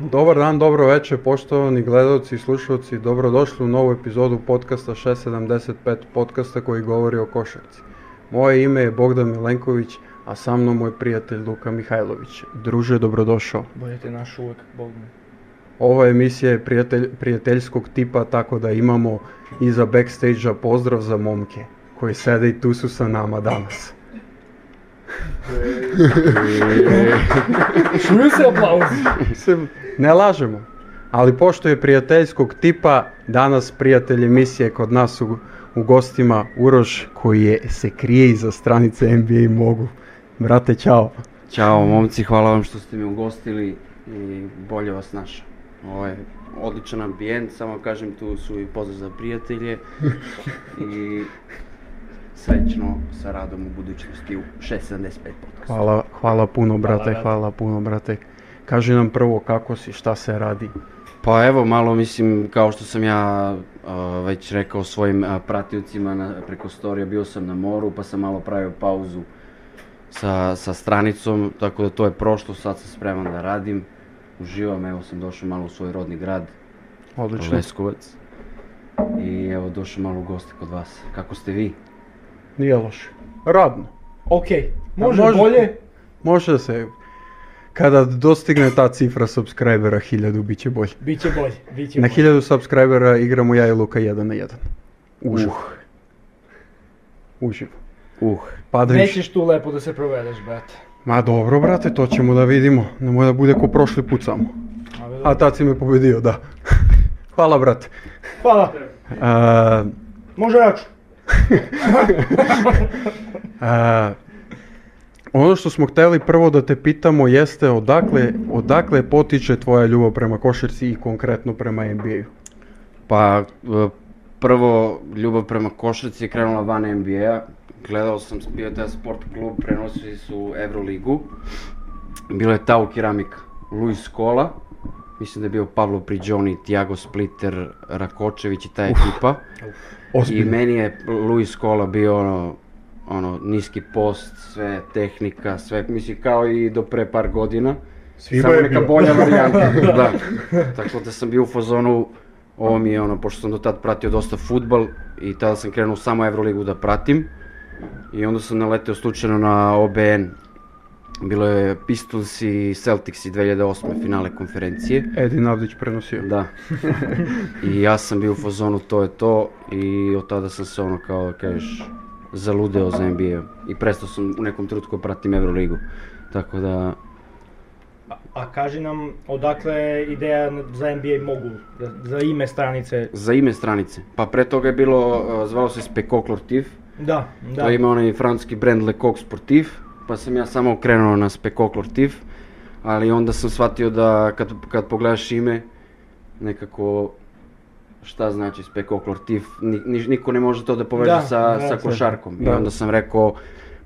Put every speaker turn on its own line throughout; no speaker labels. Dobar dan, dobro večer, poštovani gledalci i slušalci. Dobrodošli u novu epizodu podcasta 675, podcasta koji govori o košarci. Moje ime je Bogdan Milenković, a sa mnom moj prijatelj Luka Mihajlović. Druže, dobrodošao.
Bolje te naš uvek, Bogdan.
Ova emisija je prijatelj, prijateljskog tipa, tako da imamo iza backstage-a pozdrav za momke koji sede i tu su sa nama danas.
Čuju se aplauzi.
Mislim, ne lažemo. Ali pošto je prijateljskog tipa, danas prijatelj emisije kod nas u, u gostima Uroš koji je, se krije iza stranice NBA i mogu. Brate, čao.
Ćao momci, hvala vam što ste me ugostili i bolje vas naša. Ovo je odličan ambijent, samo kažem tu su i pozdrav za prijatelje i srećno sa radom u budućnosti u 675 podcast.
Hvala, hvala puno, brate, hvala,
brate.
puno, brate. Kaži nam prvo kako si, šta se radi.
Pa evo malo mislim kao što sam ja a, već rekao svojim a, pratiocima na, preko storija bio sam na moru pa sam malo pravio pauzu sa, sa stranicom tako da to je prošlo sad sam spreman da radim uživam evo sam došao malo u svoj rodni grad
Odlično.
Leskovac i evo došao malo u goste kod vas kako ste vi?
Nije loše. Radno.
Okej, može,
A može.
bolje.
Može da se... Kada dostigne ta cifra subscribera 1000, bit će bolje.
Biće bolje, biće
Na
bolje.
1000 subscribera igramo ja i Luka jedan na jedan. Uživo. Uživo.
Uh,
Padaju
Nećeš tu lepo da se provedeš, brate.
Ma dobro, brate, to ćemo da vidimo. Nemoj da bude ko prošli put samo.
Ali
A
dobro.
tad si me pobedio, da. Hvala, brate.
Hvala.
A,
Može jaču.
a, ono što smo hteli prvo da te pitamo jeste odakle, odakle potiče tvoja ljubav prema košarci i konkretno prema NBA-u.
Pa, e, prvo, ljubav prema košarci je krenula van NBA-a. Gledao sam, bio je taj sport klub, prenosili su Euroligu. Bila je ta u keramika. Luis Kola, mislim da je bio Pablo Prigioni, Tiago Splitter, Rakočević i ta ekipa. I
Ozbiljno.
meni je Luis Kola bio ono, ono, niski post, sve tehnika, sve, mislim kao i do pre par godina.
Svima
Samo
je
neka
bio.
bolja varijanta, da. Tako da sam bio u fazonu, ovo mi je ono, pošto sam do tad pratio dosta futbal i tada sam krenuo samo Euroligu da pratim. I onda sam naleteo slučajno na OBN. Bilo je Pistons i Celtics i 2008. finale konferencije.
Edi Navdić prenosio.
Da. I ja sam bio u fazonu to je to i od tada sam se ono kao kažeš zaludeo za NBA i prestao sam u nekom trenutku da pratim Euroligu. Tako da
A kaži nam odakle je ideja za NBA mogu, za, za ime stranice.
za ime stranice. Pa pre toga je bilo e, zvalo se Spectacle Sportif.
Da, da.
To ima onaj francuski brend Lecoq Sportif, pa sam ja samo krenuo na Spectacle Sportif, ali onda sam shvatio da kad, kad pogledaš ime nekako šta znači Spectacle Sportif, ni, ni- niko ne može to da poveže
Da,
sa,
da,
sa
sve.
košarkom. I
Da.
onda sam rekao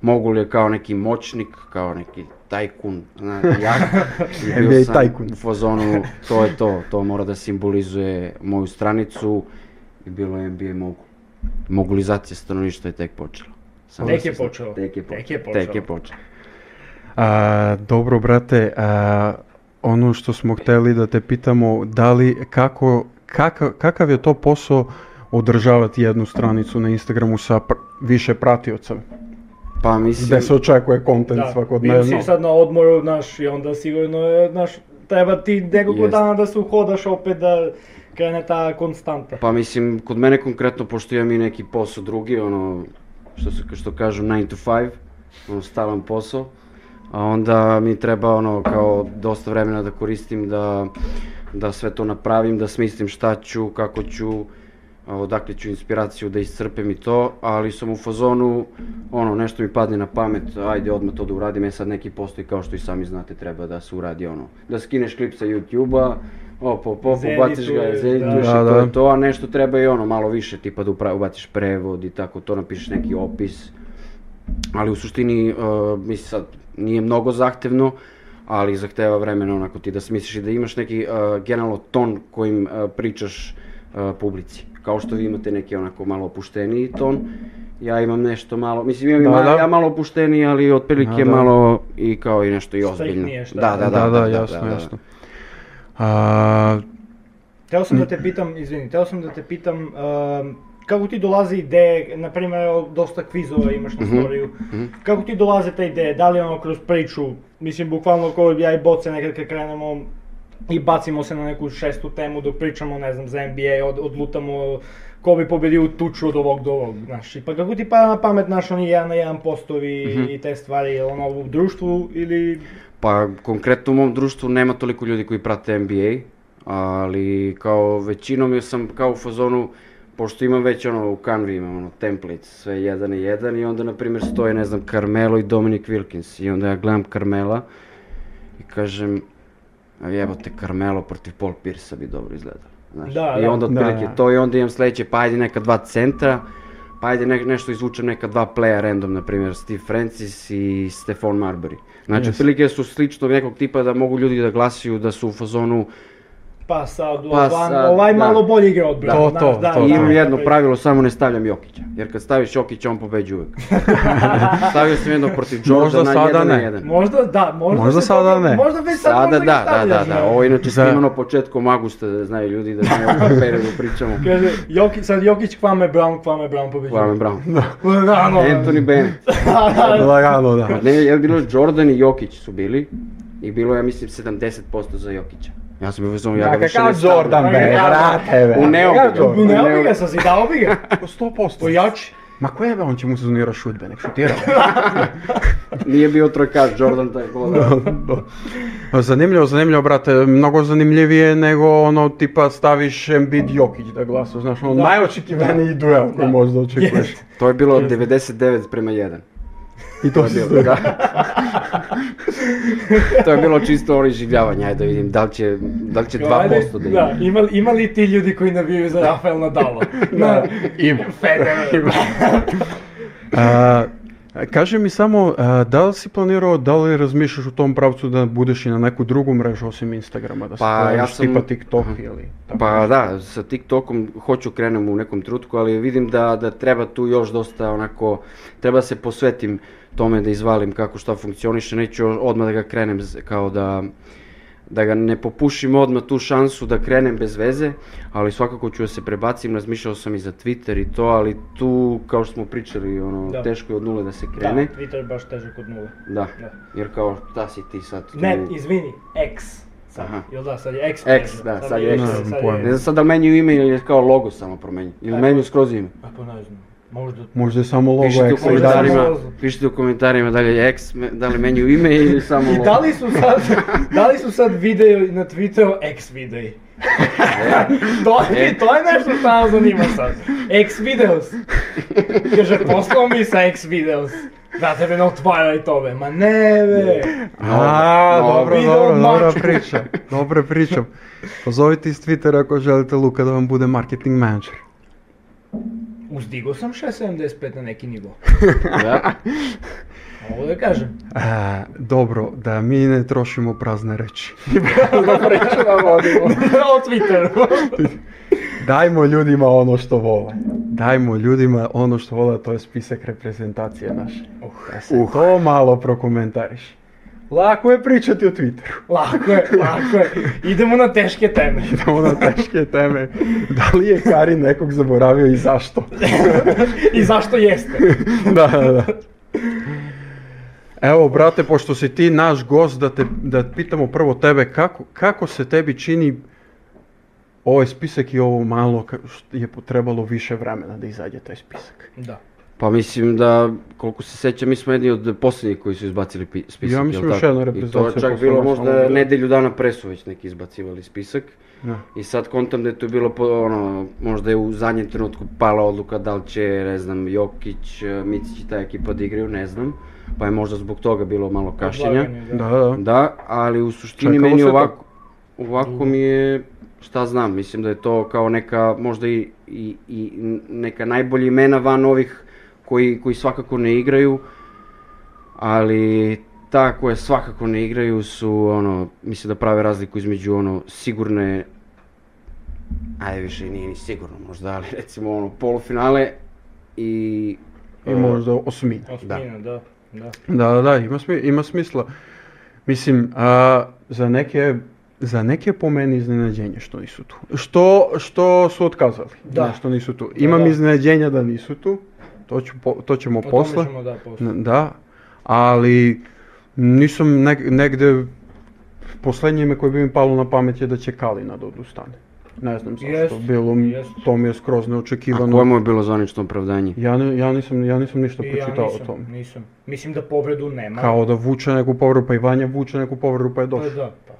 mogu li je kao neki moćnik, kao neki tajkun, na, jak. I bio
NBA
sam
tajkun.
U fazonu, to je to, to mora da simbolizuje moju stranicu i bilo je NBA mogu. Mogulizacija stanovništva je tek počela. Samo
Tek
da se
je
zna-
počelo.
Tek
Tek
je počelo.
je
Tek
počelo.
je počelo.
A, dobro, brate, a, ono što smo hteli da te pitamo, da li, kako, kakav, kakav je to posao održavati jednu stranicu na Instagramu sa pr- više pratioca,
Pa mislim...
gde se očekuje kontent
bio
svakodnevno.
si sad na odmoru, znaš, i onda sigurno je, znaš, treba ti nekoliko
Jest.
dana da se uhodaš opet da krene ta konstanta.
Pa mislim, kod mene konkretno, pošto imam i neki posao drugi, ono, što, se, što kažu 9 to 5, ono, stalan posao, a onda mi treba, ono, kao dosta vremena da koristim da, da sve to napravim, da smislim šta ću, kako ću, a, odakle ću inspiraciju da iscrpem i to, ali sam u fazonu, ono, nešto mi padne na pamet, ajde odmah to da uradim, e sad neki postoji kao što i sami znate treba da se uradi, ono, da skineš klip sa YouTube-a, op, op, op,
Zedituješ,
ubaciš ga,
da.
zedituješ
Da,
i to
da.
je to, a nešto treba i ono malo više, tipa da upra- ubaciš prevod i tako, to napišeš neki opis. Ali u suštini, e, mislim sad, nije mnogo zahtevno, ali zahteva vremena onako ti da smisliš i da imaš neki e, generalno ton uh, kojim e, pričaš e, publici. Kao što vi imate neki onako malo opušteniji ton, ja imam nešto malo, mislim imam
Da,
da,
da.
ja malo opušteniji, ali otprilike
Da, da.
malo i kao i nešto i ozbiljno.
Striktnije, šta?
Da, da, da, da,
jasno,
da, da.
jasno. A,
Teo
Mm.
sam da te pitam, izvini, teo sam da te pitam ehm, kako ti dolazi ideje, na primjer, evo, dosta kvizova imaš
Mhm.
na storiju, kako ti dolaze te ideje, da li ono kroz priču, mislim, bukvalno kao ja i boce nekad kad krenemo i bacimo se na neku šestu temu dok pričamo, ne znam, za NBA, od, odlutamo ko bi pobedio u tuču od ovog do ovog, znaš, i pa kako ti pada na pamet, znaš, oni jedan na jedan postovi
Mhm.
i te stvari, jel ono u društvu ili...
Pa konkretno u mom društvu nema toliko ljudi koji prate NBA, ali kao većinom još sam kao u fazonu, pošto imam već ono u Canvi imam ono template, sve jedan i jedan i onda na primjer stoje ne znam Carmelo i Dominic Wilkins i onda ja gledam Carmela i kažem a jebote Carmelo protiv Paul Pierce bi dobro izgledalo. Znaš?
Da,
I
da.
onda
Da,
otprilike
da.
to i onda imam sledeće, pa ajde neka dva centra, pa ajde ne- nešto izvučem neka dva playa random, na primjer Steve Francis i Stefan Marbury. Znači,
Yes.
otprilike su sličnog nekog tipa da mogu ljudi da glasuju da su u fazonu
Pa sad,
Pa sad,
ovaj
da.
malo bolji igra od
To,
Brown, znaš,
to, to,
i
da.
imam jedno
Priča.
pravilo, samo ne stavljam Jokića. Jer kad staviš Jokića, on pobeđi uvek. Stavio sam jedno protiv
Možda
Jordana,
sada
jedan na
ne.
jedan.
Možda da, možda,
Možda
se
sada
toga-
ne.
Možda već sad
Sada
možda ga
da, da, da,
stavljaš,
da.
ono.
Ovo je inače
Za-
snimano početkom augusta, da znaju ljudi da znaju o kom periodu pričamo.
Kaže, Joki, sad Jokić kvame Brown, kvame Brown pobeđuje.
Hvala Brown.
Lagano.
Anthony Bennett.
lagano, da.
Ne, je bilo Jordan i Jokić su bili i bilo je, ja mislim 70% za Jokića. Ja sam bio vezano, ja ga više ne stavljam.
stavljam. be, brate,
be.
U neobu.
Kakav Jordan?
Ne obi ga, sam si dao bi ga.
Po 100%.
Pojači.
Ma koje je, be, on će mu sezonira šutbe, nek šutira.
Nije bio trojkaš Jordan tako da.
zanimljivo, zanimljivo, brate, mnogo zanimljivije nego ono tipa staviš Embiid Jokić da glasa, znaš, ono
Da.
najočekivaniji duel koji
Da.
možda očekuješ.
Jest.
To je bilo 99 prema 1.
I to
To
si
je bilo,
stoji.
da. to je bilo čisto ono iživljavanje, ajde da vidim da li će, da li će 2% da
Da,
ima.
ima, ima li ti ljudi koji navijaju za Rafael Nadala? Da.
Ima.
Federer.
A, kaži mi samo, a, da li si planirao, da li razmišljaš u tom pravcu da budeš i na neku drugu mrežu osim Instagrama, da se
Pa,
pojaviš
ja sam-
tipa TikTok ili tako?
Pa da, sa TikTokom hoću krenem u nekom trutku, ali vidim da, da treba tu još dosta onako, treba se posvetim tome da izvalim kako šta funkcioniše, neću odmah da ga krenem z- kao da da ga ne popušim odmah tu šansu da krenem bez veze, ali svakako ću da se prebacim, razmišljao sam i za Twitter i to, ali tu kao što smo pričali, ono,
Da.
teško je od nule da se
Da,
krene.
Twitter je baš težak od nule.
Da,
Da.
jer kao šta si ti sad tu?
Ne, izvini, X. Sad,
Aha.
jel da, sad je X.
X, da, sad je X.
Ne znam pojma.
Ne znam sad da li menjaju ime ili je kao logo samo promenju, ili
Ajmo.
menjaju skroz ime.
A pa ne znam, možda
Možda je samo logo
Pišite u
Exa i
komentarima.
dalje.
komentarima,
Samo-
pišite u komentarima da li je ex, me- da li menju ime ili samo
I da li su sad, da li su sad video na Twitteru X videi? to, je, to je nešto što nas zanima sad. X videos. Kaže, poslao mi sa X videos. Da tebe ne otvaraj to be, ma ne be.
A,
Novo.
dobro,
Video
dobro, dobra
mačka.
priča. Dobra priča. Pozovite iz Twittera ako želite Luka da vam bude marketing manager.
Uzdigo sam 6.75 na neki nivo.
Da.
Ovo da kažem.
A, E, dobro, da mi ne trošimo prazne reči.
o Twitteru.
Dajmo ljudima ono što vole. Dajmo ljudima ono što vole, a to je spisak reprezentacije naše.
Uh,
Da se to malo prokomentariš. Uh. Lako je pričati o Twitteru.
Lako je, lako je. Idemo na teške teme.
Idemo na Ono teške teme. Da li je Kari nekog zaboravio i zašto?
I zašto jeste?
da, da, da. Evo, brate, pošto si ti naš gost, da, te, da pitamo prvo tebe, kako, kako se tebi čini ovaj spisak i ovo malo ka- što je potrebalo više vremena da izađe taj spisak?
Da.
Pa mislim da, koliko se sećam, mi smo jedni od posljednjih koji su izbacili pi- spisak.
Ja mislim
jel
još
tako?
jedna
I to
reprezentacija
je čak
posle
bilo
nas,
možda
ono.
nedelju dana pre su već neki izbacivali spisak.
Da.
I sad kontam da je to bilo, po, ono, možda je u zadnjem trenutku pala odluka da li će, ne znam, Jokić, eh, Micić i ta ekipa da igraju, ne znam. Pa je možda zbog toga bilo malo kašljenja.
Odlaganje,
Da, da.
Da, ali u suštini
Čekalo
meni
se
ovako, ovako mi je, šta znam, mislim da je to kao neka, možda i, i, i neka najbolja imena van ovih koji, koji svakako ne igraju, ali ta koja svakako ne igraju su ono, mislim da prave razliku između ono sigurne, ajde više nije ni sigurno možda, ali recimo ono polufinale i
i možda osmina.
Осмина, да. да.
Da, da, da, ima, smi- ima smisla. Mislim, a, za neke za neke po meni iznenađenje što nisu tu. Što, što su otkazali,
Da.
ne, što nisu tu.
Da,
Imam
da.
iznenađenja da nisu tu, to, ću po- to ćemo
O tome
posle.
ćemo, da, posle.
N- Da, ali nisam neg- negde, poslednje ime koje bi mi palo na pamet je da će Kalina da odustane. Ne znam zašto,
Jest,
bilo mi,
jest.
to mi je skroz
A
neočekivano.
koje mu je bilo zvanično opravdanje?
Ja, ne- ja, nisam, ja nisam ništa
I ja
pročitao o
nisam,
tome.
nisam. Mislim da povredu nema.
Kao da vuče neku povredu, pa i Vanja vuče neku povredu, pa je
Pa
došao.
da, pa.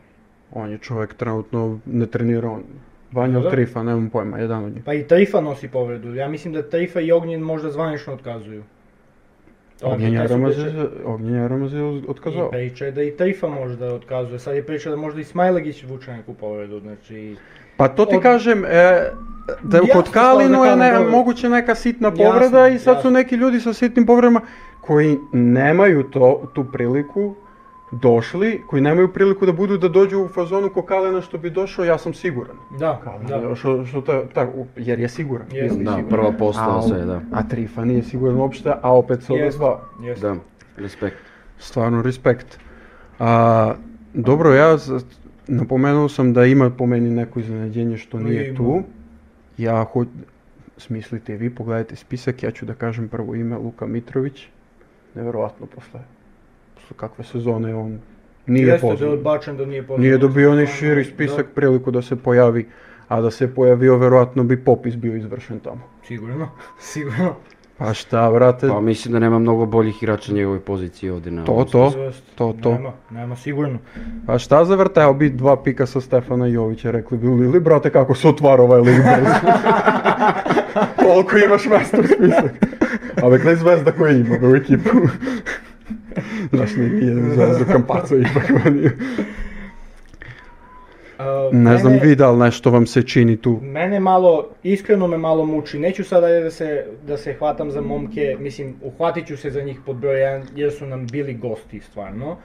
On je čovjek trenutno ne trenira on. Vanja
Da,
ili
da.
Trifa, nemam pojma, jedan od njih.
Pa i Trifa nosi povredu. Ja mislim da Trifa i Ognjen možda zvanično otkazuju.
Ognjen
Taj su
Jaramaz
priča-
je, Ognjen Jaramaz je od-
I
otkazao.
priča je da i Trifa možda otkazuje. Sad je priča da možda i Smajlegić vuče neku povredu. Znači,
Pa to ti
Od-
kažem, e, da
Jasno
kod
stvar
Kalinu
da
je
Kalin
ne,
dobro-
moguće neka sitna
Jasno,
povreda i sad su
jasno.
neki ljudi sa sitnim povredama koji nemaju to, tu priliku došli, koji nemaju priliku da budu da dođu u fazonu ko Kalina što bi došao, ja sam siguran.
da, da.
Da. Što, što ta, ta, jer je siguran.
Jeste.
ili
Da,
siguran.
prva
A,
postava sve, da.
A Trifa nije siguran uopšte, a opet se
Jeste.
odazvao.
Jeste.
Da, respekt.
Stvarno, respekt. A, dobro, ja za- napomenuo sam da ima po meni neko iznenađenje što
Ma
nije
ima.
tu. Ja hoću, smislite vi, pogledajte spisak, ja ću da kažem prvo ime Luka Mitrović. Nevjerovatno posle, posle kakve sezone on nije
Jeste da je
poznat.
odbačen da nije poznat.
Nije dobio ni širi spisak priliku da se pojavi, a da se pojavio, verovatno bi popis bio izvršen tamo.
Da, sigurno, sigurno.
Pa šta, brate,
Pa mislim da nema mnogo boljih igrača na njegovoj poziciji ovdje na...
to, to,
Jeste.
to, to.
Nema, nema sigurno.
A šta za vrteo bi dva pika sa Stefana Jovića, rekli bi Lili, brate, kako se otvara ovaj lig brzo. Koliko imaš mesta u spisak. A vek ne zvezda koja ima u ekipu. Znaš, nije nije zvezdu Kampaco ipak. on je-
A,
ne znam
mene-
vi da li nešto vam se čini tu.
Mene malo, iskreno me malo muči. Neću sada da se, da se hvatam za momke, mislim, uhvatit ću se za njih pod broj 1 jer su nam bili gosti stvarno.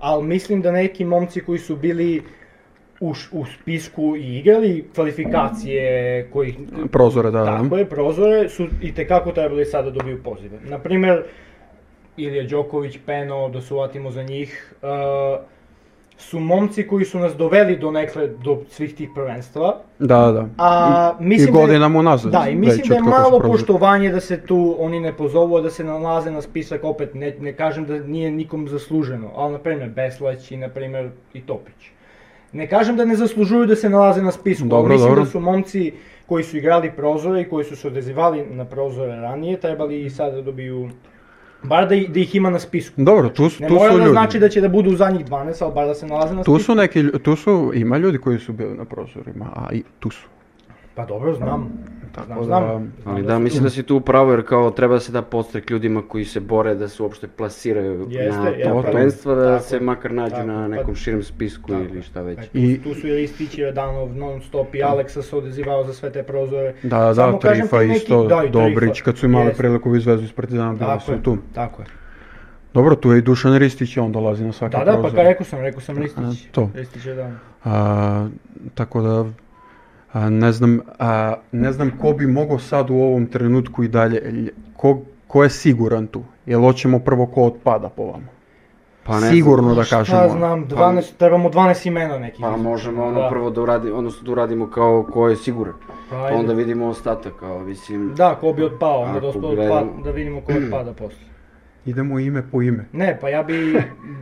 Ali mislim da neki momci koji su bili u, š- u spisku i igrali kvalifikacije kojih...
Prozore, da,
Tako
da.
je, prozore su i tekako trebali sada da dobiju pozive. Naprimer, Ilija Đoković, Peno, da se uvatimo za njih, eh, su momci koji su nas doveli do nekle, do svih tih prvenstva,
Da, da.
a,
I-
mislim
I
da je-
godinama unazad.
Da, i
već
mislim da je
od kako su
malo
prozori.
poštovanje da se tu oni ne pozovu, a da se nalaze na spisak, opet ne, ne kažem da nije nikom zasluženo, ali na primjer Beslać i na primjer i Topić. Ne kažem da ne zaslužuju da se nalaze na spisku, ali
Dobro,
mislim
dobro.
da su momci koji su igrali prozore i koji su se odazivali na prozore ranije, trebali i sada da dobiju, bar da, i- da ih ima na spisku.
Dobro, tu, su-
Ne
tu
mora
su
da
ljudi.
znači da će da budu u zadnjih 12, ali bar da se nalaze na
Tu
spisku.
su neki, lju- tu su, ima ljudi koji su bili na prozorima, a i tu su.
Pa dobro, znam.
Tako
Znam, znam. znam
Ali
da
da,
su-
mislim da si tu u pravu jer kao treba da se da podstrek ljudima koji se bore da se uopšte plasiraju
Jeste,
na
ja,
to
pa-
prvenstvo, da
tako,
se makar nađu
tako,
na
pa-
nekom širem spisku
Tako
ili
je.
šta već.
I-
I... Tu su i Ristić i Radanov non stop i Aleksa se odazivao za sve te prozore.
Da, da, da,
Samo kažem
Trifa
ti neki-
isto,
da, i Trifa.
Dobrić, kad su imali
Jest.
priliku izvezu iz Partizana, bili
Tako
su
je,
tu.
tako je.
Dobro, tu je i Dušan Ristić, on dolazi na svaki
Da, da, pa
prozor.
kao rekao sam, rekao sam Ristić.
A, to.
Ristić Radanov.
A, tako da, a, ne znam, a, ne znam ko bi mogao sad u ovom trenutku i dalje, lj- ko, ko je siguran tu, jel hoćemo prvo ko otpada po vama.
Pa ne znam.
Sigurno da kažemo. ono,
Šta znam, 12, trebamo 12 imena nekih.
Pa možemo ono
Da.
prvo da uradimo, odnosno da uradimo kao ko je siguran.
Pa,
Pa
ajde.
onda vidimo ostatak, kao mislim...
Da, ko bi otpao, onda
Ako
dospao
gledamo-
otpad, da vidimo ko otpada posle.
Idemo ime po ime.
Ne, pa ja bi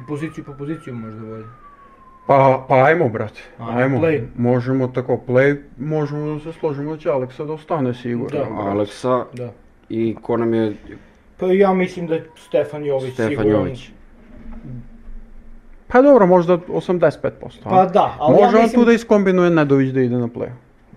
poziciju po poziciju možda volio.
Pa, pa ajmo, brate,
Ajmo,
ajmo.
play.
Možemo tako, play, možemo da se složimo da će Aleksa da ostane sigurno.
Da.
brate.
Aleksa
Da.
i ko nam je
Pa ja mislim da je Stefan Jović
Stefan
sigurno.
Jović.
Pa dobro, možda 85%. a?
Pa da, ali ja
Može on
mislim-
tu da iskombinuje Nedović da ide na play.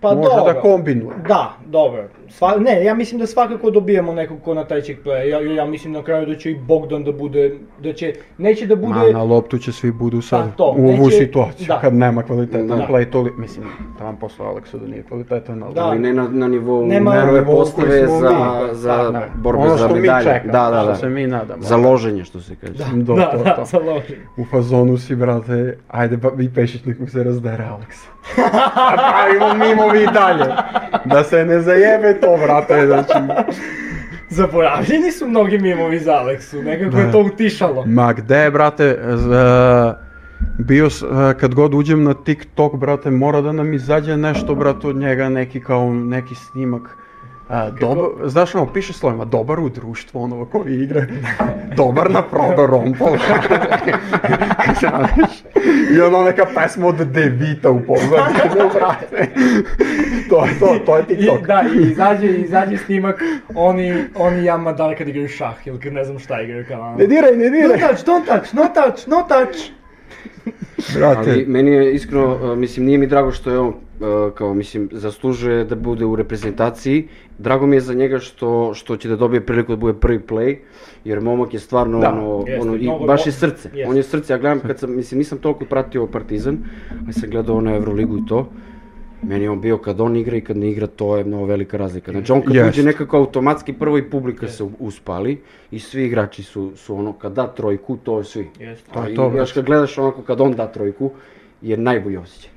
Pa
Može
dobro.
da kombinuje.
Da, dobro. Sva, ne, ja mislim da svakako dobijemo nekog ko na trećeg playa. Ja, ja mislim na kraju da će i Bogdan da bude, da će, neće da bude...
Ma, na loptu će svi budu sad
Pa to,
u ovu
neće-
situaciju,
da.
kad nema Dakle, kvalitetan
Da.
play, toli, mislim, tamo posle Aleksa da nije kvalitetan, ali...
Da,
Ali ne na, na nivou
Nema
prve
na nivou koji
postave
smo
Pa, za,
mi.
za
Da, da.
borbe
Ono
za
što mi
medalje.
čeka,
da, da, da.
što se mi nadamo.
Za loženje što se kaže.
Do,
da,
to,
da,
to.
sa Lovri.
U fazonu si, brate, ajde, ba, vi pešić nek mu se razdere Aleksa. A pravimo mimo vi dalje. Da se ne zajebe to, brate, znači...
Zaboravljeni su mnogi mimovi za Aleksu, nekako je to utišalo.
Ma gde, brate, z- bio, s- e, kad god uđem na TikTok, brate, mora da nam izađe nešto, brate, od njega, neki kao, neki snimak. A, dobar, znaš ono, piše slovima, dobar u društvu, ono, koji igra, dobar na prodo rompova, znaš, i ono neka pesma od Devita u pozadnju, brate, to je to, to je TikTok.
I, da, i izađe, izađe snimak, oni, oni jama dal kad igraju šah ili kad ne znam šta igraju kao ono.
Ne diraj, ne
No
diraj,
touch, don't touch, no touch, no touch.
brate,
Ali meni je iskreno, a, mislim, nije mi drago što je on, a, kao, mislim, zaslužuje da bude u reprezentaciji. Drago mi je za njega što, što će da dobije priliku da bude prvi play, jer momak je stvarno,
Da,
ono,
jeste,
ono, i
mnogo
baš
mo-
je srce.
jeste.
On je srce, ja gledam kad sam, mislim, nisam toliko pratio Partizan, ali sam gledao ono Euroligu i to. Meni je on bio kad on igra i kad ne igra, to je mnogo velika razlika. Znači on kad
Jeste.
uđe nekako automatski prvo i publika se u- uspali i svi igrači su, su ono kad da trojku, to je svi.
Jeste.
To
To
je
je
to, brate.
Pa Još kad gledaš onako kad on da trojku, je najbolji osjećaj.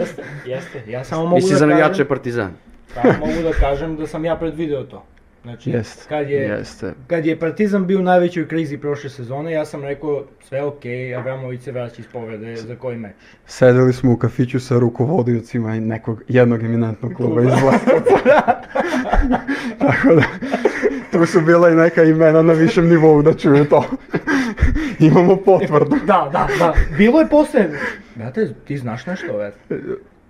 Jeste, jeste. Ja samo mogu
Mislim
da
za navijače
kažem,
Partizan.
samo mogu da kažem da sam ja predvideo to. Znači,
jeste,
kad je,
jeste,
Kad je Partizan bio u najvećoj krizi prošle sezone, ja sam rekao sve okej, Abramović se vraća iz povrede za koji meč.
Sedeli smo u kafiću sa rukovodiocima i nekog jednog eminentnog kluba iz Vlasovaca. Tako da, tu su bila i neka imena na višem nivou da čuju to. Imamo potvrdu.
Da, da, da. Bilo je posle. Brate, ti znaš nešto, vet.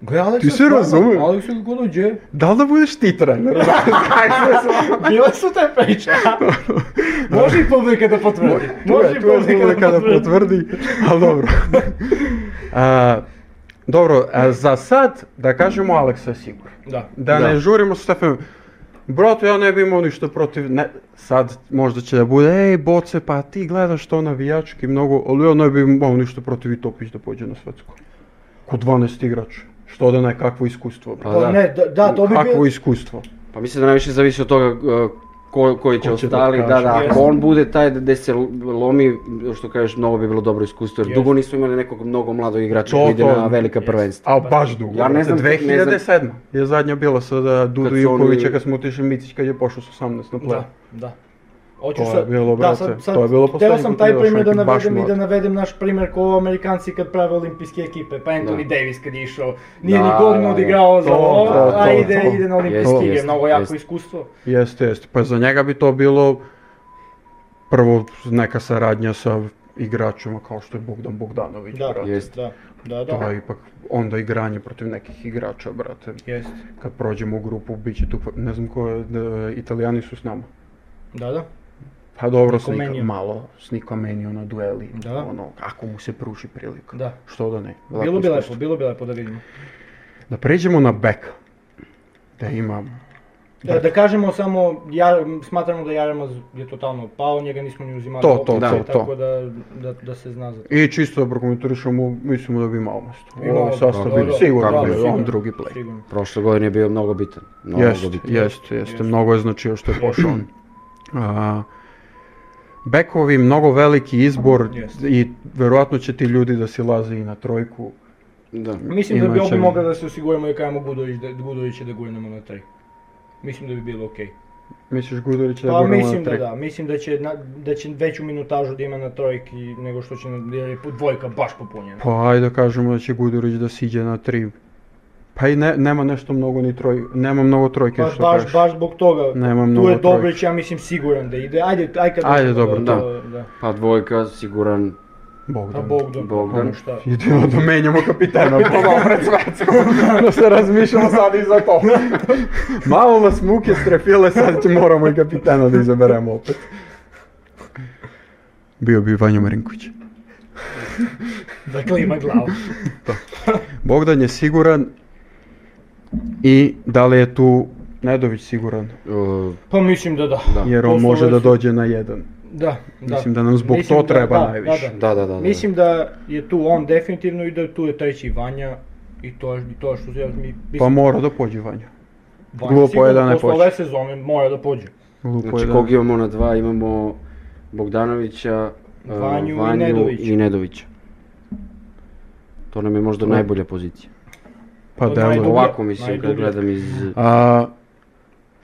Gle, Aleksa,
Ti se razumeš?
Aleksa Goluđe.
Da li da budeš ti trener?
Bile su te priče. Može i publika da potvrdi. Može i
Tu je
publika da potvrdi.
potvrdi, ali dobro. A, dobro, a za sad, da kažemo Aleksa je sigurno.
Da.
Da, ne žurimo s Stefanom. Broto, ja ne bi imao ništa protiv, ne, sad možda će da bude, ej boce, pa ti gledaš to navijački mnogo, ali ja ne bi imao ništa protiv i Topić da pođe na svetsko. Ko 12 igrač, što da ne, kakvo iskustvo, brate.
Pa
Pa
da.
ne, da, da, to bi
Kakvo
bilo...
iskustvo.
Pa mislim da najviše zavisi od toga uh, ko, koji će
Ko će da
ostali, da, da,
kaže.
ako on bude taj gde se lomi, što kažeš, mnogo bi bilo dobro iskustvo, jer
Jeste.
dugo nismo imali nekog mnogo mladog igrača
To,
koji ide
to.
na velika prvenstva.
A baš dugo.
Ja ne znam- ne znam-
2007. je zadnja bila sa da, Dudu
Kad su oni-
Ivkovića kad smo otišli Micić kad je pošao s 18 na play.
Da, da. Hoću
To je
sad,
bilo,
da,
brate, to je bilo
hteo
poslednji
sam
put
taj
gledaš
primjer da
neki baš
navedem i da
mlad.
navedem naš primjer ko Amerikanci kad prave olimpijske ekipe, pa Anthony
Da.
Davis kad je išao, nije
Da,
ni
da,
godinu
da.
odigrao za
To,
ovo,
to,
a
to,
ide,
to.
ide na
Jeste,
olimpijske igre,
jeste,
mnogo jako
jeste.
iskustvo.
Jeste, jeste. Pa za njega bi to bilo prvo neka saradnja sa igračima kao što je Bogdan Bogdanović,
Da,
brate.
Jeste.
da, da, da.
To je ipak onda igranje protiv nekih igrača, brate.
Jeste,
Kad prođemo u grupu, bit će tu, ne znam ko je, da, italijani su s nama.
da, da.
Pa dobro, s
Nikomenio.
Nika, malo, s Nikomenio na dueli,
Da.
ono, ako mu se pruži prilika.
Da.
Što da ne.
Bilo bi lepo,
iskustvo.
bilo bi lepo da vidimo.
Da pređemo na beka. Da imam.
Da, da kažemo samo, ja smatramo da Jaremaz je totalno pao, njega nismo ni uzimali
To,
u
to,
opticaj,
to, to.
tako da, da, da se zna za to.
I čisto da prokomentarišemo, mislimo da bi imao mesto.
Imao,
Ovo sastav
dobro,
bi sigurno
dobro,
bio
sigurno.
on drugi play.
Sigurno.
Prošle godine je bio mnogo bitan. Mnogo
Jeste,
bitan.
jeste, jeste. Mnogo je značio što je pošao on. A, Bekovi, mnogo veliki izbor
Jeste.
i verovatno će ti ljudi da si laze i na trojku.
Da.
Mislim da bi
Inače-
obi mogli da se osiguramo i kajemo Gudović, da, Gudovića da gurnemo na 3. Mislim da bi bilo okej.
Misliš Gudurić da
Pa
guramo na
mislim da
tri?
da, mislim da će, na, da će veću minutažu da ima na trojki nego što će na, jer je dvojka baš popunjena.
Pa ajde da kažemo da će Gudurić da siđe na tri. Pa i ne, nema nešto mnogo ni troj, nema mnogo trojke
Baš,
što
baš,
Pa, kažeš.
baš zbog toga.
Nema
tu
mnogo
je
trojke.
Dobrić, ja mislim siguran da ide. Ajde, aj kad
Ajde,
dođemo
dobro,
do-
da.
do- da.
Pa dvojka, siguran,
Pa
Bogdan.
Bogdan.
Bogdan.
ono šta.
Jedino da menjamo kapitena ponovo pred svetskom. Da se razmišljamo sad i za to. Malo nas muke strefile, sad će moramo i kapitena da izaberemo opet. Bio bi Vanjo Marinković.
Da klima glavu.
Bogdan je siguran i da li je tu Nedović siguran?
uh,
Pa mislim da da.
Da.
Jer on
Poslove
može da
su-
dođe na jedan.
Da, da.
Mislim da nam zbog
Mislim
to
da-
treba
da,
najviše.
da, da.
da, da, da, da.
Mislim da je tu on definitivno i da tu je treći Vanja i to, je- i to je što se ja mi
Pa
mislim,
mora da pođe Vanjo.
Vanja
glupo je
sigurno
da ne
posle
pođe.
ove sezone mora da pođe.
Glupo je
Znači
da-
kog imamo na dva, imamo Bogdanovića, uh,
Vanju i Nedovića.
i Nedovića. To nam je možda
To-
najbolja pozicija.
Pa
To
deluje.
najdublje.
Ovako mislim kad
najdublje.
gledam iz...
A,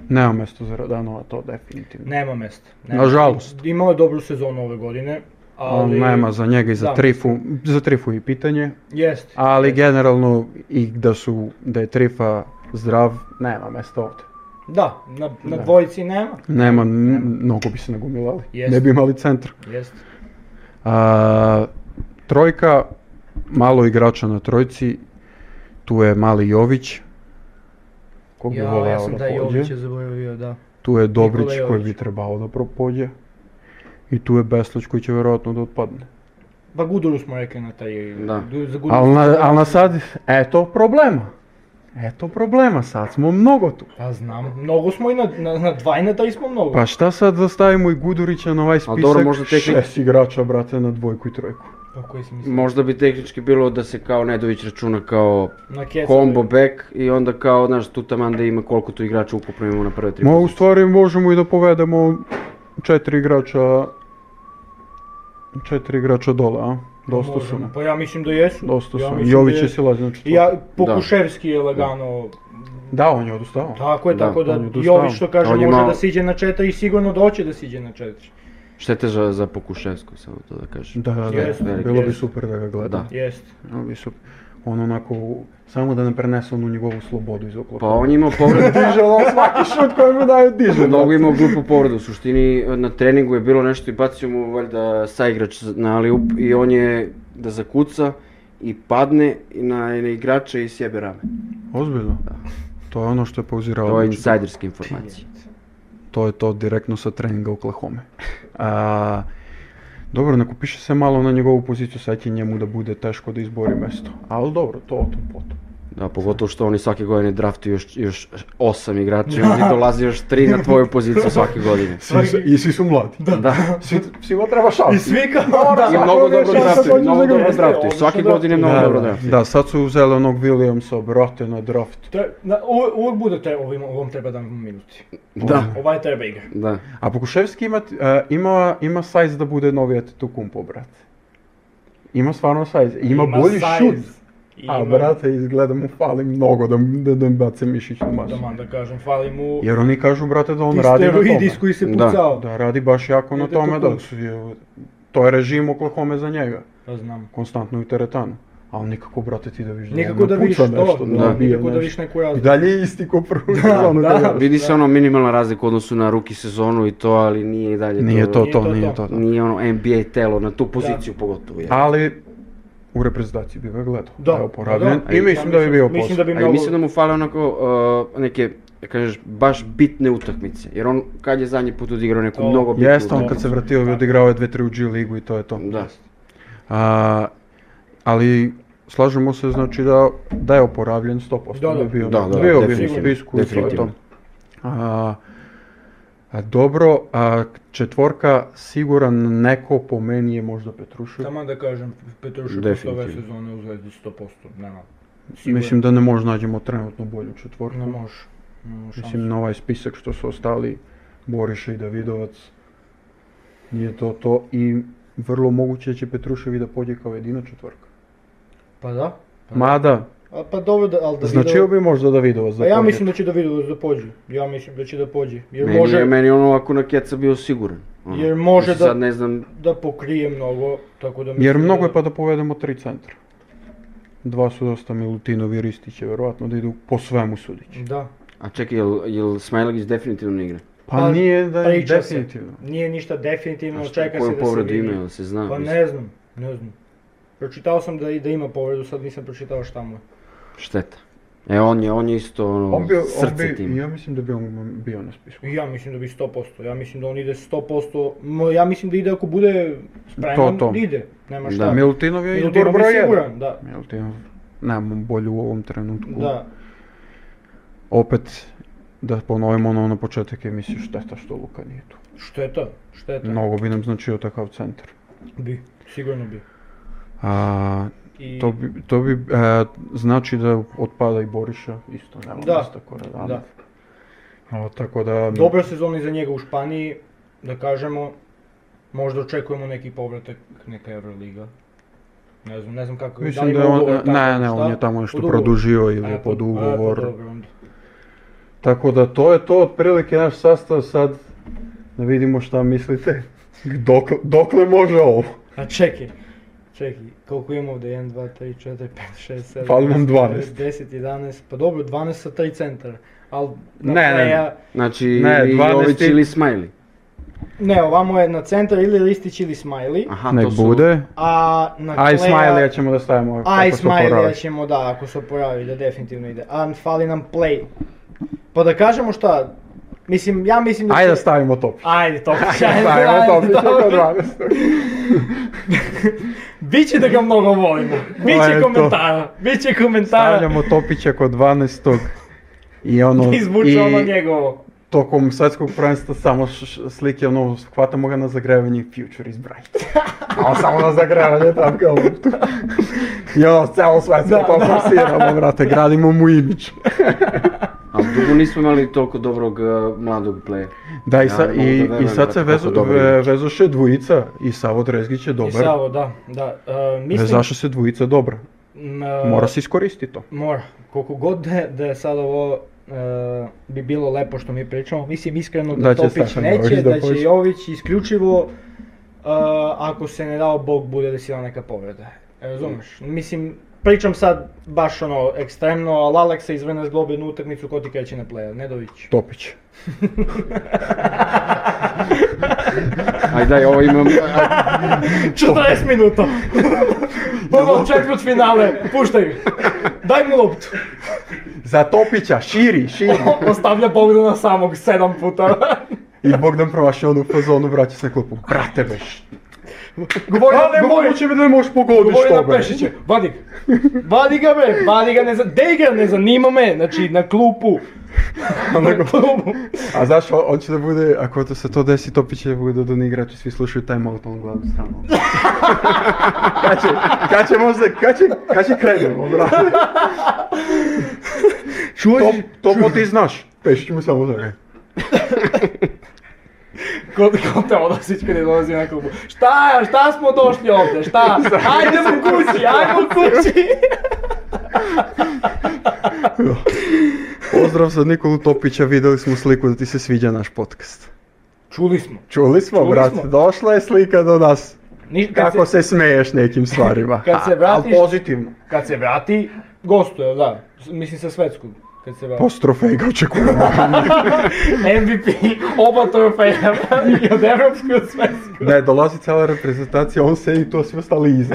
Nema mjesto za Radanova, to definitivno.
Nema mesta.
Nažalost.
Imao je dobru sezonu ove godine, ali...
Ali, nema za njega i za,
Da.
trifu, za trifu i pitanje,
Jeste.
ali generalno i da su, da je trifa zdrav, nema mesta ovdje.
Da, na, na
Da.
dvojici nema.
Nema, n- mnogo bi se nagomilali,
Jest.
ne bi imali centra.
Jeste.
A, trojka, malo igrača na trojci, tu je mali Jović, kog bi
Ja, ja
voleo
sam
da
da
pođe.
Jovića zaboravio, da.
Tu je Dobrić
Nikola
koji
Jović.
bi trebao da propođe. I tu je Beslić koji će vjerojatno da otpadne.
Pa Guduru smo rekli na taj...
Da.
du- za Guduru
Ali
smo
na,
rekli.
al na sad, eto problema. Eto problema, sad smo mnogo tu.
Pa znam, mnogo smo i na, na, na dva i na tri smo mnogo.
Pa šta sad da stavimo i Gudurića na ovaj spisak?
Ali dobro, možda tek-
Šest igrača, brate, na dvojku i trojku.
Pa koji si mislio?
Možda bi tehnički bilo da se kao Nedović računa kao
Na Kesa.
combo back i onda kao, znaš, tu taman da ima koliko tu igrača ukupno imamo na prve tri.
Ma u
pozicije.
stvari možemo i da povedemo četiri igrača četiri igrača dole, a? Dosta su
Možemo.
nam.
Pa ja mislim da jesu.
Dosta
ja
su nam.
mislim
Jović
da
je
jesu.
silazi na četvrtu.
Ja, Pokuševski je lagano
Da, on je odustao.
Tako je,
Da,
tako da
on je odustao.
Jović što kaže
On je
može
malo-
da siđe na četiri i sigurno doće da siđe na četiri.
Štete za, za Pokuševsku, samo to da kažem.
Da, da, da.
Jeste,
Bilo bi
jeste.
super da ga gleda.
Da.
Jeste.
Bilo bi super. On onako, samo da ne prenese onu njegovu slobodu iz oklapa.
Pa on je imao povredu,
Diže on svaki šut koji mu daju diže.
mnogo je imao glupu povredu. U suštini na treningu je bilo nešto i bacio mu valjda saigrač na aliup i on je da zakuca i padne i na, na igrača i sjebe rame.
Ozbiljno. To je ono što je pauzirao.
To je
Lučić.
insajderska informacija.
To je to direktno sa treninga Oklahoma. A, dobro, neko piše se malo na njegovu poziciju, sad će njemu da bude teško da izbori mesto. Ali dobro, to o tom potom.
Da, pogotovo što oni svake godine draftuju još, još osam igrača i onda dolazi još tri na tvoju poziciju svake godine.
Svi su- I svi su mladi.
Da.
Svi, svima treba šal.
I svi kao
I
da.
Svako
mnogo dobro
večer se
draftuju,
dođe
mnogo
za
dobro
goste,
draftuju.
odlično
Svake
draftuju.
godine mnogo
Da,
dobro
da,
draftuju.
da, sad su uzeli onog Williamsa, brate, na draft.
To je- na- u- Uvijek bude te, ovim, ovom treba da minuti.
Da.
Ovaj treba igra.
Da.
A Pokuševski ima, e, ima, ima size da bude novi Antetokounmpo, brate. Ima stvarno size. Ima, bolji
size.
šut.
Ima,
A, brate, izgleda mu fali mnogo da, da, da bace mišić na masu.
da man da kažem, fali mu
Jer oni kažu, brate, da on
ti
radi na
steroidi
tome.
s koji se
Da.
pucao.
Da, radi baš jako na
Ide to
tome, da
kuk.
su je- to je režim Oklahoma za njega,
Da znam.
konstantno i teretanu. Ali nikako, brate, ti da vidiš da
Nikako
on
da
ne
vidiš
puca
to,
nešto, da,
da,
nabije
nikako da
nešto.
vidiš neku
I
razliku.
dalje je isti ko prvu sezonu
da.
kada-
Vidi se ono minimalna razlika u odnosu na ruki sezonu i to, ali nije i dalje
Nije to to,
to.
nije to to.
Nije ono NBA telo na tu poziciju pogotovo. Je.
Ali u reprezentaciji bi ga gledao, da
Da,
je oporavljen
da, da.
i mislim da bi bio
Mislim
posao.
da bi
A i
mnogo...
mislim da mu fale onako uh, neke, da kažeš, baš bitne utakmice. Jer on kad je zadnji put odigrao neku
To.
mnogo bitnu
Jeste, on kad
utakmicu.
se vratio i odigrao je dve, tri u G ligu i to je to.
Da.
A, ali slažemo se znači da, da je oporavljen 100%.
Da, da.
bi bio,
Da, da,
bio bi u
definitivno,
spisku i to je to.
definitivno.
A, a dobro, a četvorka siguran neko po meni je možda Petrušev.
Samo da kažem, Petrušev posle
Definitivno.
ove sezone u Zvezdi 100%, nema. Sigurno.
Mislim da ne možemo nađemo trenutno bolju četvorku.
Ne može. Nema šanse.
Mislim na ovaj spisak što su ostali Boriša i Davidovac. Nije to to i vrlo moguće da će Petrušev i da pođe kao jedina četvorka.
Pa da. Pa da.
Mada,
A, pa dobro, da, ali da
značio bi možda Davidovac da
Pa ja
pođe.
mislim da će Davidovac da pođe. Ja mislim da će da pođe. Jer
Meni, je,
može
meni je ono ovako na keca bio siguran. Ono.
Jer može
Mislim,
da-
Sad ne znam,
da pokrije mnogo, tako da mislim
Jer mnogo
da-
je pa da povedemo tri centra. Dva su dosta Milutinovi i Ristić je verovatno da idu po svemu sudići.
Da.
a čekaj, jel, jel Smailagić definitivno ne igra?
Pa,
Pa,
nije da je
Priča se.
definitivno.
Nije ništa definitivno,
A šta-
čeka se da se
koju
vidi.
povredu ima, jel se zna?
Pa
Mislim,
ne znam, ne znam. Pročitao sam da, i da ima povredu, sad nisam pročitao šta mu je.
Šteta. E, on je, on je isto ono,
On bi, on
srce
bi,
tima.
ja mislim da bi on bio na spisku.
I Ja mislim da bi 100%, ja mislim da on ide 100%, mo- ja mislim da ide ako bude
To,
spreman,
to.
ide, nema
Da.
šta.
Milutinov je
Milutinov
izbor broj
je
jedan.
siguran, da.
Milutinov, nemam bolju u ovom trenutku.
Da,
Opet, da ponovimo ono na početak emisije, šteta što Luka nije tu.
šteta, šteta,
Mnogo bi nam značio takav centar.
bi, sigurno bi.
A,
I,
to bi, to bi e, znači da otpada i Boriša, isto nema
Da.
mesta kod Radanović.
Da.
A, tako da...
Dobra sezona iza njega u Španiji, da kažemo, možda očekujemo neki povratak, neka Euroliga. Ne znam, ne znam kako
Mislim
ima
da je on,
ugovor tamo,
ne, ne,
šta?
on je tamo nešto
Pod ugovor?
produžio ili
E,
je
pod-
pod
e, pa
ugovor.
dobro onda.
Tako da to je to otprilike naš sastav sad. Da vidimo šta mislite. Dokle, dokle može ovo?
A čekaj, čekaj, koliko imamo ovdje? 1, 2, 3, 4, 5, 6, 7,
Fali nam 12.
10, 11, pa dobro, 12 sa 3 centara. Al na
Ne, ne, ne.
kraja-
Znači,
Ne,
ili
12
Jović ili Smiley.
ne, ovamo je na centar ili Listić ili Smiley,
Aha,
Nek
to su...
bude.
a na
A i
kleja-
Smiley ćemo da stavimo.
A i
kako se oporavi.
Smiley ćemo, da, ako se oporavi, da definitivno ide. A fali nam play. Pa da kažemo šta, mislim, ja mislim da
Ajde da
će-
stavimo top.
Ajde, to.
Stavimo top, bit će oko 12.
Biće da ga mnogo volimo.
To je
Biće
to.
komentara. Biće komentara.
Stavljamo topića kod 12. I ono,
Izvuče ono
i
njegovo.
tokom svetskog prvenstva samo š- š- slike, ono, hvatamo ga na zagrevanje i future is bright. A on samo na zagrevanje tam kao loptu. I ono, celo svetsko
Da,
to
da.
forsiramo, brate, gradimo mu imidž.
Ali dugo nismo imali toliko dobrog uh, mladog pleja.
Da, i,
Ja
sa,
ne mogu da
i, i
verujem,
sad se
brate,
vezu,
kako dobar
ve-
igrač.
vezuše dvojica i Savo Drezgić je
I
dobar.
Savo, da, da. E, mislim...
Vezaše se dvojica dobra.
m, e,
Mora se iskoristi to.
Mora. Koliko god da je, da je sad ovo e, bi bilo lepo što mi pričamo, mislim iskreno da,
Da će
Topić
Stefan
neće,
Jović da
da će
počne.
Jović isključivo e, ako se ne dao Bog bude desila neka povreda. E, Razumeš? Mislim, pričam sad baš ono ekstremno, ali Aleksa izvrne zglobi jednu utakmicu ko ti kreće na playa, Nedović.
Topić.
Aj daj, ovo imam...
40 minuta. Ono četvrt finale, puštaj. ga. Daj mu loptu.
Za Topića, širi, širi.
Ostavlja Bogdana samog sedam puta.
I Bogdan promaši onu fazonu, vraća se na klupu. Brate beš.
Govori,
Pa ne
govori-
moguće mi da ne možeš pogodiš
Govori
to
na
bre.
Pešića, vadi ga. Vadi ga bre, vadi ga, ne, za... dej ga, ne zanima me, znači na klupu. Na klupu.
A znaš, on, on će da bude, ako to se to desi, Topić će da bude dodan igrač i svi slušaju time out on glavu stranu. kad će, kad će možda, kad će, kad će krenemo, brate.
Čuvaš,
Top, topo ti znaš. E. Pešić mu samo da
ko, ko te odosić kada dolazi na klupu. Šta, šta smo došli ovdje, šta? Ajde mu kući, ajde mu kući.
Pozdrav za Nikolu Topića, videli smo sliku da ti se sviđa naš podcast.
Čuli smo.
Čuli smo,
Čuli
brate,
smo.
došla je slika do nas.
Ni, kad,
Kako
se,
se smeješ nekim stvarima.
Kad se
A- al
vratiš-
pozitivno.
kad se vrati, gostuje, da. S- Mislim sa svetskog. Kad se vrati.
Post trofeja očekujemo.
MVP, oba trofeja i od evropskog i od svetskog.
Ne, dolazi cela reprezentacija, on se i to svi ostali iza.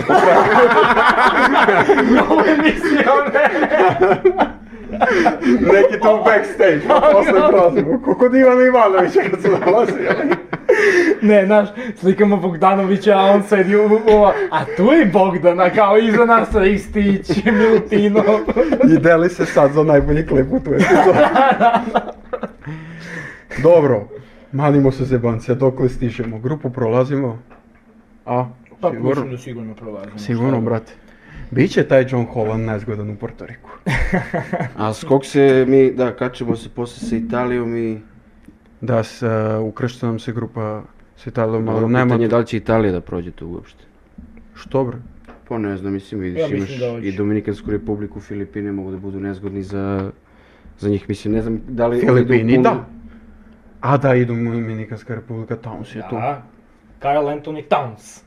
Ovo je mislio mene.
Neki tu backstage, a posle prozimo. Kako Ivan Ivanovića kad su dolazi.
Ne, znaš, slikamo Bogdanovića, a on sedi u, u- u- a tu je Bogdana, kao iza nas Ristić, Milutinov.
I deli se sad za najbolji klip u tu epizodu. Dobro, manimo se zebancija, dokle stižemo. Grupu prolazimo. A,
Pa
sigurno,
mislim da sigurno prolazimo.
sigurno, brate. Biće taj John Holland nezgodan u Portoriku.
A skok se mi, da, kačemo se posle sa Italijom i...
Da, s, e, ukršta nam se grupa s Italijom,
Dobro,
ali nema...
pitanje je da li će Italija da prođe tu uopšte.
Što bre?
Pa ne znam, mislim vidiš,
Ja mislim
imaš
da hoće.
i Dominikansku republiku, Filipine mogu da budu nezgodni za, za njih, mislim, ne znam da li... oni
Filipini,
idu u
da.
punu-
A da, idu Dominikanska republika, Towns je tu.
Da, Karl Anthony Towns.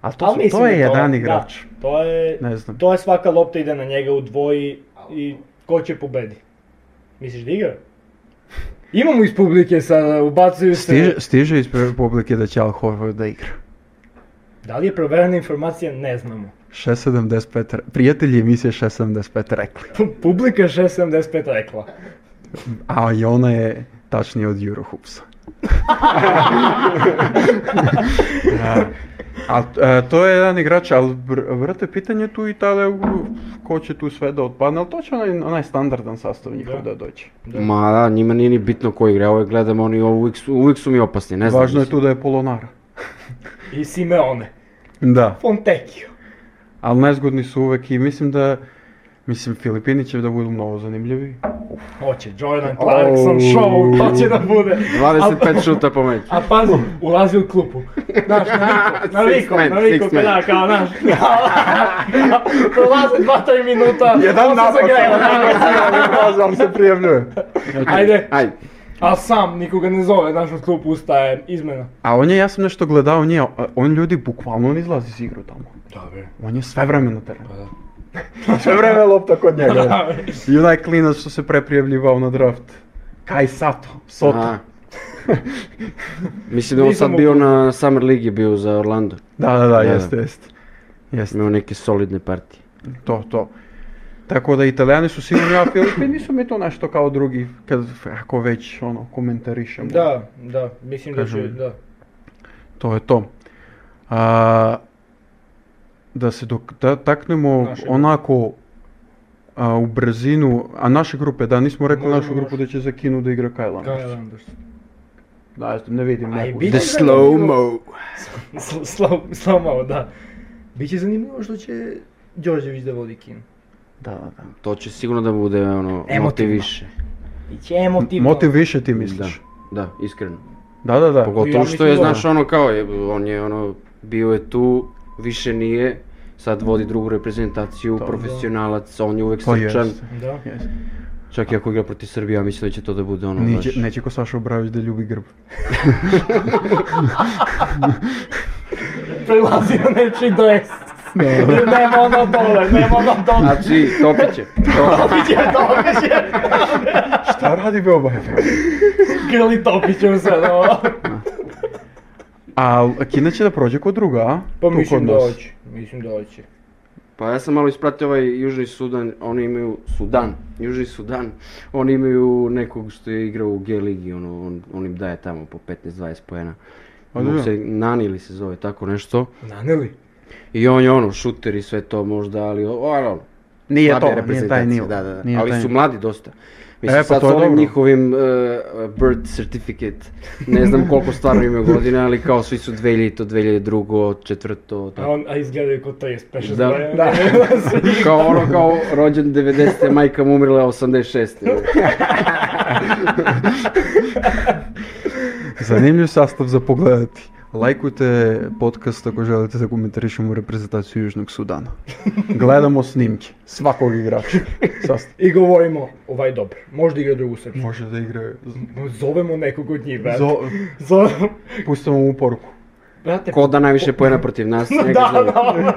A to,
Ali
su-
mislim
to je
da
jedan
da,
igrač.
to je,
Ne znam.
to je svaka lopta ide na njega u dvoji i ko će pobedi? Misliš da igra? Imamo iz publike sada, ubacuju se.
Stiže, stiže iz publike da će Al Horford da igra.
Da li je proverena informacija, ne znamo.
6.75, re- prijatelji emisije 6.75 rekli.
Pu- Publika 675 rekla.
A i ona je tačnije od Eurohoopsa. Da. A, e, to je jedan igrač, ali br- vrate pitanje tu Italija, u- ko će tu sve da otpadne, ali to će onaj, onaj standardan sastav njihov
Da.
da dođe.
Da.
Ma da, njima nije ni bitno ko igra, ovo je gledam, oni ovo uvijek su, uvijek su mi opasni, ne znam.
Važno je
mislim.
tu da je Polonara.
I Simeone.
Da.
Fontekio.
Ali nezgodni su uvek i mislim da, mislim Filipini će da budu mnogo zanimljivi.
Hoće, Jordan Clarkson
Au.
да show, to će da bude.
25 šuta po meču.
A pazi, ulazi u klupu. Znaš, na likom,
Six man,
na likom,
six man.
da, kao, znaš, prolaze dva, tri minuta, on
Jedan
se
napad,
zagreva, da,
ali se prijavljuje.
ajde,
Ajde.
a sam nikoga ne zove, znaš, u klupu ustaje, izmena.
A on je, ja sam nešto gledao nije, on ljudi bukvalno ne izlazi iz igru tamo.
Dobre.
On je sve vreme na terenu. sve vreme je lopta kod
Да,
njega. I onaj klinac što se preprijavljivao na draft. Kaj Sato, Soto.
Aha. Mislim da je on
Nisam
sad bio na Summer Ligi bio za Orlando.
Da, da, da,
da.
jeste, jeste. Jeste,
Imao neke solidne partije.
to, to. Tako da italijani su sigurno, a Filipini su mi to nešto kao drugi, kad, ako već ono, komentarišemo.
Да.
Da, da, mislim da će,
Kažem.
da.
To je to. A, da se dok, da, taknemo
Naše
onako a, u brzinu, a naše grupe, da nismo rekli
Možemo
našu grupu da će za Kinu da igra Kyle Anderson.
Kyle Anderson.
Da, ja ne vidim
A i
neku.
bit
The
će
slow-mo.
Sl- Slow, slow mo, da. Biće zanimljivo što će Đorđević da vodi kino.
Da, da, da.
To će sigurno da bude ono,
Emotivno.
motiviše.
Biće emotivno.
Motiv više ti misliš.
Da, iskreno.
Da, da, da.
Pogotovo
Ja
što
mislim
je,
da.
znaš, ono kao, je, on je ono, bio je tu, više nije, sad vodi drugu reprezentaciju,
To, da.
profesionalac, on je uvek
Mm. To
srčan.
jeste.
Da.
Jeste.
Čak i ako igra protiv Srbije, ja mislim da će to da bude ono baš...
Neće, neće ko Saša Obravić da ljubi grb.
Prelazi na nečiji dres. nema ono dole, nema ono dole.
Znači, topit će.
Topiće, topiće.
Šta radi Beoba?
ovaj? Grli topiće sve, da.
A Kina će da prođe kod druga, a?
Pa
Tu
mislim
kod
da
nas.
hoće, mislim da hoće.
Pa ja sam malo ispratio ovaj Južni Sudan, oni imaju Sudan, Južni Sudan, oni imaju nekog što je igrao u G ligi, ono, on, on im daje tamo po 15-20 poena.
A da.
Ono se Nani ili se zove tako nešto.
Naneli?
I on je ono, šuter i sve to možda, ali o- ali ono,
Nije
slabija
to, nije taj
reprezentacija,
nivo.
Da, da, da.
Nije
ali
taj
su
nivo.
mladi dosta. Mislim,
E, pa
sad
to
s
je
ovim
dobro.
njihovim eh, birth certificate, ne znam koliko stvarno imaju godina, ali kao svi su 2000, 2002, četvrto,
A,
tako.
on, a izgledaju kod 35
Da.
godina.
Da.
Kao ono, kao rođen 90. majka mu umrla 86.
Zanimljiv sastav za pogledati. Lajkujte podcast ako želite da komentarišemo reprezentaciju Južnog Sudana. Gledamo snimke svakog igrača. Sastav.
I govorimo, ovaj je dobar, možda igra drugu srpsku.
Može da igraju.
Zovemo nekog od njih, brate.
Zo,
Zovemo.
pustimo mu poruku.
Brate,
Ko da najviše pojena protiv nas,
da,
njega zove.
da.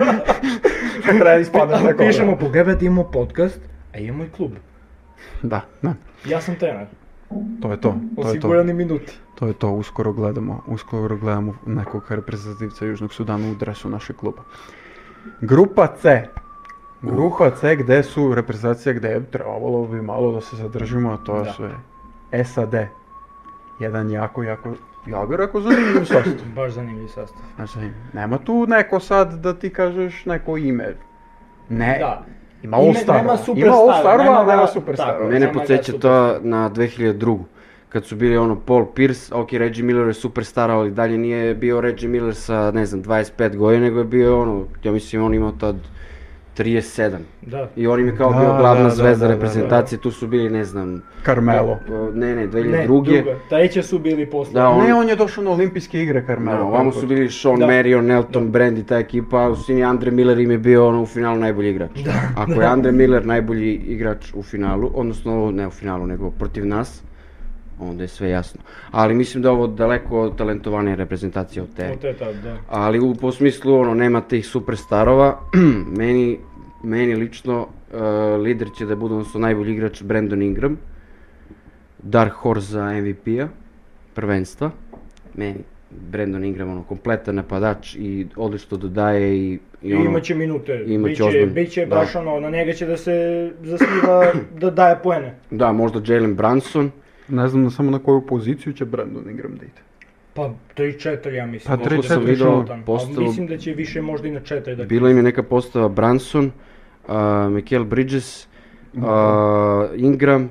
Kraj ispada
Ali pišemo, pogledaj, brate, imamo podcast, a imamo i klub.
Da, da.
Ja sam trener,
To je to. To je to.
osigurani minuti.
To je to. Uskoro gledamo. Uskoro gledamo nekog reprezentativca Južnog Sudana u dresu našeg kluba. Grupa C.
Uh.
Grupa C gde su reprezentacije gde je trebalo bi malo da se zadržimo, a to je
Da.
sve SAD. Jedan jako, jako, ja bih rekao zanimljiv sastav.
Baš zanimljiv sastav.
Znači, nema tu neko sad da ti kažeš neko ime. Ne,
Da.
ima
Ime-
all starova.
nema
Ima
superstarova,
all starova,
nema-
ali nema
da,
superstarova.
tako.
Mene
Samo
podsjeća
da,
to na 2002. Kad su bili ono Paul Pierce, ok Reggie Miller je superstar, ali dalje nije bio Reggie Miller sa ne znam 25 godina, nego je bio ono, ja mislim on imao tad 37.
Da.
I on im je kao
Da,
bio
da,
glavna
da,
zvezda
da, da,
reprezentacije, tu su bili ne znam...
Carmelo.
o, Ne, ne,
Ne,
2002.
druga. Treće su bili posle.
Da, on-
Ne, on je došao na olimpijske igre, Carmelo.
Da, ono, ovamo
tako
su
da.
bili Sean
Da.
Marion, Elton Brand i ta ekipa, a u sini Andre Miller im je bio ono u finalu najbolji igrač. Ako je Andre Miller najbolji igrač u finalu, odnosno ne u finalu nego protiv nas, onda je sve jasno. Ali mislim da je ovo daleko talentovanija reprezentacija od te.
Od te tad, da.
Ali u po smislu ono nema tih superstarova, meni meni lično e, lider će da bude odnosno najbolji igrač Brandon Ingram. Dark Horse za MVP-a P-a, prvenstva. Meni Brandon Ingram ono kompletan napadač i odlično dodaje i
I
i ono,
imaće minute,
imaće
biće,
ozbiljno.
biće
Da.
baš ono, na njega će da se zasniva, da daje poene.
da možda Jalen Branson.
Ne znam samo na koju poziciju će Brandon Ingram da ide.
Pa 3-4 ja
Pa,
mislim. koliko
tri,
sam
četiri,
vidio,
ono,
tam. A
postalo-
Mislim da će više možda i na 4 da
Bila im je neka postava Branson, a, Mikel Bridges, a, Ingram,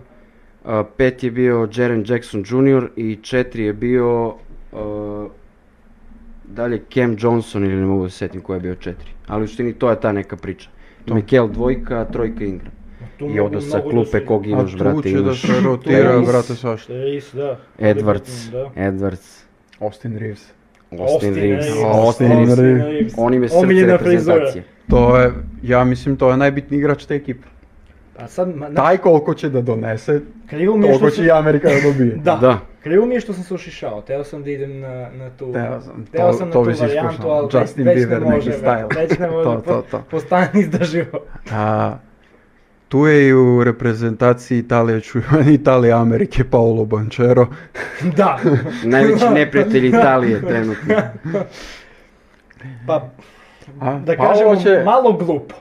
a, pet je bio Jaren Jackson Jr. i četiri je bio a, dalje Cam Johnson ili ne mogu da se setim ko je bio četiri. Ali u suštini to je ta neka priča. Mikel dvojka, trojka Ingram.
Tu
I
mogu
onda sa
mnogo da
klupe
se-
kog imaš,
A tu
brate,
će da
imaš
se rotira,
Davis,
да.
brate, svašta.
Reis, da.
Edwards,
Da.
Edwards,
Austin Reeves.
Остин Ривз.
Ривз.
Остин
Ривз.
On im je srce
Omiljena
reprezentacije.
To je, ja mislim, to je najbitniji igrač te ekipe.
Pa sad, ma, na,
Taj koliko će da donese,
krivo mi je što
toliko će
sam...
i Amerika da dobije.
Da.
Da.
Krivo mi je što sam se ošišao, teo sam da idem na, na tu,
Teo sam,
teo
to-
sam na
to
tu
bi si
varijantu,
iskušao.
ali već,
Justin
već ne
Bieber neki
može,
style.
bro. već ne može,
To, to,
po-
to.
postani izdrživo.
A, tu je i u reprezentaciji Italije čuvan Italije Amerike Paolo Banchero.
da,
Najveći neprijatelj Italije trenutno.
pa
A,
da
Paolo
kažemo
će
malo glupo,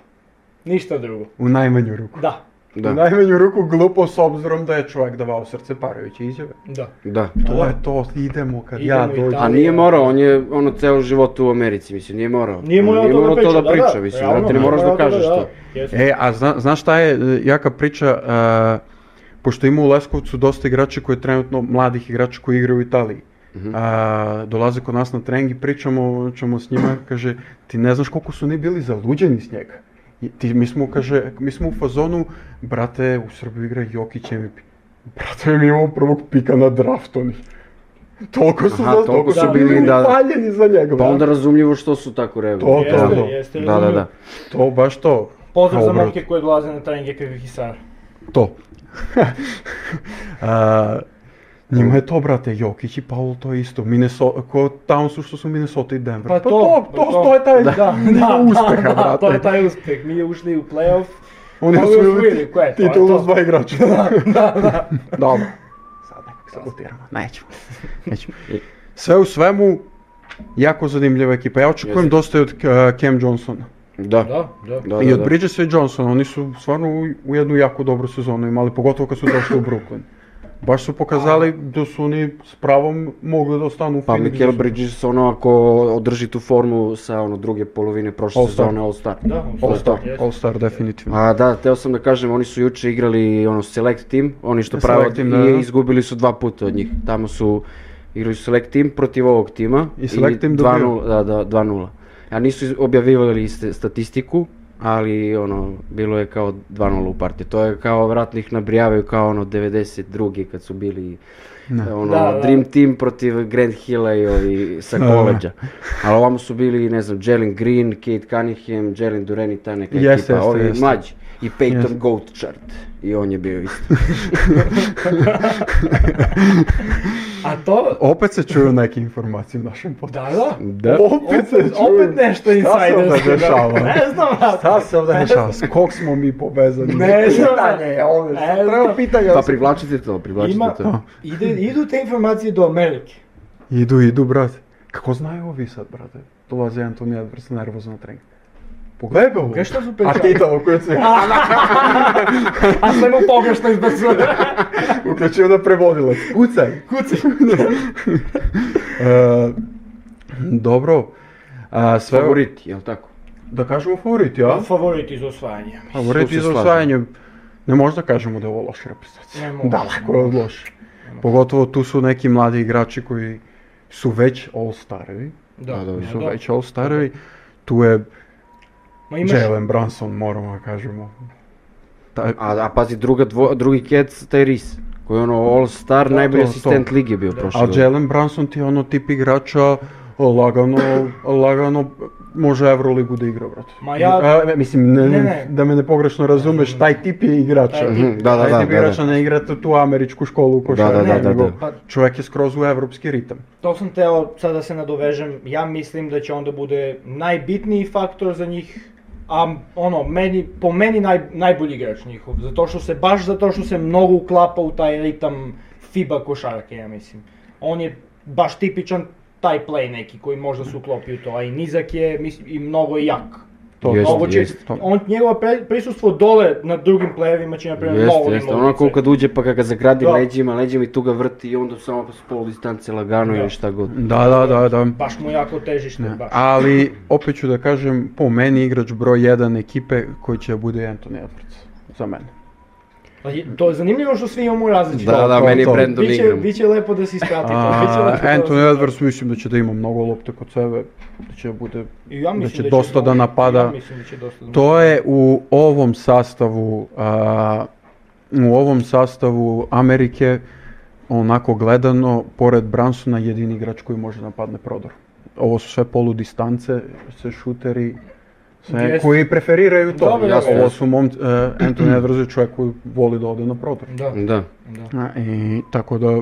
ništa drugo,
u najmanju ruku.
da,
U
Da,
najmanju ruku glupo s obzirom da je čovjek davao srce parajući izjave.
da.
da.
To je to, idemo kad
Idemo
ja
u
dođem.
A
Italiju.
nije morao, on je ono ceo život u Americi, mislim, nije morao.
Nije
On
morao to da
to
priča,
da priča, mislim,
realno,
brate, ne moraš da
morao to
kažeš to.
da, jesu.
E, a zna- znaš šta je e, jaka priča, e, pošto ima u Leskovcu dosta igrača koji trenutno, mladih igrača koji igraju u Italiji.
Mhm.
A, dolaze kod nas na trening i pričamo ćemo s njima, kaže, ti ne znaš koliko su oni bili zaluđeni s njega. I ti, mi, smo, kaže, mi smo u fazonu, brate, u Srbiji igra Jokić MVP. Brate, mi imamo prvog pika na draftu. oni. Toliko su,
Aha,
za-
toliko
su
bili, da.
upaljeni za njega.
Pa
brate.
onda razumljivo što su tako reagovali.
To, to,
Jeste,
to.
jeste,
Da, da, da.
razumijem.
To baš to.
Pozdrav
Kao
za
obrat.
momke koji dolaze na treninge kakvih i Sara.
To. A, njima je to, brate, Jokić i Paul, to je isto. Minnesota, ko Townsu što su Minnesota i Denver.
Па
Pa, to, to, to, je taj
da, da,
uspeha,
da,
brate.
to je taj uspeh. Mi je ušli u playoff,
Oni
Ovi
su
osvojili,
bili
ko je to, je
titulu
to.
s dva igrača.
da, da.
Dobro. Sad nekog sabotiramo. Nećemo. Nećemo. Sve u svemu, jako zanimljiva ekipa. Ja očekujem
Jeste.
dosta i od uh, Cam Johnsona.
Da,
Da, da.
da,
I
da,
od
da.
Bridgesa i Johnsona, oni su stvarno u- u jednu jako dobru sezonu imali, pogotovo kad su došli u Brooklyn. Baš su pokazali da su oni s pravom mogli da ostanu u
Pa
Phoenixu.
Mikel Bridges, ono, ako održi tu formu sa ono druge polovine prošle
All-Star.
sezone All-Star.
Da,
All-Star,
Jeste.
All-Star definitivno.
A da, teo sam da kažem, oni su juče igrali ono select team, oni što
E, Select
prave
team, da, da.
i izgubili su dva puta od njih. Tamo su igrali su select team protiv ovog tima
I select team dobio.
2:0, da, da, 2:0. A nisu iz- objavljivali ste- statistiku, ali ono bilo je kao 2:0 u partiji. To je kao vratno ih nabrijavaju kao ono 92. kad su bili
Ne.
ono,
Da, da.
Dream Team protiv Grand Hilla i ovi sa
Da.
koleđa. Ali ovamo su bili, ne znam, Jalen Green, Kate Cunningham, Jalen Duren i ta neka
Jeste,
ekipa,
jeste,
ovi
jeste.
mlađi. I Peyton
Jeste.
Goatchard. I on je bio isto.
A to,
Opet se čuju neke informacije u našem podcastu.
da, da.
da.
Opet se čuju.
E, Opet nešto
Šta se
insajdersko.
ovdje dešava?
Ne znam, brate.
Šta se ovdje dešava? S kog smo mi povezani?
Ne znam.
Pitanje je ovdje.
Ne
Sad Treba
znam.
pitanja.
Pa privlačite to, privlačite
Ima-
to.
Ide, idu te informacije do Amerike.
Idu, idu, brate. Kako znaju ovi sad, brate? Dolaze Anthony Edwards nervozno na trening. Pogledaj ovo.
Kaj šta su
A
pričali?
ti tamo koju se
A sve mu pogrešno izbacuje.
uključio da prevodilac. Kucaj.
Kuci.
E, dobro. A, sve
Favorit, jel tako?
Da kažemo favorit, ja?
Favoriti za osvajanje.
Favorit
Tu se
i za
slažem.
osvajanje. Ne možda kažemo da je ovo loša reprezentacija.
Ne možemo.
Daleko je od loše. Pogotovo tu su neki mladi igrači koji su već all-starovi.
Da,
Da, da,
Su
da.
već all-starovi. Tu je
Ma imaš,
Jalen Brunson, moramo da kažemo. Taj,
A, a pazi, druga dvo, drugi kec, taj Reese, koji je ono all star,
Da,
najbolji
to,
asistent
to.
lige je bio prošle
A
godine.
Jalen Brunson ti je ono tip igrača lagano, lagano može Euroligu da igra, brate.
Ma ja-
A, e, mislim, ne,
Ne, ne.
da me ne pogrešno razumeš, taj tip je igrača.
Taj tip.
Mhm, Da, da,
Taj
da,
tip
da,
igrača
da.
ne igra tu- tu američku školu u košarku,
Da, da,
da, da,
nego
da.
pa
čovjek je skroz u evropski ritam.
To sam teo sad da se nadovežem, ja mislim da će onda bude najbitniji faktor za njih, a ono, meni, po meni naj, najbolji igrač njihov, zato što se, baš zato što se mnogo uklapa u taj ritam FIBA košarke, ja mislim. On je baš tipičan taj play neki koji možda se uklopi u to, a i nizak je mislim, i mnogo je jak.
To,
Jeste,
Mnogo će,
jeste.
on, njegovo pre- prisustvo dole na drugim playerima će napraviti mnogo
Jeste, jeste,
njemu
ono
utjecaj.
kao kad uđe pa kad ga zagradi
Da.
leđima, leđima i tu ga vrti i onda samo s pol distance lagano ili šta god.
Da, da, da, da.
Baš mu jako težište, baš.
Ali, opet ću da kažem, po meni igrač broj 1 ekipe koji će da bude Anthony Edwards. Za mene.
Pa je- To je zanimljivo što svi imamo različite.
Da, da,
to,
meni je
to.
Brandon
Biće,
Ingram.
biće lepo da se isprati to. biće
A,
lepo Pa, da se-
Anthony Edwards mislim da će da ima mnogo lopte kod sebe, da će da bude
I ja mislim
da će dosta da napada.
Ja mislim da će dosta da
To je u ovom sastavu, a, u ovom sastavu Amerike, onako gledano, pored Bransona jedini igrač koji može napadne prodor. ovo su sve poludistance, sve šuteri, sve
Jeste.
koji preferiraju to.
Dobro,
jasno,
Ovo
jasno.
su mom, uh, Anthony Edwards je čovjek koji voli da ode na prodor.
Da,
Da.
da,
A, I tako da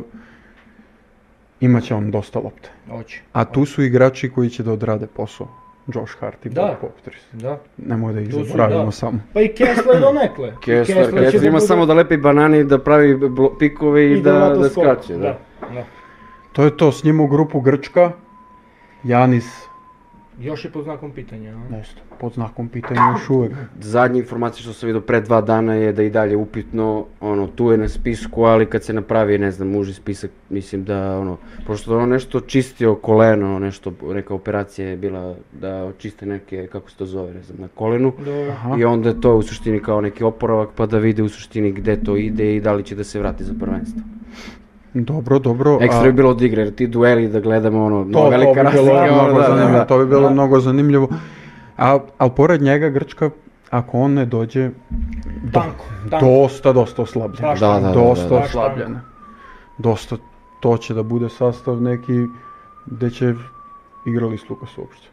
imat će on dosta lopte.
hoće.
A tu su igrači koji će da odrade posao. Josh Hart i
Da.
Bob Poptris.
Da.
Nemoj da ih
Tu su,
zaboravimo
da.
samo.
Pa i Kessler donekle.
Kessler,
će
Kessler
da
ima
bude-
samo da lepi banane i da pravi blo- pikove i,
ide
da,
ovako
da
skok.
skače. Da.
Da, da.
To je to, s njim u grupu Grčka, Janis,
Još je pod znakom pitanja. a?
nešto, pod znakom pitanja još uvek.
Zadnje informacije što sam vidio pre dva dana je da i dalje upitno, ono, tu je na spisku, ali kad se napravi, ne znam, uži spisak, mislim da, ono, pošto je ono nešto čistio koleno, nešto, neka operacija je bila da čiste neke, kako se to zove, ne znam, na kolenu.
Dobro.
Aha.
I onda je to u suštini kao neki oporavak, pa da vide u suštini gde to ide i da li će da se vrati za prvenstvo.
Dobro, dobro. a-
Ekstra bi bilo od igre, jer ti dueli da gledamo, ono,
To,
mnogo
to
velika
bi bilo
razlika, ono,
mnogo
da, da,
zanimljivo,
da.
to bi bilo
Da.
mnogo zanimljivo. A, ali pored njega Grčka, ako on ne dođe,
Tanko, tanko.
dosta, dosta oslabljena.
Baš
Da, da, da,
dosta
da.
Baš tako.
oslabljena. Dosta, to će da bude sastav neki gde će igrali s Lukas uopšte.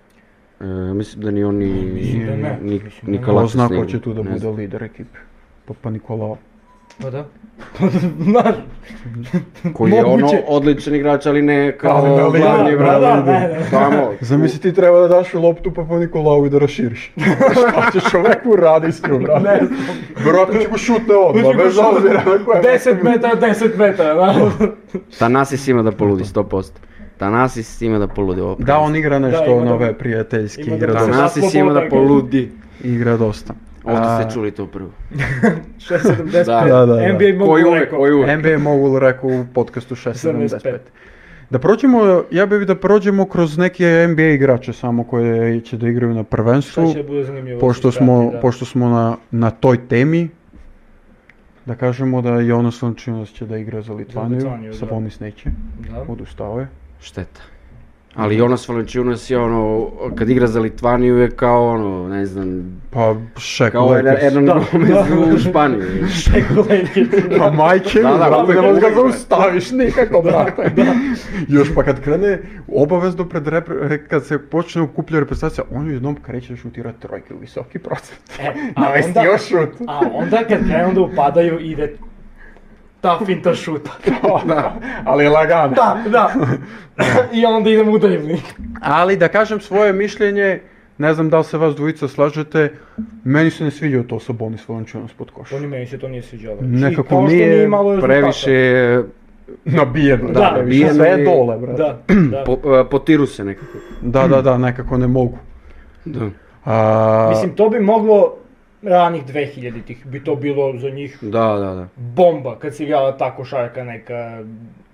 E, mislim da ni oni,
Mislim da ne.
ni,
Mislim da ne.
ni
Ko
Kalates
zna
ne
ko
igra,
će tu da
ne
bude
znam.
lider ekipe. Pa pa Nikolao.
Pa da. Pa da, znaš.
Koji je ono
Moguće.
odličan igrač, ali ne kao
Ali na lideru,
glavni
da,
bravo.
da,
ne, ne.
Tamo,
Zamisli ti treba da daš loptu pa pa Nikolau i da raširiš. Šta ćeš čoveku radi s njom, brate?
Ne
Vjerojatno će go šutne odmah,
znam.
bez obzira na koje.
10 metara, 10 metara, da.
Tanasis ima da poludi, 100%. Tanasis ima da poludi ovo.
Da, on igra
Da,
nešto ono,
ima da-
nove prijateljski,
ima da-
igra
Da,
dosta.
na-
Tanasis ima da poludi.
Igra dosta.
Ovdje
A,
ste čuli to prvo.
6,75.
Da,
da, da.
NBA mogu
Koji uvek,
rekao.
koji uvek.
NBA Mogul rekao u podcastu 675.
75.
Da prođemo, ja bih da prođemo kroz neke NBA igrače samo koje će da igraju na
Šta
prvenstvu.
će da bude zanimljivo.
Pošto
da se prati,
smo,
da.
pošto smo na, na toj temi, da kažemo da Jonas Lončinos će da igra za Litvaniju,
Litvaniju, da.
Sabonis neće,
Da.
odustao je.
Šteta. Ali Jonas Valanciunas je ono, kad igra za Litvaniju je kao ono, ne znam,
Pa šek
kao
Lakers.
Hernan
Da.
Gomez u Španiji.
Čekao Lakers.
Pa majke mi,
Da, da,
brate, ne
uvijek,
možeš ga
uvijek,
zaustaviš nikako, brate. Još pa kad krene, obavezno pred repre- kad se počne okuplja reprezentacija, on ju jednom kreće da šutira trojke u visoki procent.
E, a
Navesti
onda-
još šut.
A onda kad krenu da upadaju ide ta finta šuta.
da, ali lagano.
Da, da. I onda idem u drivni.
Ali da kažem svoje mišljenje, ne znam da li se vas dvojica slažete, meni se ne sviđa to sa Bonis Valančinos pod koš.
Oni meni se to nije sviđalo.
Nekako
I kao što
nije
nije imalo rezultata.
Previše je,
Nabijeno, da,
Da,
previše,
nabijeno
sve je
i-
dole, brate. Da.
Da, da.
po, a, potiru se nekako.
da, da, nekako ne mogu.
Da.
A,
Mislim, to bi moglo ranih 2000-ih, bi to bilo za njih
Da, da, da.
bomba kad se igrala ta košarka neka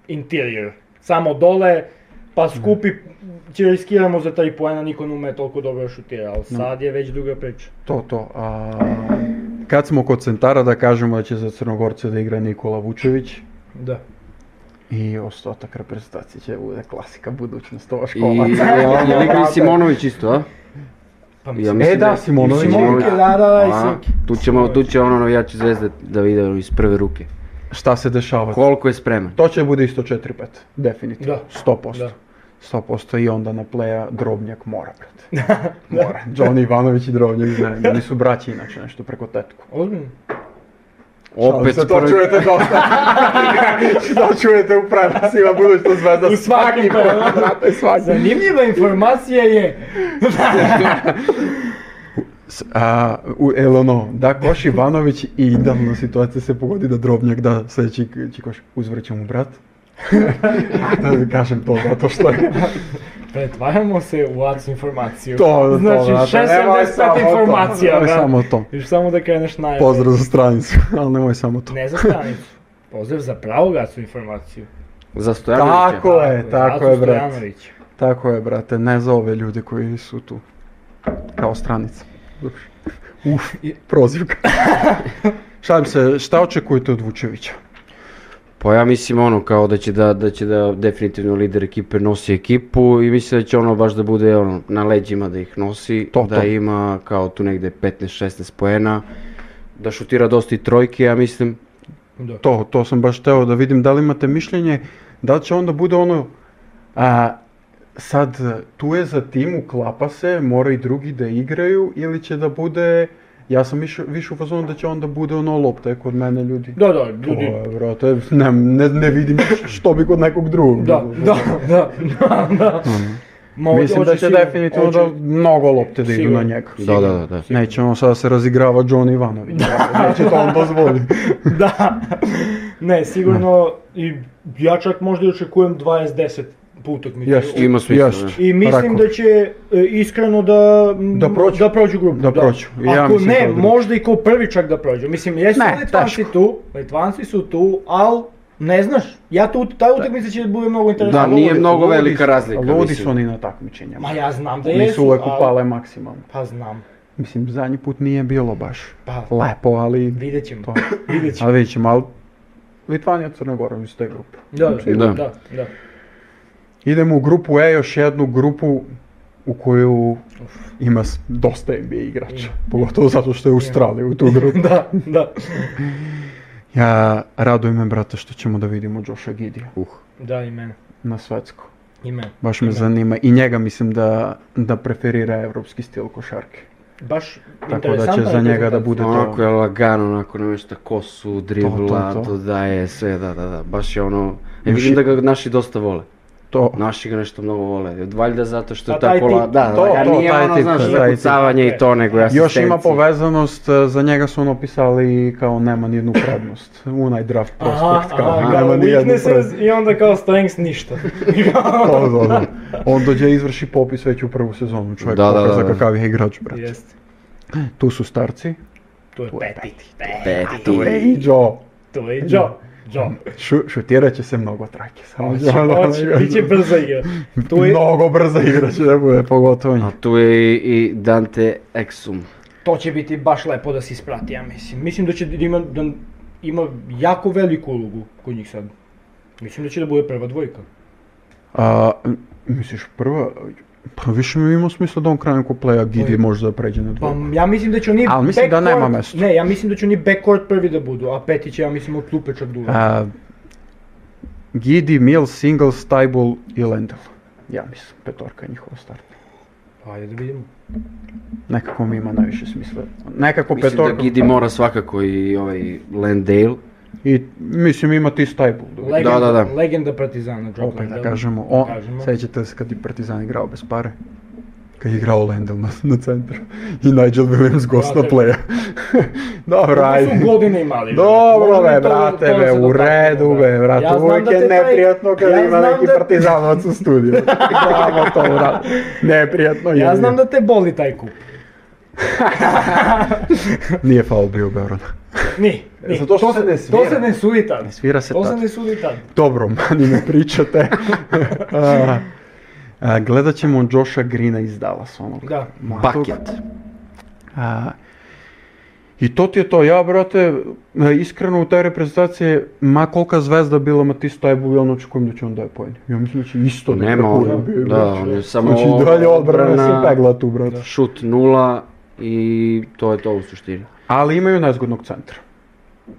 interior. Samo dole,
Mm.
pa skupi, će riskiramo za tri poena, niko ne ume toliko dobro šutira,
Mm.
ali sad je već druga priča.
To, to. A, kad smo kod centara da kažemo da će za Crnogorce da igra Nikola Vučević
Da.
i ostatak reprezentacije će da bude klasika budućnost ova
I
škola.
je li je li igra i Simonović isto, a?
Pa
Ja
mislim,
mislim
E, da, Simonović.
Simonović je radala i
A,
Sinki.
Tu ćemo, tu će ono navijači zvezde da vide ono iz prve ruke.
Šta se dešava?
Koliko je spreman?
To će bude isto 4-5, definitivno.
Da.
100%.
Da.
100% i onda na pleja Drobnjak mora, brate. Mora. Johnny Ivanović i Drobnjak znaju, oni su braći inače nešto preko tetku.
Ozbiljno?
Ali
Opet
se to
prvi-
čujete dosta. to čujete u prenosima budućnost zvezda.
U svakim
Svaki
prenosu.
put, brate, svaki.
Zanimljiva informacija je...
S- A, u, el ono, da Koš Ivanović i idealna situacija se pogodi da drobnjak da sljedeći k- će Koš uzvrće mu brat. da kažem to zato što je
Pretvaramo se u ads informaciju.
to. to,
Znači,
brate, nemoj samo
675
to,
informacija,
Nemoj
brate.
samo to.
Još samo da kreneš najave.
Pozdrav za stranicu, ali nemoj samo to.
Ne za stranicu. Pozdrav za pravu gasu informaciju.
Za Stojanovića.
Tako je, tako je, brate.
brate.
Tako je, brate, ne za ove ljude koji su tu. Kao stranica. Uf, prozivka. Šalim se, šta očekujete od Vučevića?
Pa ja mislim ono kao da će da, da će da definitivno lider ekipe nosi ekipu i mislim da će ono baš da bude ono na leđima da ih nosi,
To,
da
to.
ima kao tu negde 15-16 poena, da šutira dosta i trojke, ja mislim.
Da.
To, to sam baš teo da vidim da li imate mišljenje, da li će onda bude ono a, sad tu je za tim, uklapa se, mora i drugi da igraju ili će da bude, ja sam više, više u fazonu da će onda bude ono lopta je kod mene ljudi.
Da, da, ljudi,
To je, brate, ne, ne, ne vidim što bi kod nekog drugog.
da,
bilo.
da, da, da, da. Ma,
Mhm. Mislim da
hoće
će
sigurno,
definitivno
hoće-
da mnogo lopte da idu
Sigurno.
na njega.
Da, da, da. da.
Neće on sada se razigrava John Ivanović. Neće to on dozvoli.
da. Ne, sigurno, i ja čak možda i očekujem 20-10 po utakmici.
Jeste.
Ima smisla,
Jeste.
da.
I mislim
Rako.
da će e, iskreno da, m,
Da prođu.
da prođu grupu.
Da prođu. I ja
Ako
mislim
ne,
kao drugo.
možda i kao prvi čak da prođu. Mislim, jesu
Ne,
Litvanci tu, Litvanci su tu, ali ne znaš, ja tu, ta utakmica će da bude mnogo
Da,
interesantna.
nije
Ludi-
mnogo
ludi
velika
su-
razlika,
Ludi
mislim.
su oni na takmičenjama.
Ma ja znam da
Nisu
jesu,
uvek
al-
upale maksimalno.
Pa znam,
Mislim, zadnji put nije bilo baš
pa
lepo, ali...
vidjet ćemo,
To.
vidjet ćemo.
Ali vidit ćemo, ali... Litvanija, Crna Gora, iz te grupe.
Da, da,
Da.
da, da.
Idemo u grupu E, još jednu grupu u koju ima s- dosta NBA igrača. Pogotovo zato što je Australija u tu grupu.
Da, da,
Ja radujem me, brate, što ćemo da vidimo Joša Gidija
Uh.
da i mene,
na svetsku.
i mene.
Baš me
Da.
zanima i njega mislim da, da preferira evropski stil košarke.
Baš
Tako da će
interesantan
za njega da
rezultat.
bude
Onako
to.
je lagano, onako namešta kosu, dribla,
to, to.
dodaje sve, da, da, da, baš je ono... Ja
Još
vidim
je-
da ga naši dosta vole.
To,
Naši ga nešto mnogo vole, valjda zato što
A
je
taj
tako la...
tip,
Da,
to,
da,
to,
nije
taj
ono,
tip,
znaš,
taj tip.
zakucavanje i to, nego ja
još ima povezanost, e, za njega su ono pisali kao nema nijednu prednost. Unaj draft prospekt kao
aha,
nema
kao
nijednu prednost.
weaknesses i onda kao strengths ništa. Да,
To, da, da. On dođe i izvrši popis već u prvu sezonu. Čovjek
Da, da,
pokaza
da, da.
kakav je igrač, brate.
Jeste.
Tu su starci.
To je
To je
peti.
Peti.
Tu je i Joe.
To je Joe. Joe.
Šu- šutirat će se mnogo trake. Samo
Hoće,
Joe, da,
hoće,
da,
bit će
da.
brza igra. To je,
Mnogo brza igra će da bude, pogotovo
A
njih.
tu je i, i Dante Exum.
to će biti baš lepo da se isprati, ja mislim. Mislim da će da ima, da ima jako veliku ulogu kod njih sad. Mislim da će da bude prva dvojka.
A, m- misliš, prva, pa više mi ima smisla da on krajem ko playa Gidi
Oj.
možda da pređe na
Pa
dvoje.
ja mislim da će oni
Ali mislim da nema mesta.
Ne, ja mislim da će oni да backcourt да prvi da budu, a peti će ja mislim od klupe čak duva.
A, Uh, Gidi, Mills, Singles, Tybull i Lendl. Ja mislim, petorka je njihova starta.
Ajde da vidimo.
Nekako mi ima najviše smisla. Nekako
Mislim
petorka.
da Gidi mora svakako i ovaj Landale.
I mislim ima ti Stajbul.
Legenda,
da, da.
legenda Partizana, Joe
Opet da
Landale.
kažemo, on,
kažemo.
sećate se kad je Partizan igrao bez pare? Kad je igrao Lendl na, na centru i Nigel Williams gost na
Brate.
playa. Dobro,
Ajde.
ajde.
su godine imali.
Dobro
Možda
be,
je to-
brate,
to
be,
se
u
dotaknemo,
redu
da.
be, brate,
znam
uvijek
da
je
te taj-
neprijatno kad
ja
ima
znam
neki
da-
partizanovac u studiju. Znamo to, brate, neprijatno je.
Ja znam da te boli taj kup.
Nije faul bio u Beogradu.
Ni, ni.
Zato E, što se ne
To
svira.
se ne sudi tad.
Svira se
To se
tako.
ne sudi tad.
Dobro, mani ne pričate. a, a, gledat ćemo Josha Greena iz Dallas, onog
Da.
mladog.
Paket.
A, I to ti je to, ja brate, e, iskreno u taj reprezentaciji, ma kolika zvezda bila Matis Tajbu, ja ne očekujem da će on daje poen. Ja mislim da će isto da
Nema
prekuja,
on,
bi,
da,
znači.
on je samo
Znači i dalje odbrana
odbrana,
se pegla tu, brate.
šut nula i to je to u suštini.
Ali imaju nezgodnog centra.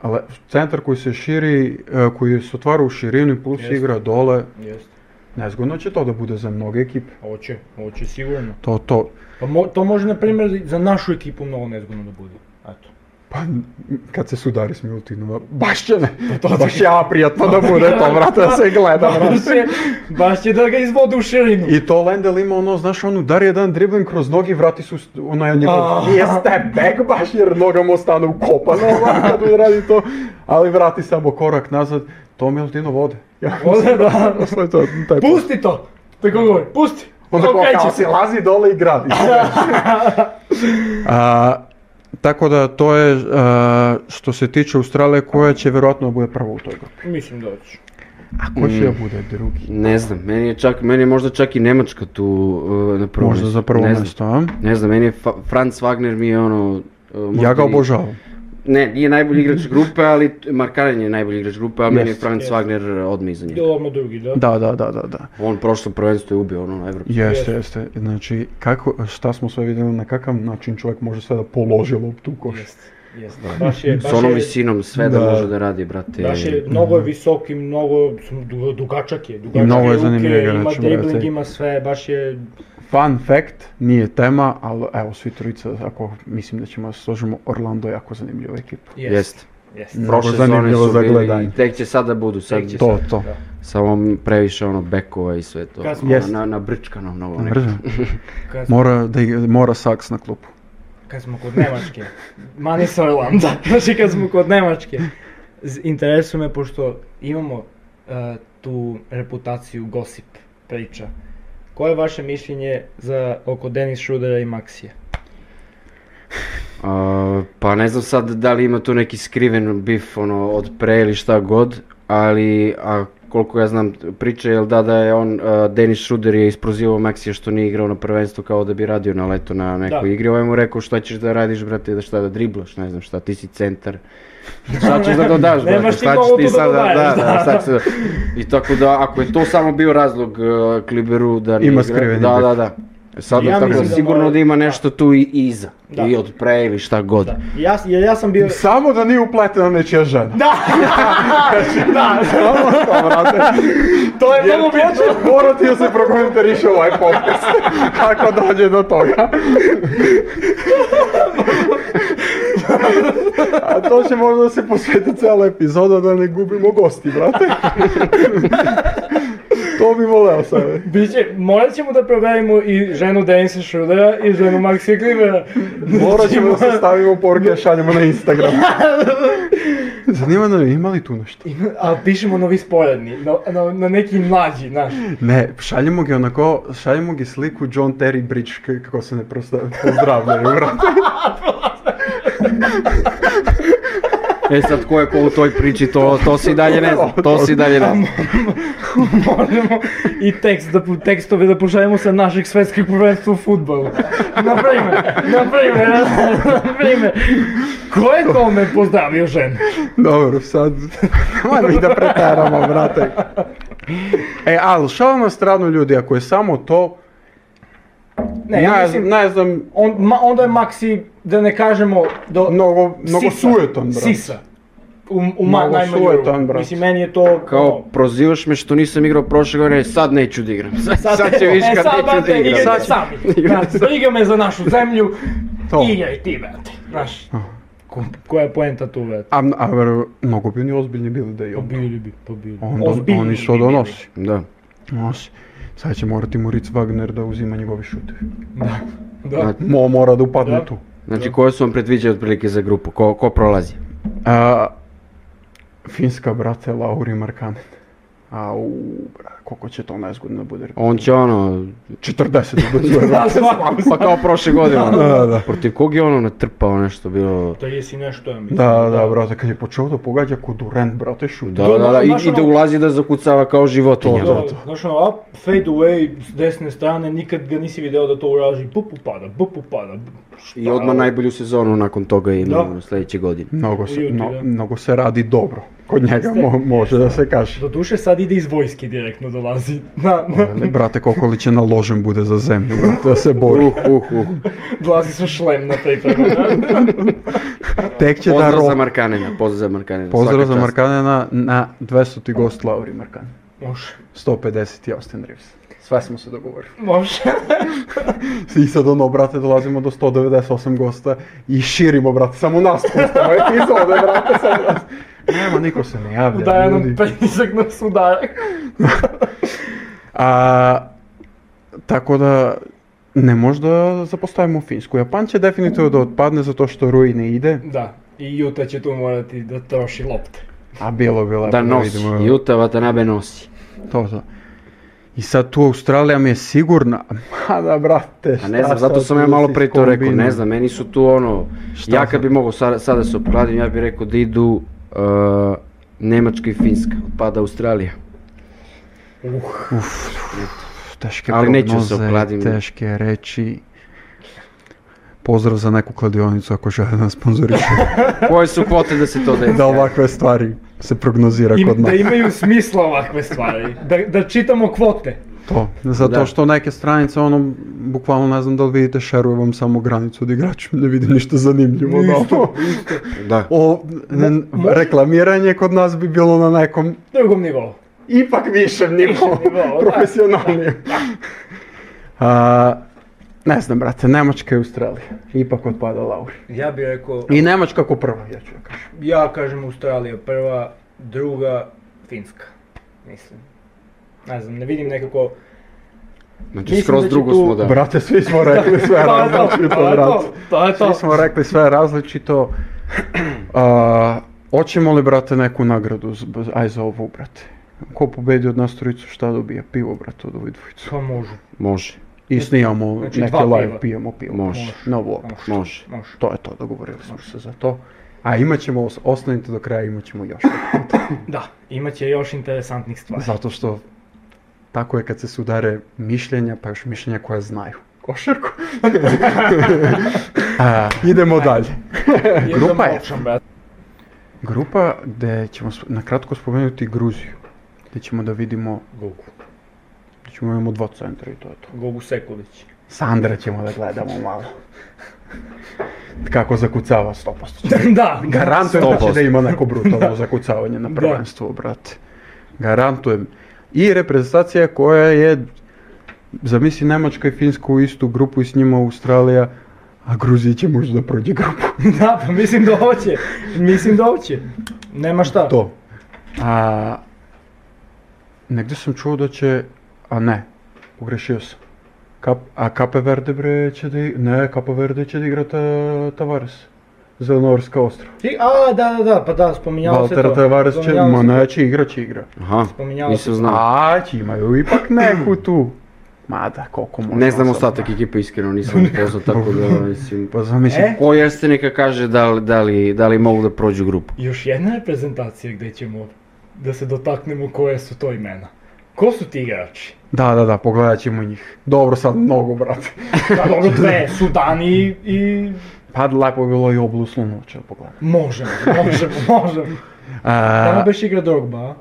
Ale, centar koji se širi, e, koji se otvara u širini, plus
Jeste.
igra dole,
Jeste.
nezgodno će to da bude za mnoge ekipe.
Hoće, hoće sigurno.
To, to,
Pa mo- to može, na primjer, za našu ekipu mnogo nezgodno da bude. Eto.
Pa, m, kad se sudari s Milutinova, baš će ne, baš ja prijatno Pa da bude to, brate, da se gleda, brate.
Baš će, baš će da ga izvode u širinu.
I to Lendel ima ono, znaš, on udari jedan dribbling kroz nogi, vrati su onaj njegov,
Ah.
nije step back baš jer noga mu ostane ukopana ovako kad on radi to, ali vrati samo korak nazad, to Milutinov vode. Ja,
Ode, da.
to je to, taj
Pusti to! Tako govori, pusti!
Onda kao,
Okreće
kao
se.
se lazi dole i gradi. a, tako da to je a, što se tiče Australije koja će vjerojatno da bude prva u toj Mm. grupi.
Mislim da hoće.
A ko će da bude drugi?
Ne znam, meni je čak, meni je možda čak i Nemačka tu uh, na prvom
Možda
mjestu,
za prvo
ne znam.
mjesto, a?
Ne znam, meni je Fa- Franz Wagner mi je ono... uh, možda
Ja ga
i-
obožavam.
Ne, nije najbolji igrač grupe, ali Markaren je najbolji igrač grupe, a meni je
Jest,
Franz
jest.
Wagner odmah iza njega.
Odmah drugi, da?
Da, da, da, da, da.
On prošlo prvenstvo je ubio ono na Evropi.
Jeste,
Jeste.
jeste. Znači, kako, šta smo sve vidjeli, na kakav način čovjek može sve da položi loptu u koš.
Jeste, Jeste, baš je, baš
С оном
е-
и сином све да,
Да.
може да ради, брате.
Baš je, mnogo je visok i mnogo, du- dugačak je, dugačak
mnogo je
ruke,
zanimljivije ga,
ima
znači,
dribling,
brate.
ima sve, baš je,
Fun fact, nije tema, ali evo svi trojica, ako mislim da ćemo da se složimo, Orlando je jako zanimljiva ekipa.
jest,
Jeste.
jest.
Mnogo
Prošle sezone
zanimljivo
su
za
bili
gledanje.
i tek će sad da budu, sad će
To, to.
Da.
samo previše ono bekova i sve to.
Kad smo-
Ono,
Jeste.
na, na brčkano mnogo. nekako.
Brzo.
Kad, smo,
Znači, Mora, da, igra- mora Saks na klupu.
kad smo kod Nemačke, ma nisam Orlanda, znači kad smo kod Nemačke, z- interesuje me pošto imamo eh, tu reputaciju gosip priča. Koje je vaše mišljenje za oko Denis Šrudera i Maksija?
A, pa ne znam sad da li ima tu neki skriven bif ono, od pre ili šta god, ali a, koliko ja znam priča je da da je on, a, Denis Šruder je isprozivao Maxija što nije igrao na prvenstvu kao da bi radio na leto na nekoj
Da.
igri, ovaj mu rekao šta ćeš da radiš brate, da šta da driblaš, ne znam šta, ti si centar. Šta ćeš da dodaš,
Nemaš
brate,
ti
šta
mnogo
ćeš ti
tu da
sad da, da,
dodaješ,
da,
da.
šta ćeš da- I tako da, ako je to samo bio razlog e, Kliberu da ne
Ima
igra,
skriveni
da,
bif.
da, da. Sad,
Ja
tako da,
mislim da
sigurno
mora-
da ima
da.
nešto tu i iza,
Da.
i od pre ili šta god.
Da. Ja, ja, ja sam bio...
Samo da nije upletena nečija žena.
Da! da!
Samo to, brate.
To je
Jer
mnogo
to
bitno!
će morati da se prokomentariše ovaj podcast. Ako dođe do toga. A to će možda da se posveti cela epizoda da ne gubimo gosti, brate. to bi voleo sad.
Biće, morat ćemo da proverimo i ženu Denisa Šrudera i ženu Znači, Maxi Klivera.
Morat ćemo da se stavimo poruke da šaljemo na Instagram. Zanima me, ima li tu nešto?
A pišemo novi sporedni, na, na, na neki mlađi, znaš.
Ne, šaljemo gi onako, šaljemo gi sliku John Terry Bridge k- kako se ne prosta- pozdravljaju, brate.
E sad ko je ko u toj priči, to, to si dalje ne znam, to si dalje ne znam.
Možemo i tekst da, pu- tekstove da pošaljemo sa našeg svetskog prvenstva u futbalu. Naprimer, naprimer, naprimer. Ko je kome pozdravio ženu?
Dobro, sad, nemoj mi da preteramo, brate. E, ali šal na stranu ljudi, ako je samo to,
Ne, E, ja mislim,
ne znam,
on, ma, onda je Maxi, da ne kažemo, do,
mnogo, mnogo
Sisa.
sujetan, brate.
Sisa. U, u ma,
Mnogo
najmanju
sujetan,
ruku.
brate.
Mislim, meni je to...
Kao,
ono,
prozivaš me što nisam igrao prošle godine, sad neću da igram. Sad, sad, će
e,
viš kad
sad,
neću da
brate,
igram.
igrajte
Sad ću-
sami. Brate, briga me za našu zemlju,
To. Ah.
igraj ti, brate. Znaš, ko, koja je poenta tu, brate?
A, a ver, mnogo bi oni ozbiljni bili da i on.
Pobili bi, pobili.
On, don- oni što donosi.
Da.
Nosi. Sad će morati Moritz Wagner da uzima njegovi šutevi.
Da, da.
Mo mora da upadne
Da.
tu.
Znači, koje su vam predviđaju otprilike za grupu? Ko, ko prolazi?
A, Finska, brate, Lauri Markanen. Au, bra, koliko će to nezgodno da bude.
On će ono,
40 da bude.
Da, svakako.
pa kao prošle godine. ono.
Da, da.
Protiv kog je ono natrpao nešto bilo...
30 nešto, ja mislim.
Da, da, brate, kad je počeo da pogađa ko Durant, brate, šut.
Da, da, da, i, i
ono-
da ulazi da zakucava kao životinja.
To, to.
brate.
Znaš ono, up, fade away s desne strane, nikad ga nisi video da to uraži, bup upada, bup upada. bup, šta?
I odmah najbolju sezonu nakon toga ima
Da.
ono, sljedeće godine.
Mnogo se,
Ujuti,
mno-
da.
mnogo se radi dobro. Kod njega
Jeste.
mo- može da se kaže.
Doduše sad ide iz vojske direktno dolazi. Na, na,
Ne, brate, koliko li će naložen bude za zemlju, brate, da se bori.
Uh, uh, uh.
dolazi sa šlem na pripremu. da.
Tek će da
Pozdrav za
ropa.
Markanena, pozdrav za Markanena.
Pozdrav
svaka
za
čast.
Markanena na 200. gost Lauri Markanen.
Može,
150 i Austin Reeves. Sve smo se dogovorili.
može.
I sad ono, brate, dolazimo do 198 gosta i širimo, brate, samo nas pustamo epizode, brate, samo nas. Nema, niko se ne javlja,
Daje nam
ljudi.
pritisak na sudarak.
A, tako da, ne možda zapostavimo Finsku. Japan će definitivno da otpadne zato što Rui ne ide,
Da, i Juta će tu morati da troši lopte.
a bilo bi lepo
Da nosi,
vidimo.
Juta Watanabe nosi.
To, to. I sad tu Australija mi je sigurna, mada brate,
A ne
šta
znam, zato
sad
sam
tu
ja
da
malo
se
pre to rekao,
iskombinuje?
ne znam, meni su tu ono,
Šta
ja kad
sad?
bi mogao sada, sada se opkladim, ja bih rekao da idu uh, Nemačka i Finska, odpada Australija.
Teške
Ali neću se
prognoze,
okladim.
teške reči. Pozdrav za neku kladionicu ako žele da nas sponzoriše.
Koje su kvote da se to desi?
da ovakve stvari se prognozira
Im,
kod
da
nas.
imaju smisla ovakve stvari. Da, da čitamo kvote.
to. Zato
Da.
što neke stranice, ono, bukvalno ne znam da li vidite, šerujem samo granicu od igrača, ne vidim ništa zanimljivo. da ovo-
Da.
O, ne-
Mo-
reklamiranje kod nas bi bilo na nekom
Drugom nivou.
ipak višem nivou,
Višem nivou, da.
profesionalnijem. A, ne znam, brate, Nemačka je Australija. Ipak otpada Lauri.
Ja bih rekao,
I Nemačka ako prva, ja ću da kažem.
ja kažem Australija prva, druga Finska. Mislim. Ne znam, ne vidim nekako...
Znači
mislim
skroz
da Pa će
drugo
tu-
smo, da.
Brate, svi smo rekli sve
To je to,
različito,
to je to,
brate.
to je to.
Svi smo rekli sve različito. A, hoćemo li, brate, neku nagradu z- b- aj za ovo, brate? Ko pobedi od nas trojicu, šta dobija? Pivo, brate, od ovih dvojicu.
Pa može.
Može,
I snijamo
Znači,
neke
dva piva.
live, pijemo pivo.
može,
Na vlog.
može.
Može.
To je to, dogovorili smo se za to. A imat ćemo, os- ostanite do kraja, imat ćemo još.
Da, imat će još interesantnih stvari.
Zato što tako je kad se sudare mišljenja, pa još mišljenja koja znaju. Košarku. A, idemo dalje.
Jer
Grupa
da
je.
moćam, brate.
Grupa gde ćemo sp- na kratko spomenuti Gruziju. Gde ćemo da vidimo,
Gogu.
gde ćemo imamo dva centra i to je to.
Gogu Sekulić.
Sandra ćemo da gledamo malo. Kako zakucava 100%.
da,
Garantujem da će
100%.
da ima neko brutalno zakucavanje na prvenstvu, brate. Garantujem. I reprezentacija koja je, zamisli Nemačka i Finska u istu grupu i s njima Australija, a Gruzija će možda da prođe grupu.
da, pa mislim da hoće. Mislim da hoće. Nema šta.
To. A, negdje sam čuo da će, a ne, pogrešio sam. Kap, a Kape Verde bre će da, i- ne, Kape Verde će da igra ta, Tavares. Zelenorska ostra.
Ti- a, da, da, da, pa da, spominjalo se to.
Valter Tavares će,
Spominjalo
ma
se to.
neće, igra će igra.
Aha,
Spominjalo
nisam
se-
znao.
A, imaju ipak neku tu. Mada, koliko možemo.
Ne znam
sad.
ostatak ekipe, iskreno nisam upoznao, tako da mislim...
Pa zamisli,
E?
Ko jeste neka kaže da li, da li, da li mogu da prođu grupu.
Još jedna reprezentacija gdje ćemo da se dotaknemo koje su to imena. Ko su ti igrači?
da, da, da, pogledat ćemo njih. Dobro, sad mnogo, brate.
Da, dobro, dve, Sudan i, i...
Pa lepo je bilo i oblu slunoća pogledat.
Možemo, možemo, možemo. Tamo
A,
beš igra Drogba, a?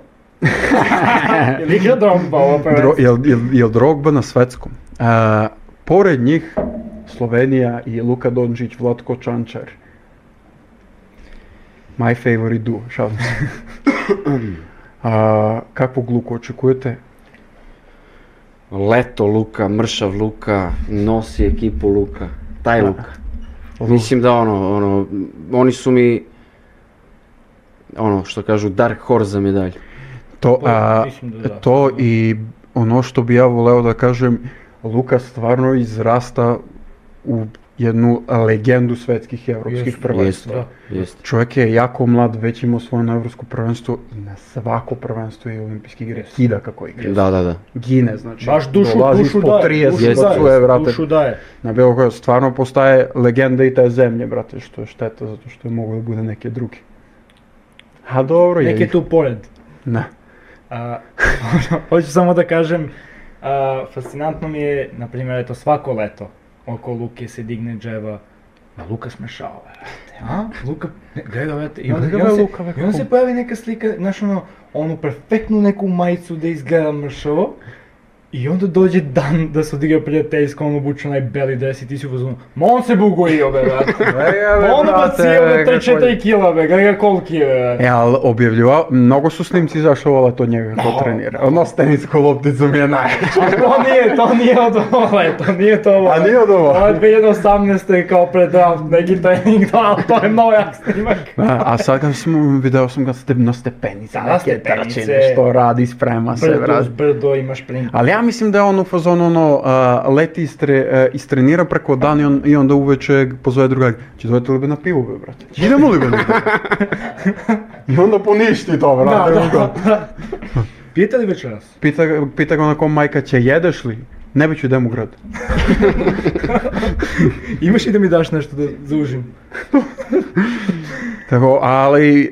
Jel igra Drogba ovo
dro,
prvenstvo?
jel, jel, jel Drogba na svetskom? A, pored njih, Slovenija i Luka Dončić, Vlatko Čančar. My favorite duo, šalim se. A, kakvu gluku očekujete?
Leto Luka, Mršav Luka, nosi ekipu Luka, taj Luka. Mislim da ono, ono, oni su mi, ono što kažu, dark horse za medalju.
To,
Pa,
a,
mislim da da.
to i ono što bi ja voleo da kažem, Luka stvarno izrasta u jednu legendu svetskih i evropskih
Jest,
prvenstva.
Jeste, jeste.
Čovjek je jako mlad, već imao svoje na evropsko prvenstvo i na svako prvenstvo i olimpijski igre.
Jest.
Kida kako igra.
Da, da, da.
Gine, znači.
Baš dušu,
dolazi
dušu
ispod 30
daje, dušu
Jeste,
bacuje,
daje,
brate.
dušu daje.
Na bilo koja stvarno postaje legenda i te zemlje, brate, što je šteta, zato što je moglo da bude neke druge. A dobro, je.
Nek je tu pored.
Ne.
A, hoću samo da kažem, a, fascinantno mi je, na primjer, eto, svako leto oko Luke se digne dževa, a Luka smešava, brate, a? Luka, ne, gledaj, brate, i onda,
Gledaj
i onda
ga,
se,
Luka, bre,
i onda se
kako-
pojavi neka slika, znaš ono, onu perfektnu neku majicu da izgleda mršavo, I onda dođe dan da se odigra prijateljsko, on obuče onaj beli dres i ti si u fazonu, ma on se bugojio be, brate.
Ega,
Ma
bre,
on
brate,
bacio
ega,
be, taj
kako je-
4 kila be, gledaj ga koliki je be, brate.
E, ali objavljivao, mnogo su snimci izašlo ovo to njega kako trenira. Ono s teniskom lopticom je najveće.
A to nije, to nije od ove, to nije to ovo.
A nije od ovo?
Ovo je 2018. kao predraft, neki trening, da, ali to je novak snimak.
A, a sad kad sam video sam ga ste, na stepenice,
Da,
neke
stepenice.
trčine, što radi, sprema se,
Brdo,
brate.
brdo, imaš print.
Ali ja mislim da je on u fazonu ono, a, leti istre, a, istrenira preko dan i, on, i onda uveče pozove drugog, će dojete li be na pivu, be, brate? Idemo li be na pivu?" I onda poništi to,
Da,
brate.
da, da. Pijete li večeras?
Pita, ga- pita ga onako majka će, jedeš li? Ne bit ću idem u grad.
Imaš i da mi daš nešto da zaužim?
Tako, ali e,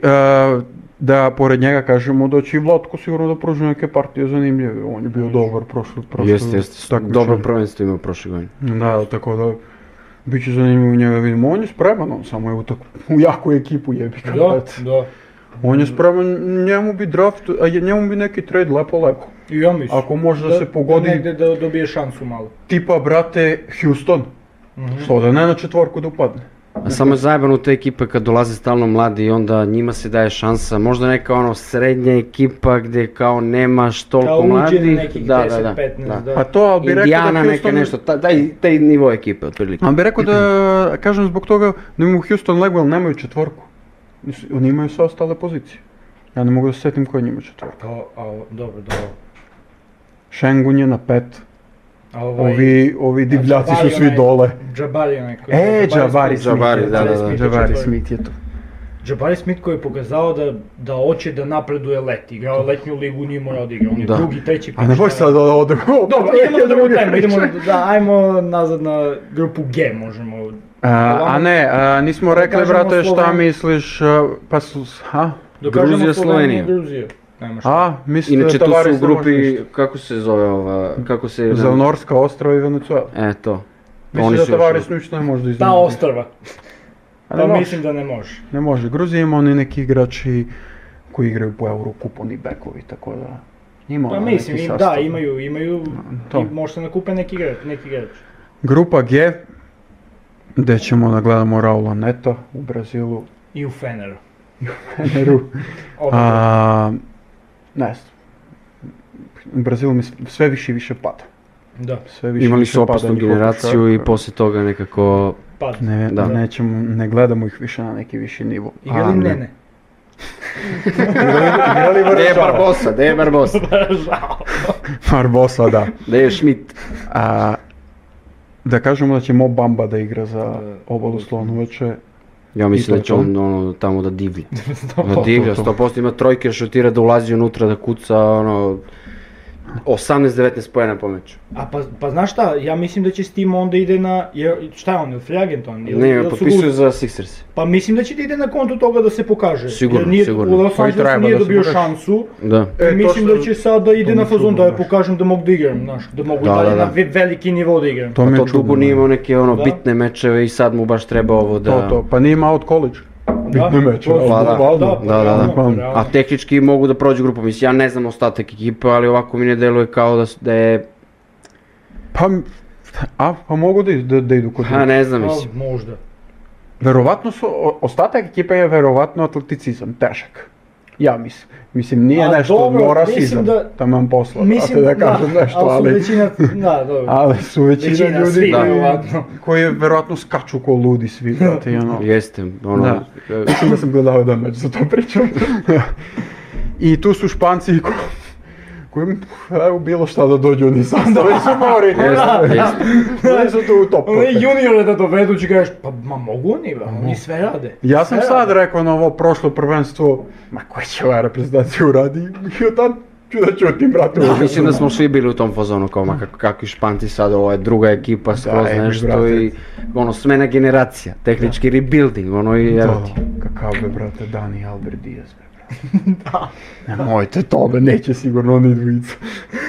da pored njega kažemo da će i Vlatko sigurno da pruži neke partije zanimljive. On je bio dobar prošlo, prošlo
Jeste, jeste.
takmičenje.
Dobro prvenstvo imao prošle godine.
Da, tako da bit će zanimljivo njega vidimo. On je spreman, on samo je u, tako, u jaku ekipu jebi ga,
Da,
brate.
da.
On je spreman, njemu bi draft, a je- njemu bi neki trade lepo lepo.
I ja mislim.
Ako može da se pogodi-
Da negde da dobije šansu malo.
Tipa, brate, Houston. Što da ne na četvorku da upadne.
A samo je zajebano u te ekipe kad dolaze stalno mladi i onda njima se daje šansa. Možda neka ono srednja ekipa gdje kao nemaš
Da
toliko
uđe
mladih.
na nekih 10-15, da.
Pa to, ali bi rekao da
Indijana neka
Houston...
nešto, ta- taj, taj nivo ekipe otprilike.
Ali bi rekao da, kažem zbog toga, da imamo Houston Legwell, nemaju četvorku. Nisu- Oni imaju sve ostale pozicije. Ja ne mogu da se setim koja njima četvorka.
A, a, dobro, dobro.
Šengun je na pet.
A ovaj...
Ovi, ovi divljaci su
Jabari
svi
onaj-
dole.
Jabari onaj koji...
E, Jabari Smith.
Jabari,
je tu.
da, da, da.
Jabari Smith je tu.
Jabari Smith koji je pokazao da, da hoće da napreduje let. Igrao je letnju ligu, nije morao da igra. On je
Da.
drugi, treći
A ne
pick.
boj sad ovo ovo drugo.
Dobro, idemo na drugu temu, idemo da, ajmo nazad na grupu G, možemo.
A, a ne, a, nismo rekli,
kažemo
brate, šta
Sloveniji.
misliš, a, pa su, ha?
Da kažemo
Gruzija, Slovenija.
Gruzija. Nema šta.
A, mislim da
Inače tu
Tavares
su u
ne može
grupi,
ništa.
kako se zove ova, kako se...
Za Norska ostrava i Venezuela.
E, to.
Mislim
Oni
da
su još
Tavares ništa ne može da
Ta
iznenadi.
ostrva.
A
Pa
ne može.
mislim da ne može.
Ne može. Gruzija ima oni neki igrači koji igraju po Eurokupu, oni bekovi, tako da... Ima
Pa
ono
mislim,
neki
im- da,
sastav.
imaju, imaju,
to.
i možda nakupe neki igrač, neki igrač.
Grupa G, gdje ćemo da gledamo Raula Neta u Brazilu,
I u Feneru.
Peru.
Oba dva.
A, ne znam. Brazil mi s- sve više i više pada.
da,
Sve više i
Imali
više
su opasnu
pada njihov
generaciju i
košarka.
poslije toga nekako...
pad.
Ne,
Da.
nećemo, ne gledamo ih više na neki viši nivo. A,
Igrali ne, ne.
Igrali
De
Varšava.
Barbosa, De Barbosa,
Žao.
Barbosa, da.
De Schmidt.
A, da kažemo da će Mo Bamba da igra za obalu Slonovače.
Ja
to
mislim
je
da će
to.
on ono, tamo da divlja.
Sto
Da divlja,
to.
100% ima trojke, šutira da ulazi unutra, da kuca, ono... 18-19 pojena po meču.
A pa, pa znaš šta, ja mislim da će s tim onda ide na, jer, šta je on, je li free agent on? Ili-
Ne, pa
ili su
potpisuju
Gru-
za Sixers.
Pa mislim da će da ide na kontu toga da se pokaže.
Sigurno,
jer nije,
sigurno.
U Los
Pa i treba
Angelesu nije
da se
dobio
pokaže.
šansu.
Da.
E, to
mislim
sam-
da će sad da ide
to
na
mi je
fazon da
čudno,
je
znaš.
pokažem da mogu da igram, znaš, da mogu
Da,
da,
da,
na
da.
ve- veliki nivo da igram.
To
Pa
mi je
to
čudno.
dugo nije imao neke ono
Da.
bitne mečeve i sad mu baš treba ovo da...
To, to. Pa nije imao od college. Bitno meč.
to-
Pa da,
Valdo.
da, da,
Па,
da.
realno, realno.
A tehnički mogu da prođu grupu, mislim, ja ne znam ostatak ekipe, ali ovako mi ne deluje kao da, s- da je,
Pa, a, pa mogu da, da, da idu kod
ha
njih.
ne znam,
Pa,
mislim.
možda.
Verovatno su, o- ostatak ekipe je verovatno atleticizam, težak. Ja mislim. Mislim, nije
A
nešto
dobro,
mora
mislim
rasizam,
da-
taman posla,
Mislim,
brate, Pa, da kažem nešto,
ali... su
ali,
većina, da, dobro.
ali su većina,
Većina,
ljudi
svi,
koji,
verovatno.
koji je verovatno skaču ko ludi svi, brate, i ono.
Jeste, ono,
Da.
e,
Mislim da sam gledao jedan meč, za to pričam. I tu su Španci ko- koji, evo bilo šta da dođu oni sastave su mori.
jeste, jeste.
Oni su tu u top.
One juniore da dovedu će kažeš, pa ma mogu oni, ba, oni sve rade.
Ja sam
Sve
sad
rade.
rekao na ovo prošlo prvenstvo, ma koja će ova reprezentacija uradi i od tad ću da ćutim, brate.
Da,
ovo.
mislim da smo svi bili u tom fazonu kao, ma kako, kakvi španci sad, ovo je druga ekipa, skroz
ej,
nešto
brate.
i, ono, smena generacija, tehnički rebuilding, ono i
Da,
evo ti.
Kakav be, brate, Dani Albert Diaz, be, brate. Nemojte to, be, neće sigurno oni dvojica.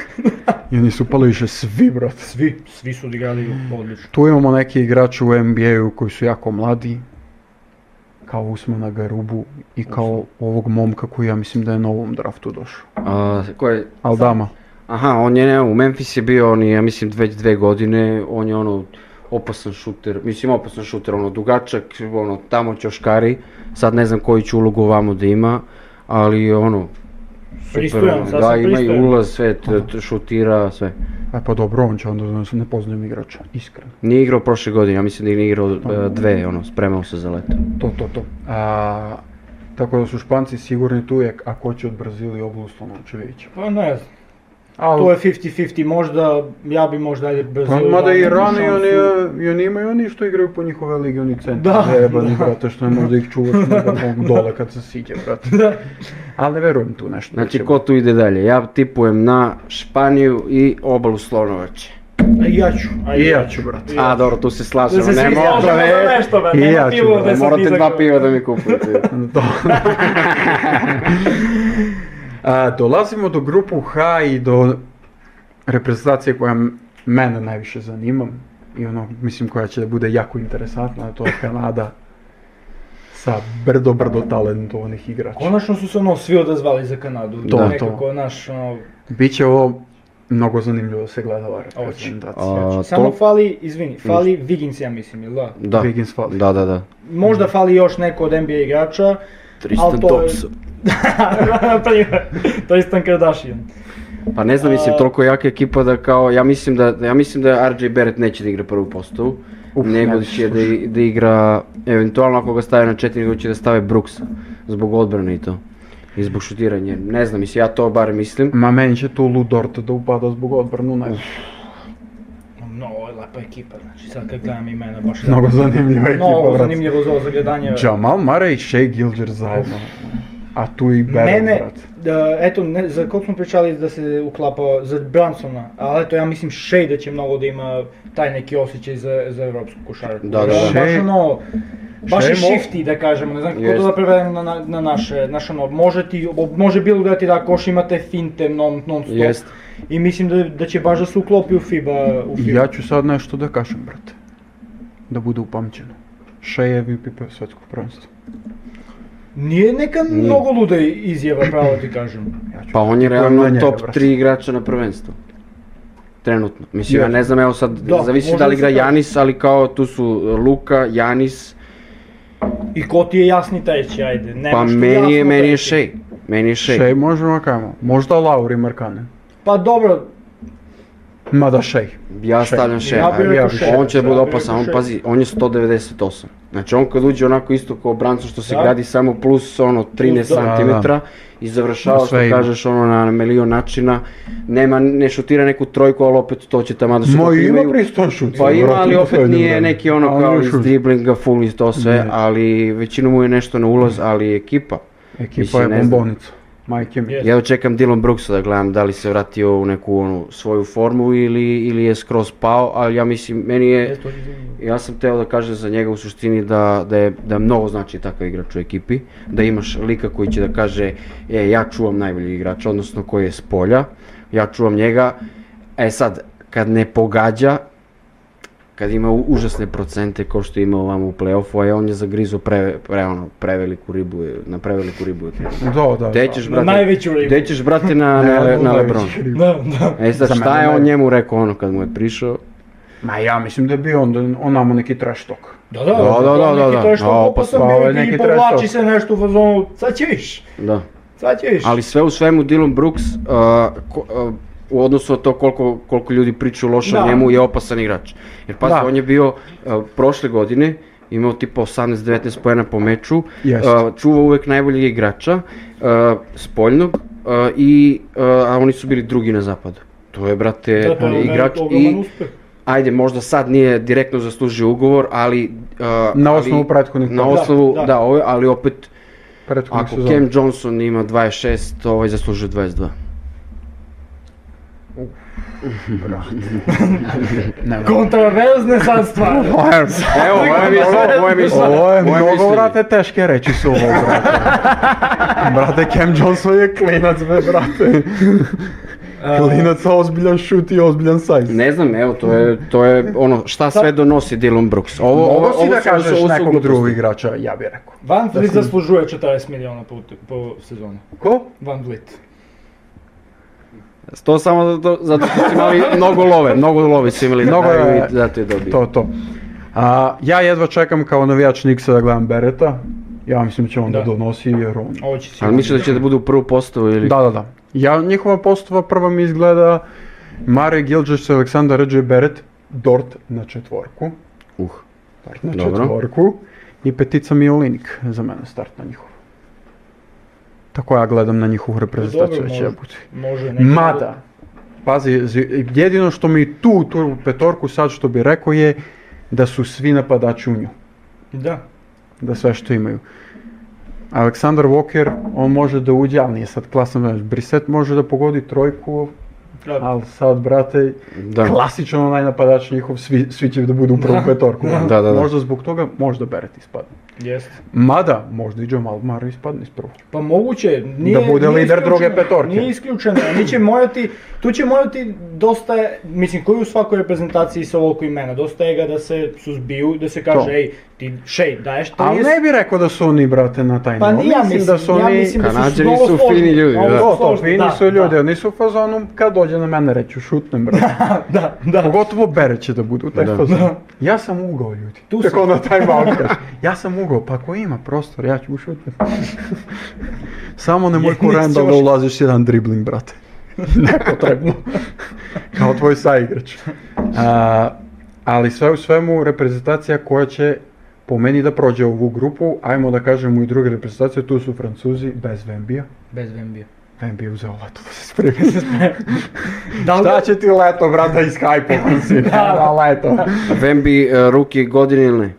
I oni su pali više svi, brate.
Svi, svi su odigrali
Hmm.
odlično.
Tu imamo neki igrači u NBA-u koji su jako mladi, kao Usmana Garubu i kao ovog momka koji ja mislim da je na ovom draftu došao.
A, ko je,
Aldama.
Aha, on je, ne, u Memphis je bio, on je, ja mislim, već dve godine, on je ono, opasan šuter, mislim, opasan šuter, ono, dugačak, ono, tamo ćoškari, sad ne znam koju će ulogu ovamo da ima, ali, ono, super,
Pristojan,
ono, da,
sasvim
ima i
pristojan.
ulaz, sve, t- t- šutira, sve.
E pa dobro, on će onda, da ne poznajem igrača, iskreno.
Nije igrao prošle godine, ja mislim da je igrao e, dve, ono, spremao se za leto.
To, to, to. A, tako da su Španci sigurni tu je, ako će od Brazili oblu Slonovića vidjet ćemo.
Pa ne znam,
Ali,
to je 50-50, možda, ja bi možda ajde
Pa,
Brazilu
mada
dao
i
neku
Iran i oni,
šansu.
i oni imaju oni što igraju po njihove ligi, oni centri
Da,
zajebani,
da.
brate, što ne možda ih čuvaš nego mogu dole kad se siđe, brate. Ali ne verujem tu nešto.
Znači,
Neće
ko tu ide dalje? Ja tipujem na Španiju i obalu Slonovače.
A i ja ću, a
I ja ću, brate.
I ja
A,
ću.
dobro, tu se
Da
slažemo,
se
ne
svi slažemo
možda,
za
ne,
nešto, be,
I
nema
ja ću,
pivo
bre,
da sam
morate
izagrao.
dva piva da mi kupite.
To. A, dolazimo do grupu H i do reprezentacije koja m- mene najviše zanima i ono, mislim koja će da bude jako interesantna, to je Kanada sa brdo, brdo talentovanih igrača.
Konačno su se ono svi odazvali za Kanadu.
To,
To,
to.
nekako, naš, ono,
Biće ovo mnogo zanimljivo da se gleda ova reprezentacija.
A,
samo
to-
fali, izvini, fali Wiggins, ja mislim, ili da?
Da,
Wiggins fali.
da, da, da.
Možda fali još neko od NBA igrača.
Tristan
to je- Pa
Thompson.
Na primjer, Tristan Kardashian.
Pa ne znam, mislim,
A-
toliko jaka ekipa da kao, ja mislim da, ja mislim da RJ Barrett neće da igra prvu postavu,
Uf,
nego
ne,
da će da,
slušaj.
i- da igra, eventualno ako ga stave na četiri, nego će da stave Brooks, zbog odbrane i to, i zbog šutiranja, ne znam, mislim, ja to bar mislim.
Ma meni će tu Ludort da upada zbog odbranu najviše.
No, Ono, ovo je lepa ekipa, znači sad kad gledam imena baš je
Mnogo
lepa.
zanimljiva ekipa,
Mnogo
brate.
zanimljivo za ovo zagledanje.
Jamal Murray i Shea Gilger zajedno. A tu i Barrett,
Mene,
brate.
da, eto, ne, za koliko smo pričali da se uklapa za Bransona, ali eto, ja mislim Shea da će mnogo da ima taj neki osjećaj za, za evropsku košarku.
Da, da, da.
Baš
Shea-
ono, baš je
Shea mo-
shifty da kažemo, ne znam kako
Jest.
to da prevedem na, na, na naše, znaš ono, može ti, ob- može bilo da ti da koš, imate finte non, non stop.
Jest.
I mislim da, da će baš da se uklopi u FIBA, u FIBA.
Ja ću sad nešto da kažem, brate. Da bude upamćeno. Shea je MVP svetskog prvenstva.
Nije neka mnogo luda izjava, pravo ti kažem.
Ja ću
Pa on je
Ko je na
realno
njega,
top
brate?
3 igrača na prvenstvu. Trenutno. Mislim, ja
Yes.
ne znam, evo sad,
Da,
zavisi
možda
da li
se
igra
kaže.
Janis, ali kao tu su e, Luka, Janis,
I ko ti je jasni treći, ajde. Nemaš
pa
ti
meni je,
jasno
meni je
treći.
Shea. Meni je Shea.
Shea možemo da kažemo. Možda Lauri Markanen.
Pa dobro,
Mada Shea.
Ja
Shea.
stavljam Shea.
Ja bih
ajde.
rekao Shea.
On će
Ja
da bude
bih
opasan,
rekao
on
Shea.
pazi, on je 198. Znači on kad uđe onako isto kao Branson što se
Da.
gradi samo plus ono 13
Plus, da.
cm
Da,
i završava
Na
što
sve ima.
kažeš ono na milion načina. Nema, ne šutira neku trojku, ali opet to će tamo da se
Moj ima
imaju-
pristojan šut.
Pa ima,
brate,
ali
u
opet
poslednje
nije
vreme.
neki ono
Ali
kao
još
iz
šut.
driblinga, full i to sve,
Ne.
ali većinu mu je nešto na ulaz, ali ekipa.
Ekipa
Mislim,
je
ne znam.
bombonica. Majke mi.
Yes.
Ja očekam Dylan Brooksa da gledam da li se vratio u neku onu svoju formu ili, ili je skroz pao, ali ja mislim, meni je,
eto, izvini.
ja sam teo da kažem za njega u suštini da, da, je, da mnogo znači takav igrač u ekipi, da imaš lika koji će da kaže, e, ja čuvam najbolji igrač, odnosno koji je s polja, ja čuvam njega, e sad, kad ne pogađa, kad ima u- užasne procente kao što ima ovamo u play-offu, a on je zagrizo pre, pre, ono, preveliku ribu, je- na preveliku ribu. je otišao.
Da, da.
Gde ćeš,
Na
brate,
najveću ribu.
gde ćeš, brate, na, na,
Ne,
Le- na
najveći
Lebron?
ribu.
Da, da.
E sad,
Za
šta
mene
je on
naj-
njemu rekao ono kad mu je prišao?
Ma ja mislim da je bio onda onamo neki trash talk.
Da, da,
da,
to
da, da,
neki, To
da.
je što
A,
pa sam
pa, ovo je
bio
neki
i
trash
povlači
talk.
se nešto u fazonu, sad će viš,
Da.
sad će viš.
Ali sve u svemu Dylan Brooks a, ko- a, u odnosu na to koliko, koliko ljudi pričaju loše o
Da.
njemu je opasan igrač. Jer pazi,
Da.
on je bio a, prošle godine imao tipa 18-19 pojena po meču,
Jest.
a, čuva uvek najboljeg igrača a, spoljnog a, i a, a oni su bili drugi na zapadu. To je, brate,
Da, ono, to je
igrač
ogroman
i
uspeh.
ajde, možda sad nije direktno zaslužio ugovor, ali... a,
Na
ali-
osnovu prethodnih
Na
da,
osnovu, da,
da.
ovo je, ali opet,
Prethodnih
ako
sezona.
Cam Johnson ima 26, ovaj zaslužuje 22.
Ne, ne.
Kontraverzne sad stvari.
Evo, moje mišljenje, moje mišljenje.
Ovo je
moje
mnogo,
mišljenje.
brate, teške reči su ovo, brate. brate, Cam Johnson je klinac, be, brate. klinac sa ozbiljan šut i ozbiljan sajz.
Ne znam, evo, to je, to je ono, šta sve donosi Dylan Brooks. Ovo, ovo,
Ovo si
ovo
da
su-
kažeš
ovo su
nekog
gluposti.
drugog igrača, ja bih rekao.
Van Vliet zaslužuje 40 miliona po, po sezonu.
Ko?
Van Vliet.
To samo zato, zato što su imali mnogo love, mnogo love su imali.
Mnogo
Mnogo
je-
je, zato je dobio.
To, to. A, ja jedva čekam kao navijač Niksa da gledam Bereta. Ja mislim da će on da,
Da.
donosi jer on...
Ovo će sigurno.
Ali misliš da će da bude u prvu postavu ili...
Da, da, da. Ja, njihova postava prva mi izgleda Mare Gilgis, Aleksandar Ređe Beret, Dort na četvorku.
Uh.
Start na
Dobro.
četvorku. I petica mi je Olinik za mene start na njihov. Tako ja gledam na njihovu reprezentaciju
Dobro,
već
može.
jebuti.
Može neki...
Mada, pazi, zi- jedino što mi tu, tu petorku sad što bi rekao je da su svi napadači u nju.
Da.
Da sve što imaju. Aleksandar Walker, on može da uđe, ali nije sad klasan, znaš, Brissett može da pogodi trojku,
Da.
ali sad, brate,
Da.
klasičan onaj napadač njihov, svi, svi će da budu u prvu petorku. ono.
Da, da, da.
Možda zbog toga, možda Beret ispadne.
Jeste.
Mada, možda i Jamal Murray ispadne iz prvog.
Pa moguće, je, nije,
Da bude
nije
lider
isključeno,
druge petorke.
Nije isključeno, oni će morati, tu će morati dosta, mislim koji u svakoj reprezentaciji sa ovoliko imena, dosta je ga da se suzbiju, da se kaže
To.
ej, Ti šej daješ 30...
Ali ne bi rekao da su oni, brate, na taj
Pa
nivo.
ni ja mislim,
da su
ja
oni...
mislim da su
Kanađani
mnogo
su
složni.
fini ljudi,
Mnogo
da.
To, to,
složni,
fini
da,
su ljudi,
da.
oni su u fazonu, kad dođe na mene reću, šutnem, brate.
Da, da.
Pogotovo bere će da bude u taj
Да.
Da.
fazon. Ja sam ugao ljudi.
Tu
Tako
sam.
na taj balkan. Ja sam ugao, pa ako ima prostor, ja ću ušutim. Samo nemoj
Jedini
ko random
ćoš.
da ulaziš jedan dribling, brate. Nepotrebno. Kao tvoj saigrač. A, ali sve u svemu, reprezentacija koja će po meni da prođe ovu grupu, ajmo da kažemo i druge reprezentacije, tu su Francuzi bez Vembija.
Bez Vembija.
Vembi je uzeo leto da se spremi.
Da li
Šta će ti leto, brata, iz Skype-a? si? Da, leto.
Vembi e, ruki godine ili ne?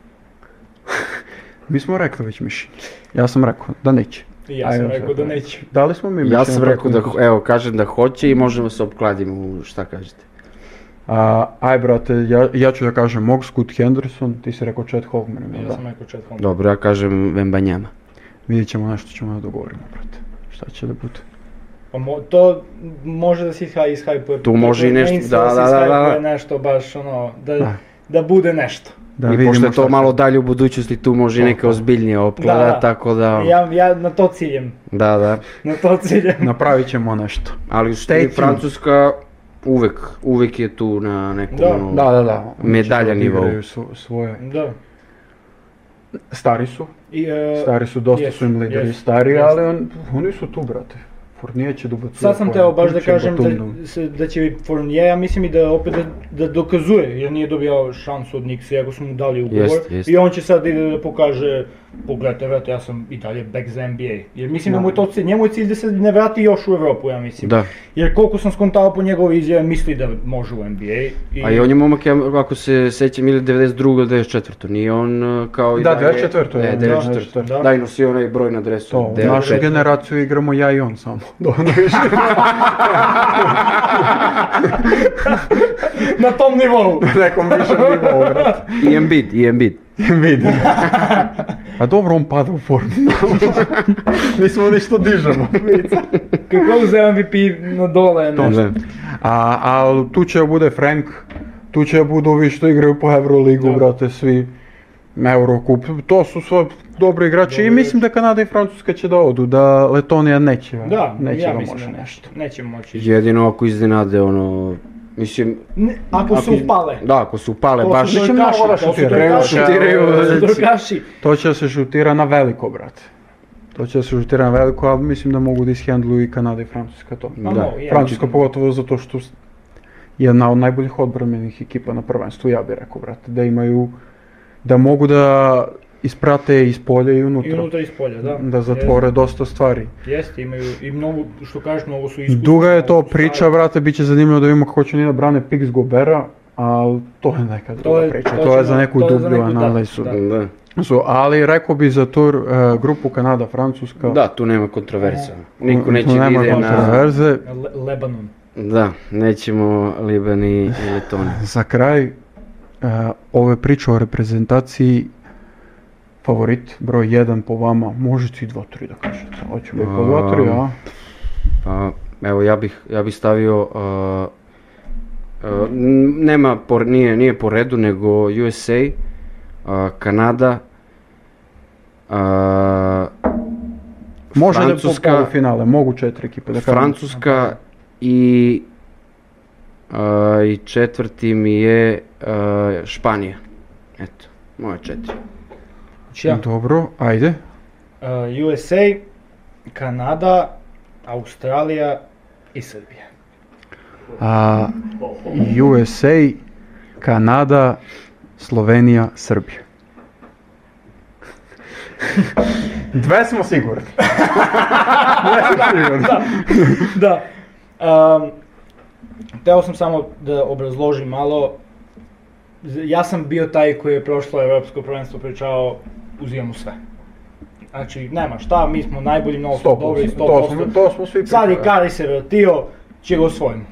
Mi smo rekli već mišljenje. Ja sam rekao da neće.
Ja sam
Ajmo
rekao
sad.
da neće.
Da li smo mi mišljenje?
Ja sam rekao da,
tako?
evo, kažem da hoće i možemo se opkladimo, u šta kažete.
A, aj brate, ja, ja ću da kažem mog Scoot Henderson, ti si rekao Chad Hoffman.
Ja
da.
sam rekao Chad Holmgren.
Dobro, ja kažem Vembanjama.
Vidjet ćemo nešto ćemo da dogovorimo, brate. Šta će da bude?
Pa mo, to može da se isha, ishajpuje.
Tu može i nešto,
Meni se da,
da,
se
da, da, da.
ishajpuje nešto baš ono, da,
Da.
da. bude nešto.
Da
I pošto je
šta
to
će-
malo dalje u budućnosti, tu može i neka ozbiljnija opklada,
Da, da.
tako da...
Ja, ja na to ciljem,
Da, da.
na to ciljem.
Napravit ćemo nešto.
Ali što
Stay
je
tuned.
Francuska uvek, uvek je tu na nekom
Da.
ono,
Da, da, da. Znači, Oni će da
Medalja nivou.
igraju Su, svoje.
Da.
Stari su,
I, e,
stari su, dosta
jesu,
su im lideri
jesu,
stari,
jesu.
ali on, oni su tu, brate. Fornije će da ubacuje
Sad sam
poene,
teo baš da
tu će
kažem
Batum
da, se- da će Fournier, ja mislim i da opet da, da dokazuje, jer nije dobijao šansu od Nixa, iako su mu dali ugovor.
Jeste, jeste.
I on će sad da ide da pokaže, pogledajte, vrate, ja sam i dalje back za NBA. Jer mislim da, mu je to cilj, njemu je cilj da se ne vrati još u Evropu, ja mislim.
Da.
Jer koliko sam skontao po njegove izjave, misli da može u NBA. I,
A i on je momak, ja, ako se sećam, ili 92. ili 94. Nije on e, kao i
Da,
dalje-
94.,
Ne,
da,
94. Da,
94..
da i nosi onaj broj na dresu.
To, u
Devet-
našu generaciju igramo ja i on samo. Da, ono više.
Na tom nivou!
Nekom više nivou, brate.
I Embiid, i Embiid.
Vidi. A dobro, on pada u formu. Nismo ništa dižemo.
Kako za MVP na dole je nešto.
Da.
a, a tu će da bude Frank, tu će da budu ovi što igraju po Euroligu, brate, svi. Eurokup, to su sve dobri igrači i mislim da Kanada i Francuska će da odu, da Letonija neće,
Da,
neće
ja
da
mislim
može
da
nešto.
Neće moći.
Jedino ako iznenade, ono, mislim...
Ne, ako se
iz-
upale.
Da, ako se upale,
To
baš...
su
Mislim,
drkaši,
mnogo da
to su
šutiraju.
drkaši,
Šutiraju,
to su
znači.
drkaši.
To će da se šutira na veliko, brate. To će da se šutira na veliko, a mislim da mogu da ishandluju i Kanada i Francuska to.
Ma,
Da.
no, je.
Francuska pogotovo zato što s- je jedna od najboljih odbrambenih ekipa na prvenstvu, ja bih rekao, brate, da imaju, da mogu da isprate iz polja i unutra,
I unutra iz polja, da.
da zatvore dosta stvari.
Jeste, jeste, imaju i mnogo, što kažeš, mnogo su iskusni.
Duga je to
mnogo su
priča,
stari.
brate, bit će zanimljivo da vidimo kako će oni da brane Pix Gobera, ali to je neka druga
je-
priča,
to
to je
ćemo-
za neku
to je za
dublju
neku- da,
analizu.
da.
Da.
Su, ali rekao bi za tu e, grupu Kanada, Francuska,
da, tu nema kontroverza. Niko
tu
neće da
nema
ide na...
kontroverze.
Le- Lebanon.
Da, nećemo Liban i i Letoniju.
Za kraj e, ove priče o reprezentaciji, favorit broj 1 po vama, možete i 2-3 da kažete. Hoćemo i po 2-3, a?
Pa, evo, ja bih, ja bih stavio, uh, uh, n- nema, po, nije, nije po redu, nego USA, uh, Kanada, uh,
Može
Francuska-
da po polufinale, mogu četiri ekipe da kažem.
Francuska i, uh, i četvrti mi je uh, Španija. Eto, moja četiri.
Znači ja,
Dobro, ajde.
e, USA, Kanada, Australija i Srbija.
A, USA, Kanada, Slovenija, Srbija. Dve smo sigurni. Dve smo sigurni.
da. Um, teo sam samo da obrazložim malo. Z- Ja sam bio taj koji je prošlo evropsko prvenstvo pričao uzimamo sve. Znači, nema šta, mi smo najbolji, mnogo smo dobri,
100%. To smo,
100%.
to smo svi
Sad je
pričali.
Kari se vratio, će ga osvojimo.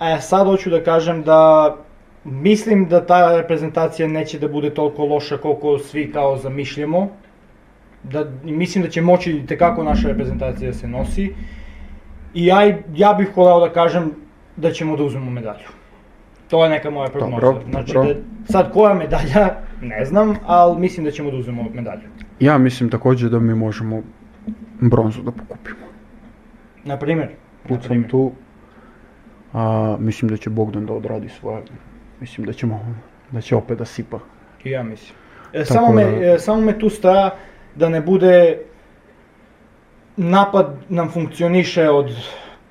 E, sad hoću da kažem da mislim da ta reprezentacija neće da bude toliko loša koliko svi kao zamišljamo. Da, mislim da će moći tekako naša reprezentacija da se nosi. I ja, i- ja bih voleo da kažem da ćemo da uzmemo medalju. To je neka moja prognoza.
Dobro,
znači,
dobro.
Da, sad koja medalja, ne znam, ali mislim da ćemo da uzmemo medalju.
Ja mislim također da mi možemo bronzu da pokupimo.
Na primjer. na
Kucam
primjer.
tu. A, mislim da će Bogdan da odradi svoje. Mislim da ćemo da će opet da sipa.
I ja mislim. E,
Tako
samo, me,
da-
e, samo me tu sta da ne bude napad nam funkcioniše od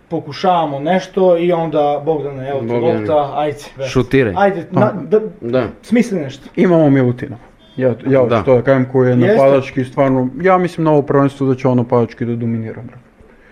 pokušavamo nešto i onda Bogdane, evo ti
Bogdane.
lopta, ajde. veš.
Šutiraj.
Ajde,
Pa.
na, da,
Da.
smisli nešto.
Imamo Milutina. Ja, ja hoću
Da.
to da kažem koji je
Jeste.
napadački stvarno, ja mislim na ovo prvenstvo da će on napadački da dominira. brate.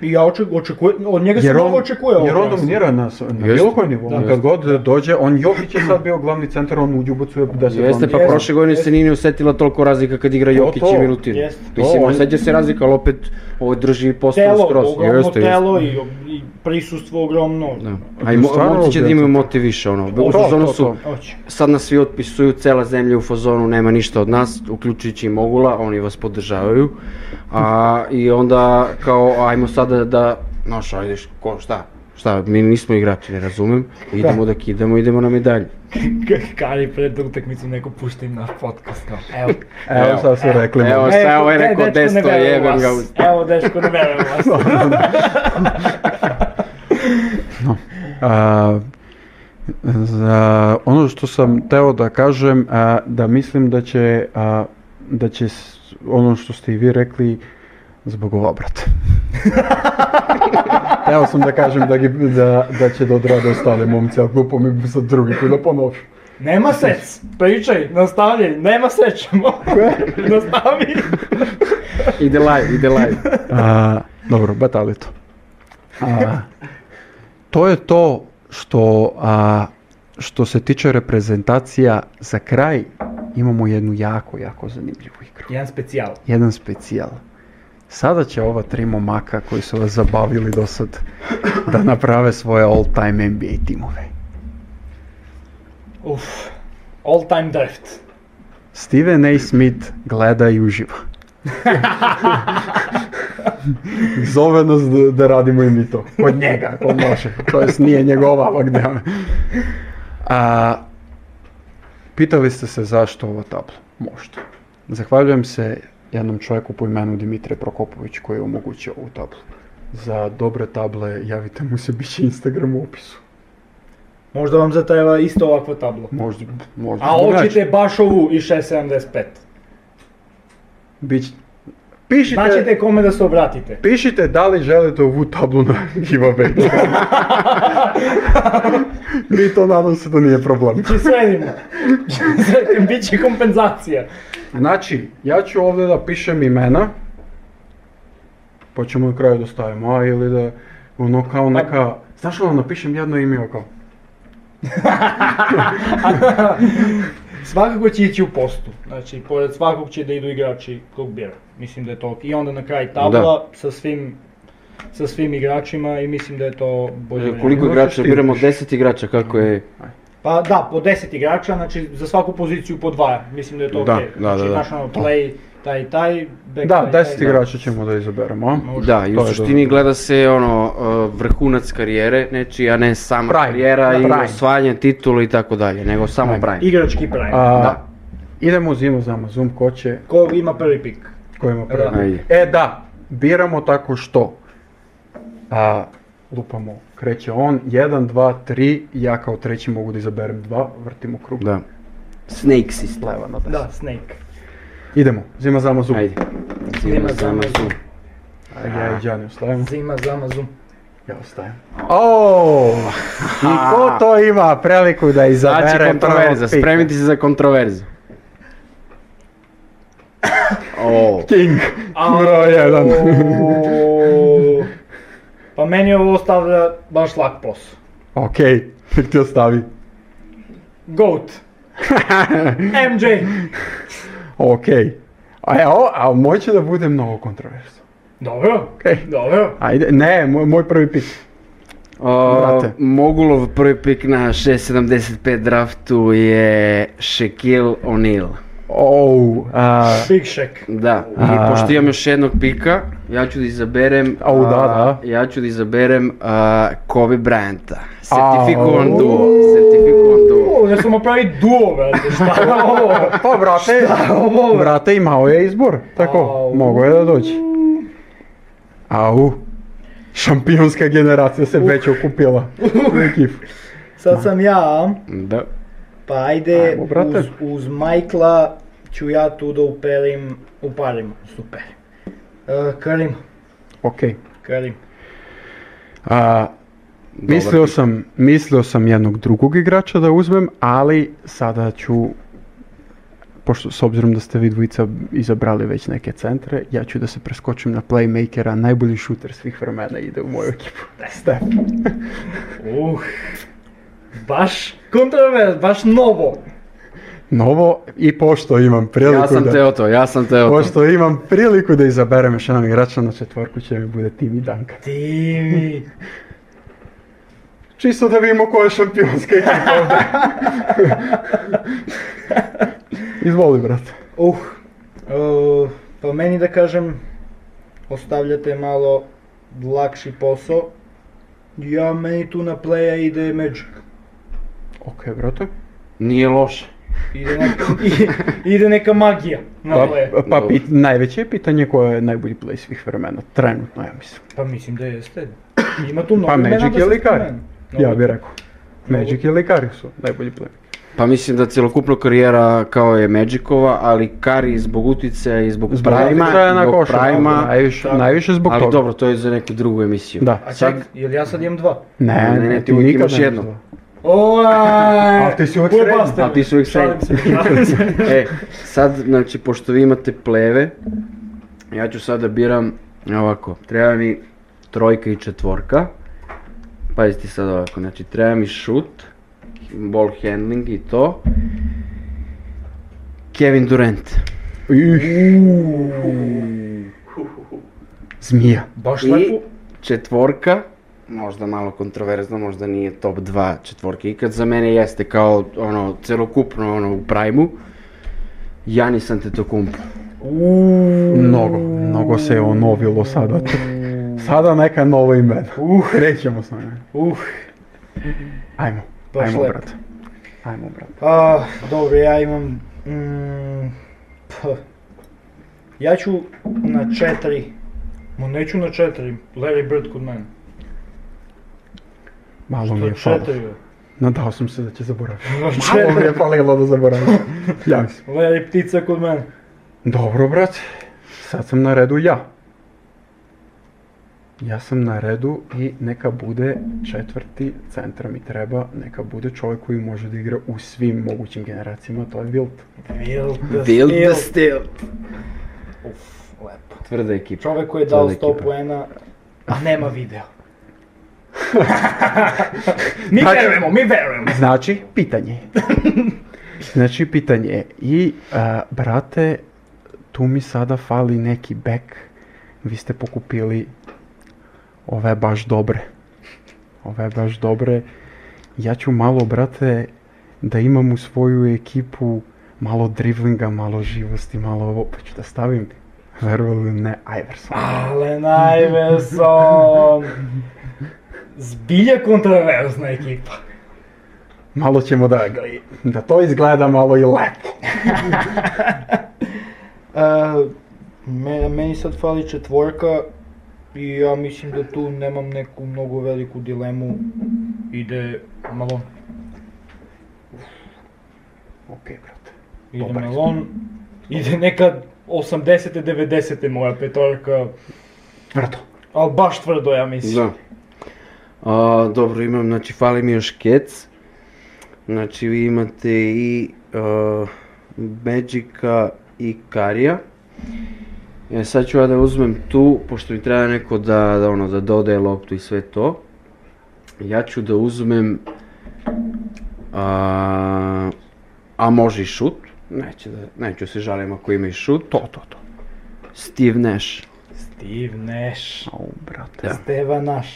I ja oček, očekujem, od njega se
Jer on,
mnogo očekuje. ovo
jer on
prvenstvo.
dominira na, s- na
Jeste.
bilo koji nivou.
Da.
On Kad god dođe, on Jokić je sad bio glavni centar, on uđe ubacuje 10
Jeste, pa
Jeste,
prošle godine
jeste.
se nije ni osjetila toliko razlika kad igra
To,
Jokić
to,
i Milutin.
jeste.
To,
Mislim,
on-
osjeća se razlika, ali opet ovo drži postavu
Telo,
skroz.
ogromno
Jeste, jeste.
telo i, i prisustvo ogromno.
Da. A i mo-
Stvarno
momci će da
odlično.
imaju motiv više, ono.
To,
U fazonu
to,
su,
to.
Hoće.
sad nas svi otpisuju, cela zemlja u fazonu, nema ništa od nas, uključujući i Mogula, oni vas podržavaju. A, I onda kao, ajmo sada da, znaš, ajde, š- ko, šta? Šta, mi nismo igrači, ne razumem. Idemo da kidamo, idemo na medalje.
K- Kari pred utakmicu neko pušta im naš podcast kao, evo.
Evo sad su rekli.
Evo,
mogu.
šta je
Evo,
ovaj
e,
rekao,
dečko, ne
desto,
verujem u
jebem
vas.
ga.
Evo, dečko, ne verujem u vas.
A, za ono što sam teo da kažem, a, da mislim da će, a, da će s- ono što ste i vi rekli, zbog obrata. Teo sam da kažem da, gi- da, da će da odrade ostale momci, a glupo mi bi sad drugi put da ponovim.
Nema sec, pričaj, nastavljaj, nema sećemo. Nastavi.
Ide live, ide live.
A, dobro, batali to. A, to je to što, a, što se tiče reprezentacija za kraj imamo jednu jako, jako zanimljivu igru.
Jedan specijal.
Jedan specijal. Sada će ova tri momaka koji su vas zabavili do sad da naprave svoje all time NBA timove.
Uf, all time draft.
Steven A. Smith gleda i uživa. Zove nas da, da radimo i mi to. Kod njega, ako može. To jest nije njegova, ali gde. A, pitali ste se zašto ovo tablo? Možda. Zahvaljujem se jednom čovjeku po imenu Dimitrije Prokopović koji je omogućio ovu tablu. Za dobre table javite mu se, bit će Instagram u opisu.
Možda vam zatreba isto ovakvo tablo.
Možda, možda.
A
drugačije.
hoćete baš ovu i 6.75.
Bit će- Pišite...
Značite kome da se obratite.
Pišite da li želite ovu tablu na giveaway. Mi to nadam se da nije problem.
Či sredimo. Sredimo, bit će kompenzacija.
Znači, ja ću ovdje da pišem imena, pa ćemo na kraju da stavimo, a ili da ono kao neka... Znaš ono, napišem jedno ime ovako.
Svakako će ići u postu. Znači, pored svakog će da idu igrači kog bira. Mislim da je to I onda na kraj tabla sa svim sa svim igračima i mislim da je to bolje.
E,
vreme.
Koliko
Možeš
igrača?
ti
Biramo
još.
10 igrača, kako je?
Pa da, po 10 igrača, znači za svaku poziciju po dva. Mislim da je to
Da,
okej.
da,
Znači,
da, da.
znaš ono, play, taj, i taj, back, taj,
Da,
taj,
10
taj.
igrača ćemo da izaberemo. a?
Može.
Da, i
To
u
je
suštini
dobro.
gleda se ono uh, vrhunac karijere, neči, a ne sama
Prime,
karijera
da,
i
prime.
osvajanje titula i tako dalje, nego samo
Prime.
prime.
Igrački prime.
A,
Da.
Idemo zimo zamo zoom ko će,
Ko ima prvi pik?
ko ima prvi.
Da.
Ajde.
E da, biramo tako što a, lupamo, kreće on, 1, 2, 3, ja kao treći mogu da izaberem dva, vrtimo krug.
Da. Snake system.
Leva na desno.
Da, Snake.
Idemo, zima zama zub.
Ajde.
Zima,
Zima,
zama,
zama,
zoom.
zoom.
A ja i Đani ostavimo.
Zima, zama, zoom.
Ja ostajem. O, I ko to ima priliku da
Sad će
izabere
kontroverza,
prvog pika?
Znači, spremite se za kontroverzu. O,
King,
A,
broj jedan.
o, Pa meni ovo ostavlja baš lak posao.
ok, nek ti ostavi.
Goat. MJ.
Ok. A, evo, a moj će da bude mnogo kontroverzno.
Dobro.
Okej.
Dobro.
Ajde, ne, moj, moj prvi pik.
o,
Brate.
Mogulov prvi pik na 6.75 draftu je Shaquille O'Neal.
Oh, a,
Big Shack.
Da, i
A.
pošto imam još jednog pika, ja ću da izaberem...
Au, da,
a,
da.
Ja ću da izaberem a, Kobe Bryanta. Certifikovan
Au.
duo, certifikovan
ćemo pravi duo, brate, šta je ovo?
Pa, brate,
Šta je ovo, brate?
brate, imao je izbor, tako,
Au.
mogo je da dođe. Au, šampionska generacija se već okupila u ekipu.
Sad sam ja, a?
Da.
pa ajde,
Ajmo, brate.
uz, uz Michaela ću ja tu da uperim, uparim, super. Uh, Karim,
Okej.
Karim.
A,
Dobar
mislio
pik.
sam, mislio sam jednog drugog igrača da uzmem, ali sada ću, pošto s obzirom da ste vi dvojica izabrali već neke centre, ja ću da se preskočim na playmakera, najbolji šuter svih vremena ide u moju ekipu. Step.
Uh, baš kontrovers, baš novo.
Novo i pošto imam priliku
Ja sam
da...
teo to, ja sam teo to.
Pošto imam priliku da izaberem još jednog igrača na četvorku će mi bude Timi Duncan.
Ti mi,
Čisto da vidimo ko je šampionska ekipa ovdje. Izvoli, brate.
uh, uh, pa meni da kažem, ostavljate malo lakši posao. Ja meni tu na playa ide Magic.
Ok, brate.
Nije loše.
Ide neka, i- ide neka magija na
Pa,
playa.
pa
Dobro.
pit- najveće je pitanje ko je najbolji play svih vremena, trenutno ja mislim.
Pa mislim da jeste. Ima tu mnogo
Pa
imena
Magic
da se
ili Kari?
spomenu.
Ja
Mnogo.
bih rekao. Magic ili Kari su najbolji play.
Pa mislim da cjelokupna karijera kao je Magicova, ali Kari zbog uticaja i zbog,
Zbog
prajma,
utjecaja na
zbog
košarku,
prajma,
najviše,
tako.
najviše zbog
ali
toga.
dobro, to je za neku drugu emisiju.
Da.
A
Sad-
čak, jel ja sad imam dva?
Ne,
Ne,
ne,
ne,
ne,
ti
ti
uvijek
nikad
imaš
ne bi
jedno.
znao.
Oaj!
A ti si uvijek
Pojebala
srećan.
ste
A
me.
ti si uvijek
Šalim se, šalim se.
E, sad, znači, pošto vi imate pleve, ja ću sad da biram ovako, treba mi trojka i četvorka. Pazite sad ovako, znači treba mi šut, ball handling i to. Kevin Durant.
Ih, Zmija.
Baš
I
lepo.
četvorka, možda malo kontroverzno, možda nije top 2 četvorke ikad, za mene jeste kao ono, celokupno ono u prajmu. Janis Antetokounmpo.
Mnogo, mnogo se je onovilo sada. Sada neka nova imena. Uh, krećemo s njima.
Uh,
Ajmo,
Baš
ajmo
lepo.
brate. Ajmo brate.
a, Pa, dobro, ja imam... mm, p. ja ću na četiri. Ma neću na četiri, Larry Bird kod mene.
Malo mi
Na
je falo.
četiri, bro.
Nadao sam se da će zaboraviti.
na
Malo mi
četiri.
je falilo da zaboravim. Ja mislim.
Larry ptica kod mene.
Dobro brate, sad sam na redu ja. Ja sam na redu i neka bude četvrti centar mi treba, neka bude čovjek koji može da igra u svim mogućim generacijama, to je Wilt.
Wild the
Build
Steel.
the steel.
Uf, lepo.
Tvrda ekipa.
Čovjek koji je dao
Tvrda
100
ekipa.
poena, a nema video. mi verujemo, mi verujemo.
Znači, pitanje. Znači, pitanje. je. I, a, brate, tu mi sada fali neki back. Vi ste pokupili ove baš dobre. Ove baš dobre. Ja ću malo, brate, da imam u svoju ekipu malo driblinga, malo živosti, malo ovo, pa ću da stavim, verovali ili ne, Iverson.
Allen Iverson. Zbilja kontroverzna ekipa.
Malo ćemo da, da to izgleda malo i lepo.
E, me- meni sad fali četvorka i ja mislim da tu nemam neku mnogo veliku dilemu. Ide Malon.
Ok, brate.
Ide
Dobar izbor.
Malon. Ide neka 80-te, 90-te moja petorka.
Tvrdo.
Ali baš tvrdo ja mislim.
Da. A, dobro, imam, znači, fali mi još kec. Znači, vi imate i uh, Magica i Karija. E, sad ću ja da uzmem tu, pošto mi treba neko da, da, ono, da dodaje loptu i sve to. Ja ću da uzmem... A, a može i šut. Neće da, neću se žalim ako ima i šut. To, to, to. Steve Nash.
Steve Nash.
Au, brate.
Da.
Steva Nash.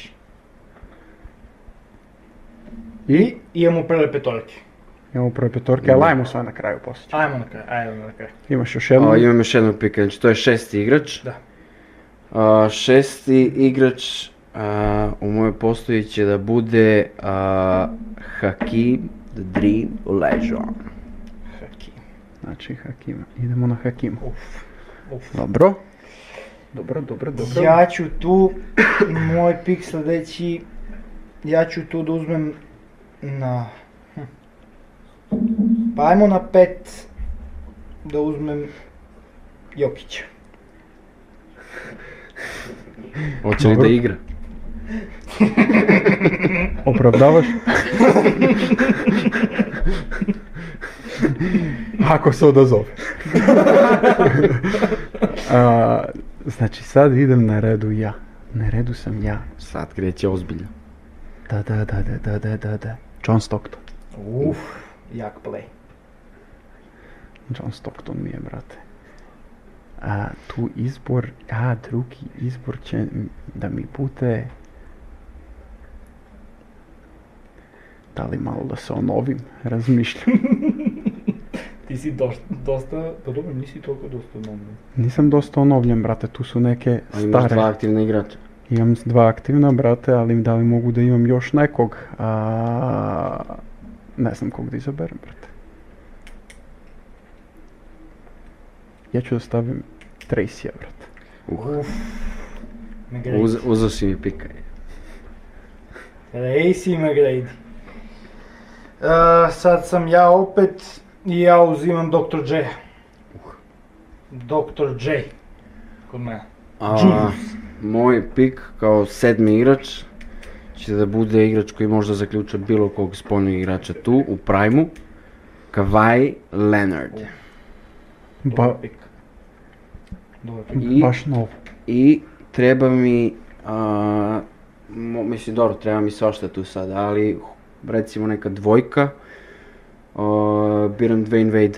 I?
Imamo prve petorke.
Imamo prve petorke, ali ajmo sve na kraju poslije.
Ajmo na kraj, ajmo na kraj.
Imaš još
A,
jednu?
imam još jedno pitanje, znači to je šesti igrač.
Da.
A, šesti igrač a, u mojoj postoji će da bude a, Hakim The dream leisure.
Haki.
Znači, Hakima. Idemo na Hakima.
Uf. Uf.
Dobro. Dobro, dobro, dobro.
Ja ću tu, moj pik sledeći, ja ću tu da uzmem na... hm. Pa ajmo na pet da uzmem Jokića.
Hoće li
Dobro.
da igra?
Opravdavaš? Ako se odazove. A, znači sad idem na redu ja. Na redu sam ja.
Sad kreće ozbiljno.
Da, da, da, da, da, da, da, da. John Stockton.
Uf, jak play.
John Stockton mi je, brate. A tu izbor, a drugi izbor će m- da mi bude... Da li malo da se onovim, razmišljam.
Ti si dosta, dosta, pa dobro, nisi toliko dosta normalan.
Nisam dosta onovljen, brate, tu su neke
Ali imaš dva
stare.
aktivna igrača.
Imam s dva aktivna, brate, ali da li mogu da imam još nekog? A... Ne znam kog da izaberem, brate. Ja ću da stavim Tracy, brate.
Uh,
Uf. McGrady.
uz, uzao si mi pika.
Racy McGrady. Uh, sad sam ja opet i ja uzimam Dr. J. Dr. J. Kod mene.
A,
Julius.
moj pik kao sedmi igrač će da bude igrač koji može da zaključa bilo kog spoljnog igrača tu u prime-u. Kawhi Leonard.
Ba,
pik. Dobar pik.
I-
baš novo.
I treba mi, a, mo- mislim dobro, treba mi svašta tu sad, ali recimo neka dvojka, a, biram Dwayne Wade,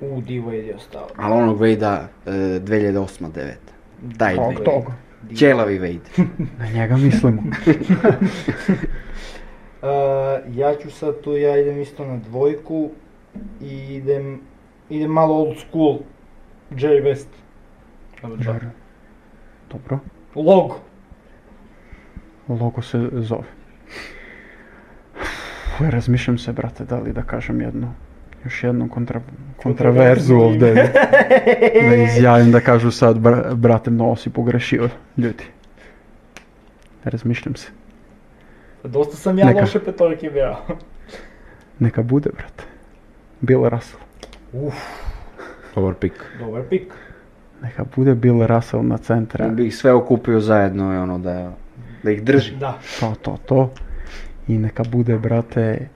U, Divo je ostao.
ali onog Wade-a e, 2008-2009. Taj
Tog,
Wade.
tog.
Ćelavi Wade.
Na njega mislimo.
Uh, ja ću sad tu, ja idem isto na dvojku i idem, idem malo old school. Jerry West. Dobar,
Dobro. Dobro.
Log.
Logo se zove. Fuj, razmišljam se, brate, da li da kažem jedno, još jednu kontra, kontraverzu ovdje. Da izjavim da kažu sad, bra, brate, mnogo si pogrešio, ljudi. Razmišljam se.
Dosta sam ja
Neka.
loše petorke bio.
Neka bude, brate. Bill Russell.
Uf,
Dobar pik.
dobar pik.
Neka bude Bill Russell na centra.
Bi ih sve okupio zajedno i ono da, da ih drži.
Da.
to, to, to. I neka bude, brate,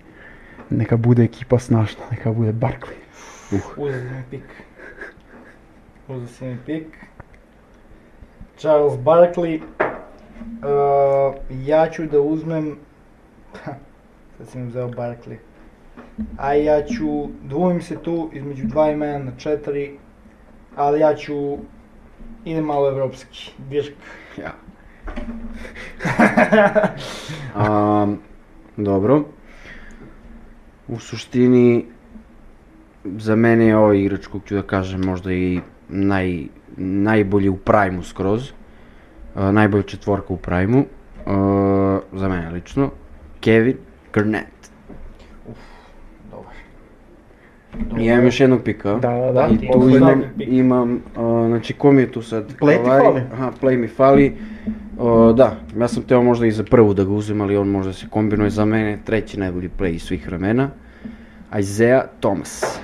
neka bude ekipa snažna, neka bude Barkley.
Uzeo si mi pik. Uzeo si mi pik. Charles Barkley. Uh, ja ću da uzmem... Ha, sad sam uzeo Barkley. A ja ću... Dvojim se tu između dva imena na četiri. Ali ja ću... Idem malo evropski. Dirk.
Ja. A, dobro. U suštini, za mene je ovaj igrač kog ću da kažem možda i naj, najbolji u prajmu skroz. A, najbolja četvorka u prajmu. A, za mene lično. Kevin Garnett.
Dobar.
I ja imam još jednog pika. a?
da, Pa da.
I tu
Poslednji
imam,
pik.
imam a, znači ko mi je tu sad?
Play ti
Kavari?
fali.
Aha, play mi fali. A, da, ja sam teo možda i za prvu da ga uzem, ali on možda se kombinuje za mene. Treći najbolji play iz svih vremena. Isaiah Thomas.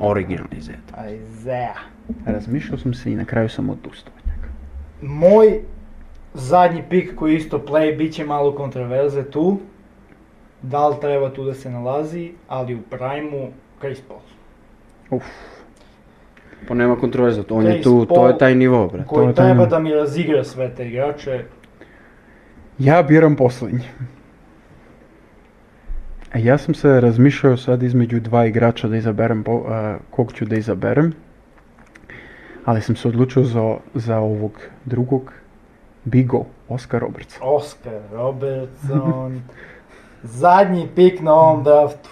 Originalni Isaiah Thomas.
Isaiah.
Razmišljao sam se i na kraju sam odustao. od njega.
Moj zadnji pik koji je isto play, bit će malo kontraverze tu. Da li treba tu da se nalazi, ali u prime-u Chris Paul.
Pa nema kontroverza, to- on je
Chris
tu, to
Paul.
je taj nivo, bre.
je
Koji
taj
treba
nivo.
da mi razigra sve te igrače.
Ja biram posljednji. A E, ja sam se razmišljao sad između dva igrača da izaberem po, a, kog ću da izaberem. Ali sam se odlučio za, za ovog drugog Bigo, Oscar Roberts.
Oscar Robertson. zadnji pik na ovom draftu.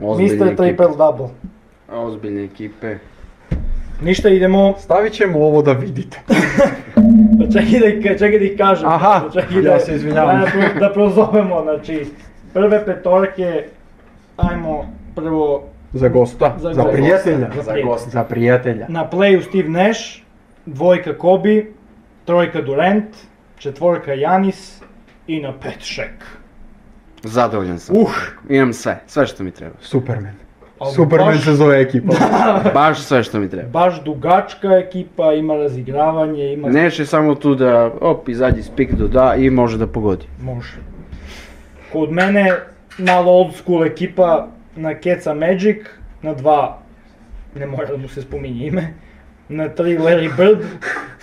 Ozbiljne
Mr.
ekipe.
Triple Double.
Ozbiljne ekipe.
Ništa idemo. pa
Stavit ćemo ovo da vidite.
Čekaj da, čekaj da ih kažem. pa
Aha,
čekaj
ja se izvinjavam.
Da, pro- da prozovemo, znači, prve petorke, ajmo prvo
Za gosta,
Za
za,
gosta,
prijatelja.
za gosta.
Za prijatelja.
na playu Steve Nash, dvojka Kobe, trojka Durant, četvorka Janis i na pet Shaq.
Zadovoljan sam.
Uh,
Imam sve, sve što mi treba.
Superman.
ali
Superman
baš-
se zove ekipa.
Baš sve što mi treba.
Baš dugačka ekipa, ima razigravanje, ima...
Neš je samo tu da, op, izađi spik do da i može da pogodi.
Može. Kod mene, malo old school ekipa na Keca Magic, na dva, ne mora da mu se spominje ime, na tri Larry Bird,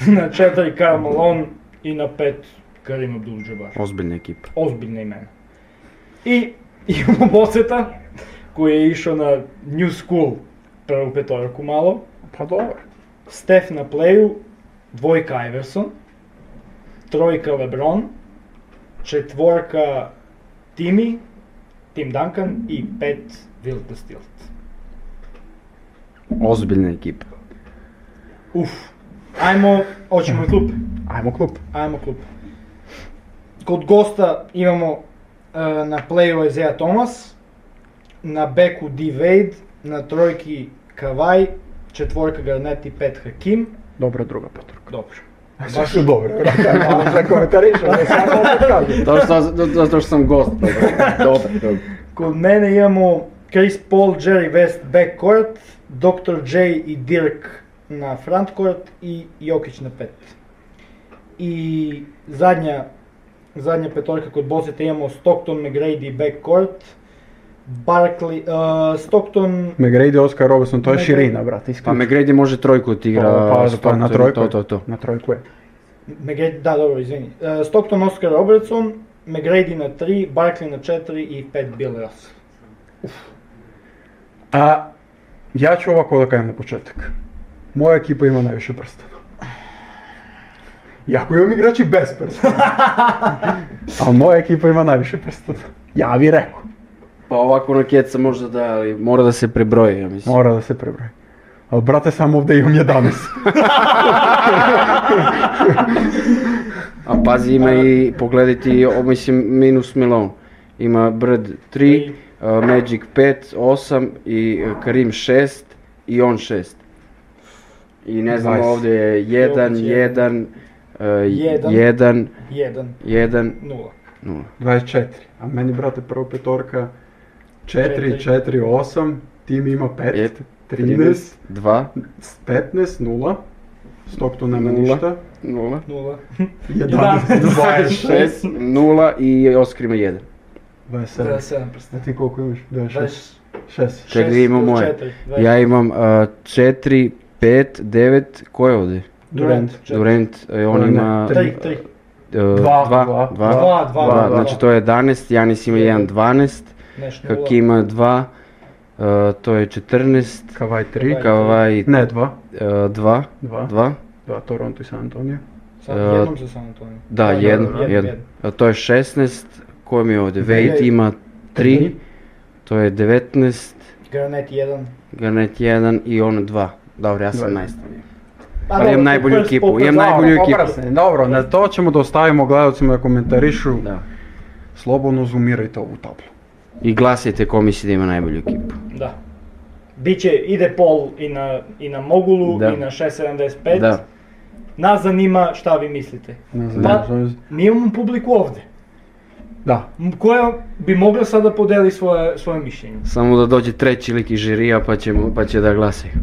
na četiri Karl Malone i na pet Karim Abdul-Jabbar.
Ozbiljna ekipa.
Ozbiljna imena. I imamo Boseta, koji je išao na New School prvu petorku malo,
Pa dobro.
Steph na playu, dvojka Iverson, trojka LeBron, četvorka Timmy, Tim Duncan i pet Will the Stilt.
Ozbiljna ekipa.
Uf, ajmo, hoćemo i klub,
Ajmo klub.
ajmo klub. Kod gosta imamo e, na playu Isaiah Thomas, na beku D. Wade, na trojki Kavaj, četvorka Garnett i pet Hakim.
Dobra druga petorka.
Dobro.
Sve su dobre. brate, ali Da komentarišem, da samo opet kažem.
Zato što, zato- zato što sam gost. Dobro.
Kod mene imamo Chris Paul, Jerry West backcourt, Dr. J i Dirk na frontcourt i Jokić na pet. I zadnja, zadnja petorka kod Boseta imamo Stockton, McGrady backcourt, Barkley, uh, Stockton,
McGrady, Oscar Robertson, to je
McGrady.
širina, brate.
Pa
isključi.
McGrady može trojku
Pa,
odigra.
pa, pa, na trojku.
To,
je.
to, to.
Na trojku je.
McGrady, da dobro, izvini, Uh, Stockton, Oscar Robertson, McGrady na 3, Barkley na 4 i 5 Bill Russell.
A, ja ću ovako da kažem na početak. Moja ekipa ima najviše prstena. Iako imam igrači bez prstena. Ali moja ekipa ima najviše prstena. Ja vi rekao.
Pa ovako na keca možda da, ali mora da se prebroji, ja mislim.
Mora da se prebroji. Ali brate, samo ovdje imam 11.
A pazi, ima i, pogledaj ti, o, mislim, minus Melon. Ima Brd 3, Magic 5, 8 i e, Karim 6 i on 6. I ne znam,
Nice.
ovdje je e, 1,
Jokić
1,
Jedan.
1,
1,
1,
0.
0.
24. A meni, brate, prvo petorka 4,
Četiri.
4, 8. Tim ima 5.
Pet.
13,
2,
15, 0. Stockton nema
Nula.
ništa.
0,
0.
11, 26.
6, 0 i Oskar ima 1.
27.
7 prsta.
A Ja, ti koliko imaš? 26.
26.
6.
Čekaj da imam moje. Ja imam uh, 4, 5, 9, ko je ovdje?
Durant.
Durant, e, on
Ne,
ima...
tri.
3, 3.
Dva,
2, 2,
dva.
2,
Dva, dva,
Dva,
dva, Znači,
znači
dva.
to je 11, Janis ima 1, 12,
Nešto nula.
Hakim ima 2, uh, to je 14,
Kavaj 3.
Kavaj
Ne, 2.
2,
2.
2,
2 Toronto i San Antonio.
Sad
e,
jednom za San Antonio.
da,
Jednom,
1,
jednom,
1.
jednom.
To je 16, ko mi je ovdje? Wade
Wade.
ima 3,
Tri.
to je 19,
Granit 1.
Garnet 1 i on 2. Dobro, ja sam
Dva.
najstavio. Ali imam najbolju ekipu, imam najbolju ekipu.
Oprasne, dobro, na to ćemo da ostavimo gledalcima da komentarišu.
Da.
Slobodno zoomirajte ovu tablu.
I glasajte ko misli da ima najbolju ekipu.
Da. Biće, ide pol i na, i na Mogulu
Da.
i na 6.75.
Da.
Nas zanima šta vi mislite.
Ne znam,
Da.
ne znam.
Mi imamo publiku ovde,
Da.
m- koja bi mogla sad da podeli svoje, svoje mišljenje.
Samo da dođe treći lik iz žirija pa, ćemo, pa će da glasaju.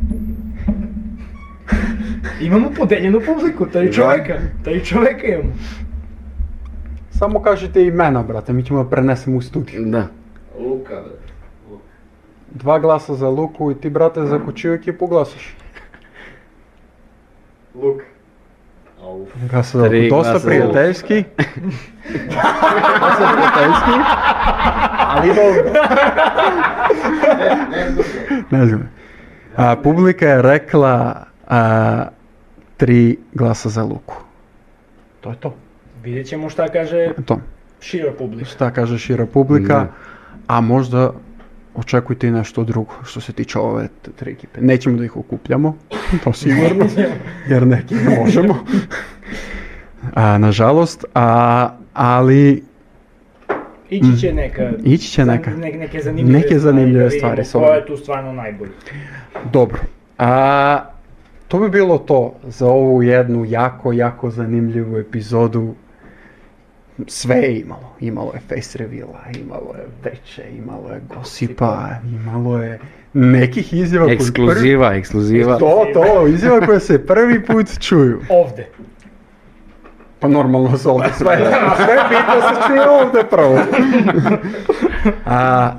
Imamo podeljenu publiku,
Da.
tri čoveka. Tri čoveka imamo.
Samo kažite imena, brate, mi ćemo da prenesemo u studiju.
Da.
Dva glasa za Luku i ti, brate, za kućiju ekipu glasaš. Luk. Glasa za
Tri
Luku. Dosta
glasa za
prijateljski. Dosta prijateljski. Ali dobro. Ne znam. A, publika je rekla a, tri glasa za Luku. To je to.
Vidjet ćemo šta kaže
To.
šira publika.
Šta kaže šira publika,
Da.
a možda očekujte i nešto drugo što se tiče ove t- tri ekipe. Nećemo da ih okupljamo, to sigurno, jer neki ne možemo. a, nažalost, a, ali
Ići će neka...
Mhm. Ići će
za-
neka.
ne- neke zanimljive
Neke zanimljive
stvari,
stvari,
da
sigurno.
vidimo ko je tu stvarno najbolji.
Dobro. A, to bi bilo to za ovu jednu jako, jako zanimljivu epizodu. Sve je imalo. Imalo je face reveala, imalo je veče, imalo je gosipa, imalo je nekih izjava koje prvi...
Ekskluziva, ekskluziva.
To, to, izjava koje se prvi put čuju.
Ovde.
Pa normalno se ovdje sve, Pa sve bitno se čuje ovdje prvo. A,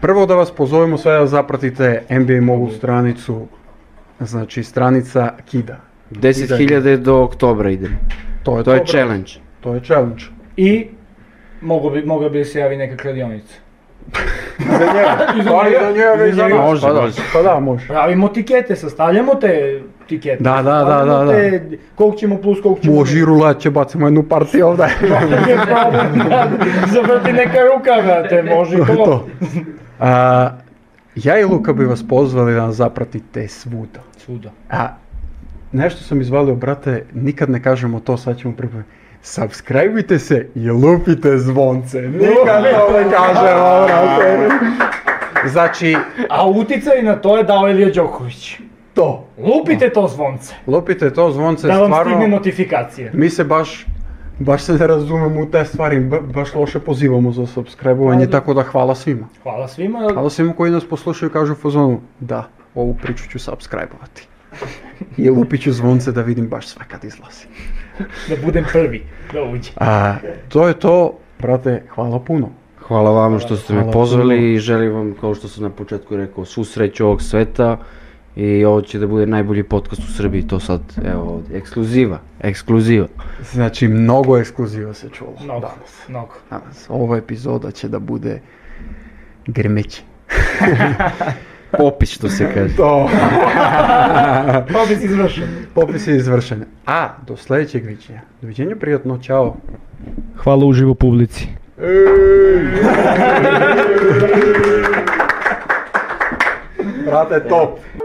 prvo da vas pozovemo sve da zapratite NBA ovu stranicu, znači stranica Kida.
10.000 do oktobra idemo.
To je,
To je
dobro.
challenge.
To je challenge.
I mogu bi, mogla bi da se javi neka kladionica.
Za njega.
Pa i za njega, i za nas.
Može,
Pa da.
može. Pa da, može.
Pravimo tikete, sastavljamo te tikete.
Da, da, da,
sastavljamo
da, da.
te- Koliko ćemo plus, koliko ćemo...
Može i rulače, bacimo jednu partiju ovdje.
Nije problem, da, zavrti neka ruka, brate, može i
to je
to.
to. A, ja i Luka bi vas pozvali da nas zapratite svuda.
Svuda.
A, nešto sam izvalio, brate, nikad ne kažemo to, sad ćemo pripraviti. Subscribeite se i lupite zvonce. Nikad to ne kažemo, brate. Znači,
A uticaj na to je dao Elija Đoković.
to.
Lupite to zvonce,
Lupite to zvonce,
da vam stigne
stvarno,
notifikacija.
mi se baš, baš se ne razumemo u te stvari, ba- baš loše pozivamo za subscribe-ovanje,
Ajde.
tako da hvala svima.
Hvala svima,
Hvala svima koji nas poslušaju i kažu u fazonu, da, ovu priču ću subscribe-ovati. I lupit ću zvonce da vidim baš sve kad izlazi.
da budem prvi, da uđe.
A, to je to, brate, hvala puno.
Hvala vam što ste me
Hvala puno.
pozvali i želim vam, kao što sam na početku rekao, svu sreću ovog sveta i ovo će da bude najbolji podcast u Srbiji, to sad, evo ovdje, ekskluziva, ekskluziva.
Znači, mnogo ekskluziva se čulo
Mnogo,
danas.
mnogo.
Danas. Ova epizoda će da bude grmeći.
Popis što se kaže.
To.
Pa bi si izvršen.
Popis je izvršen. A, do sljedećeg viđenja. Doviđenja, prijatno, čao.
Hvala uživo publici.
Brate, top.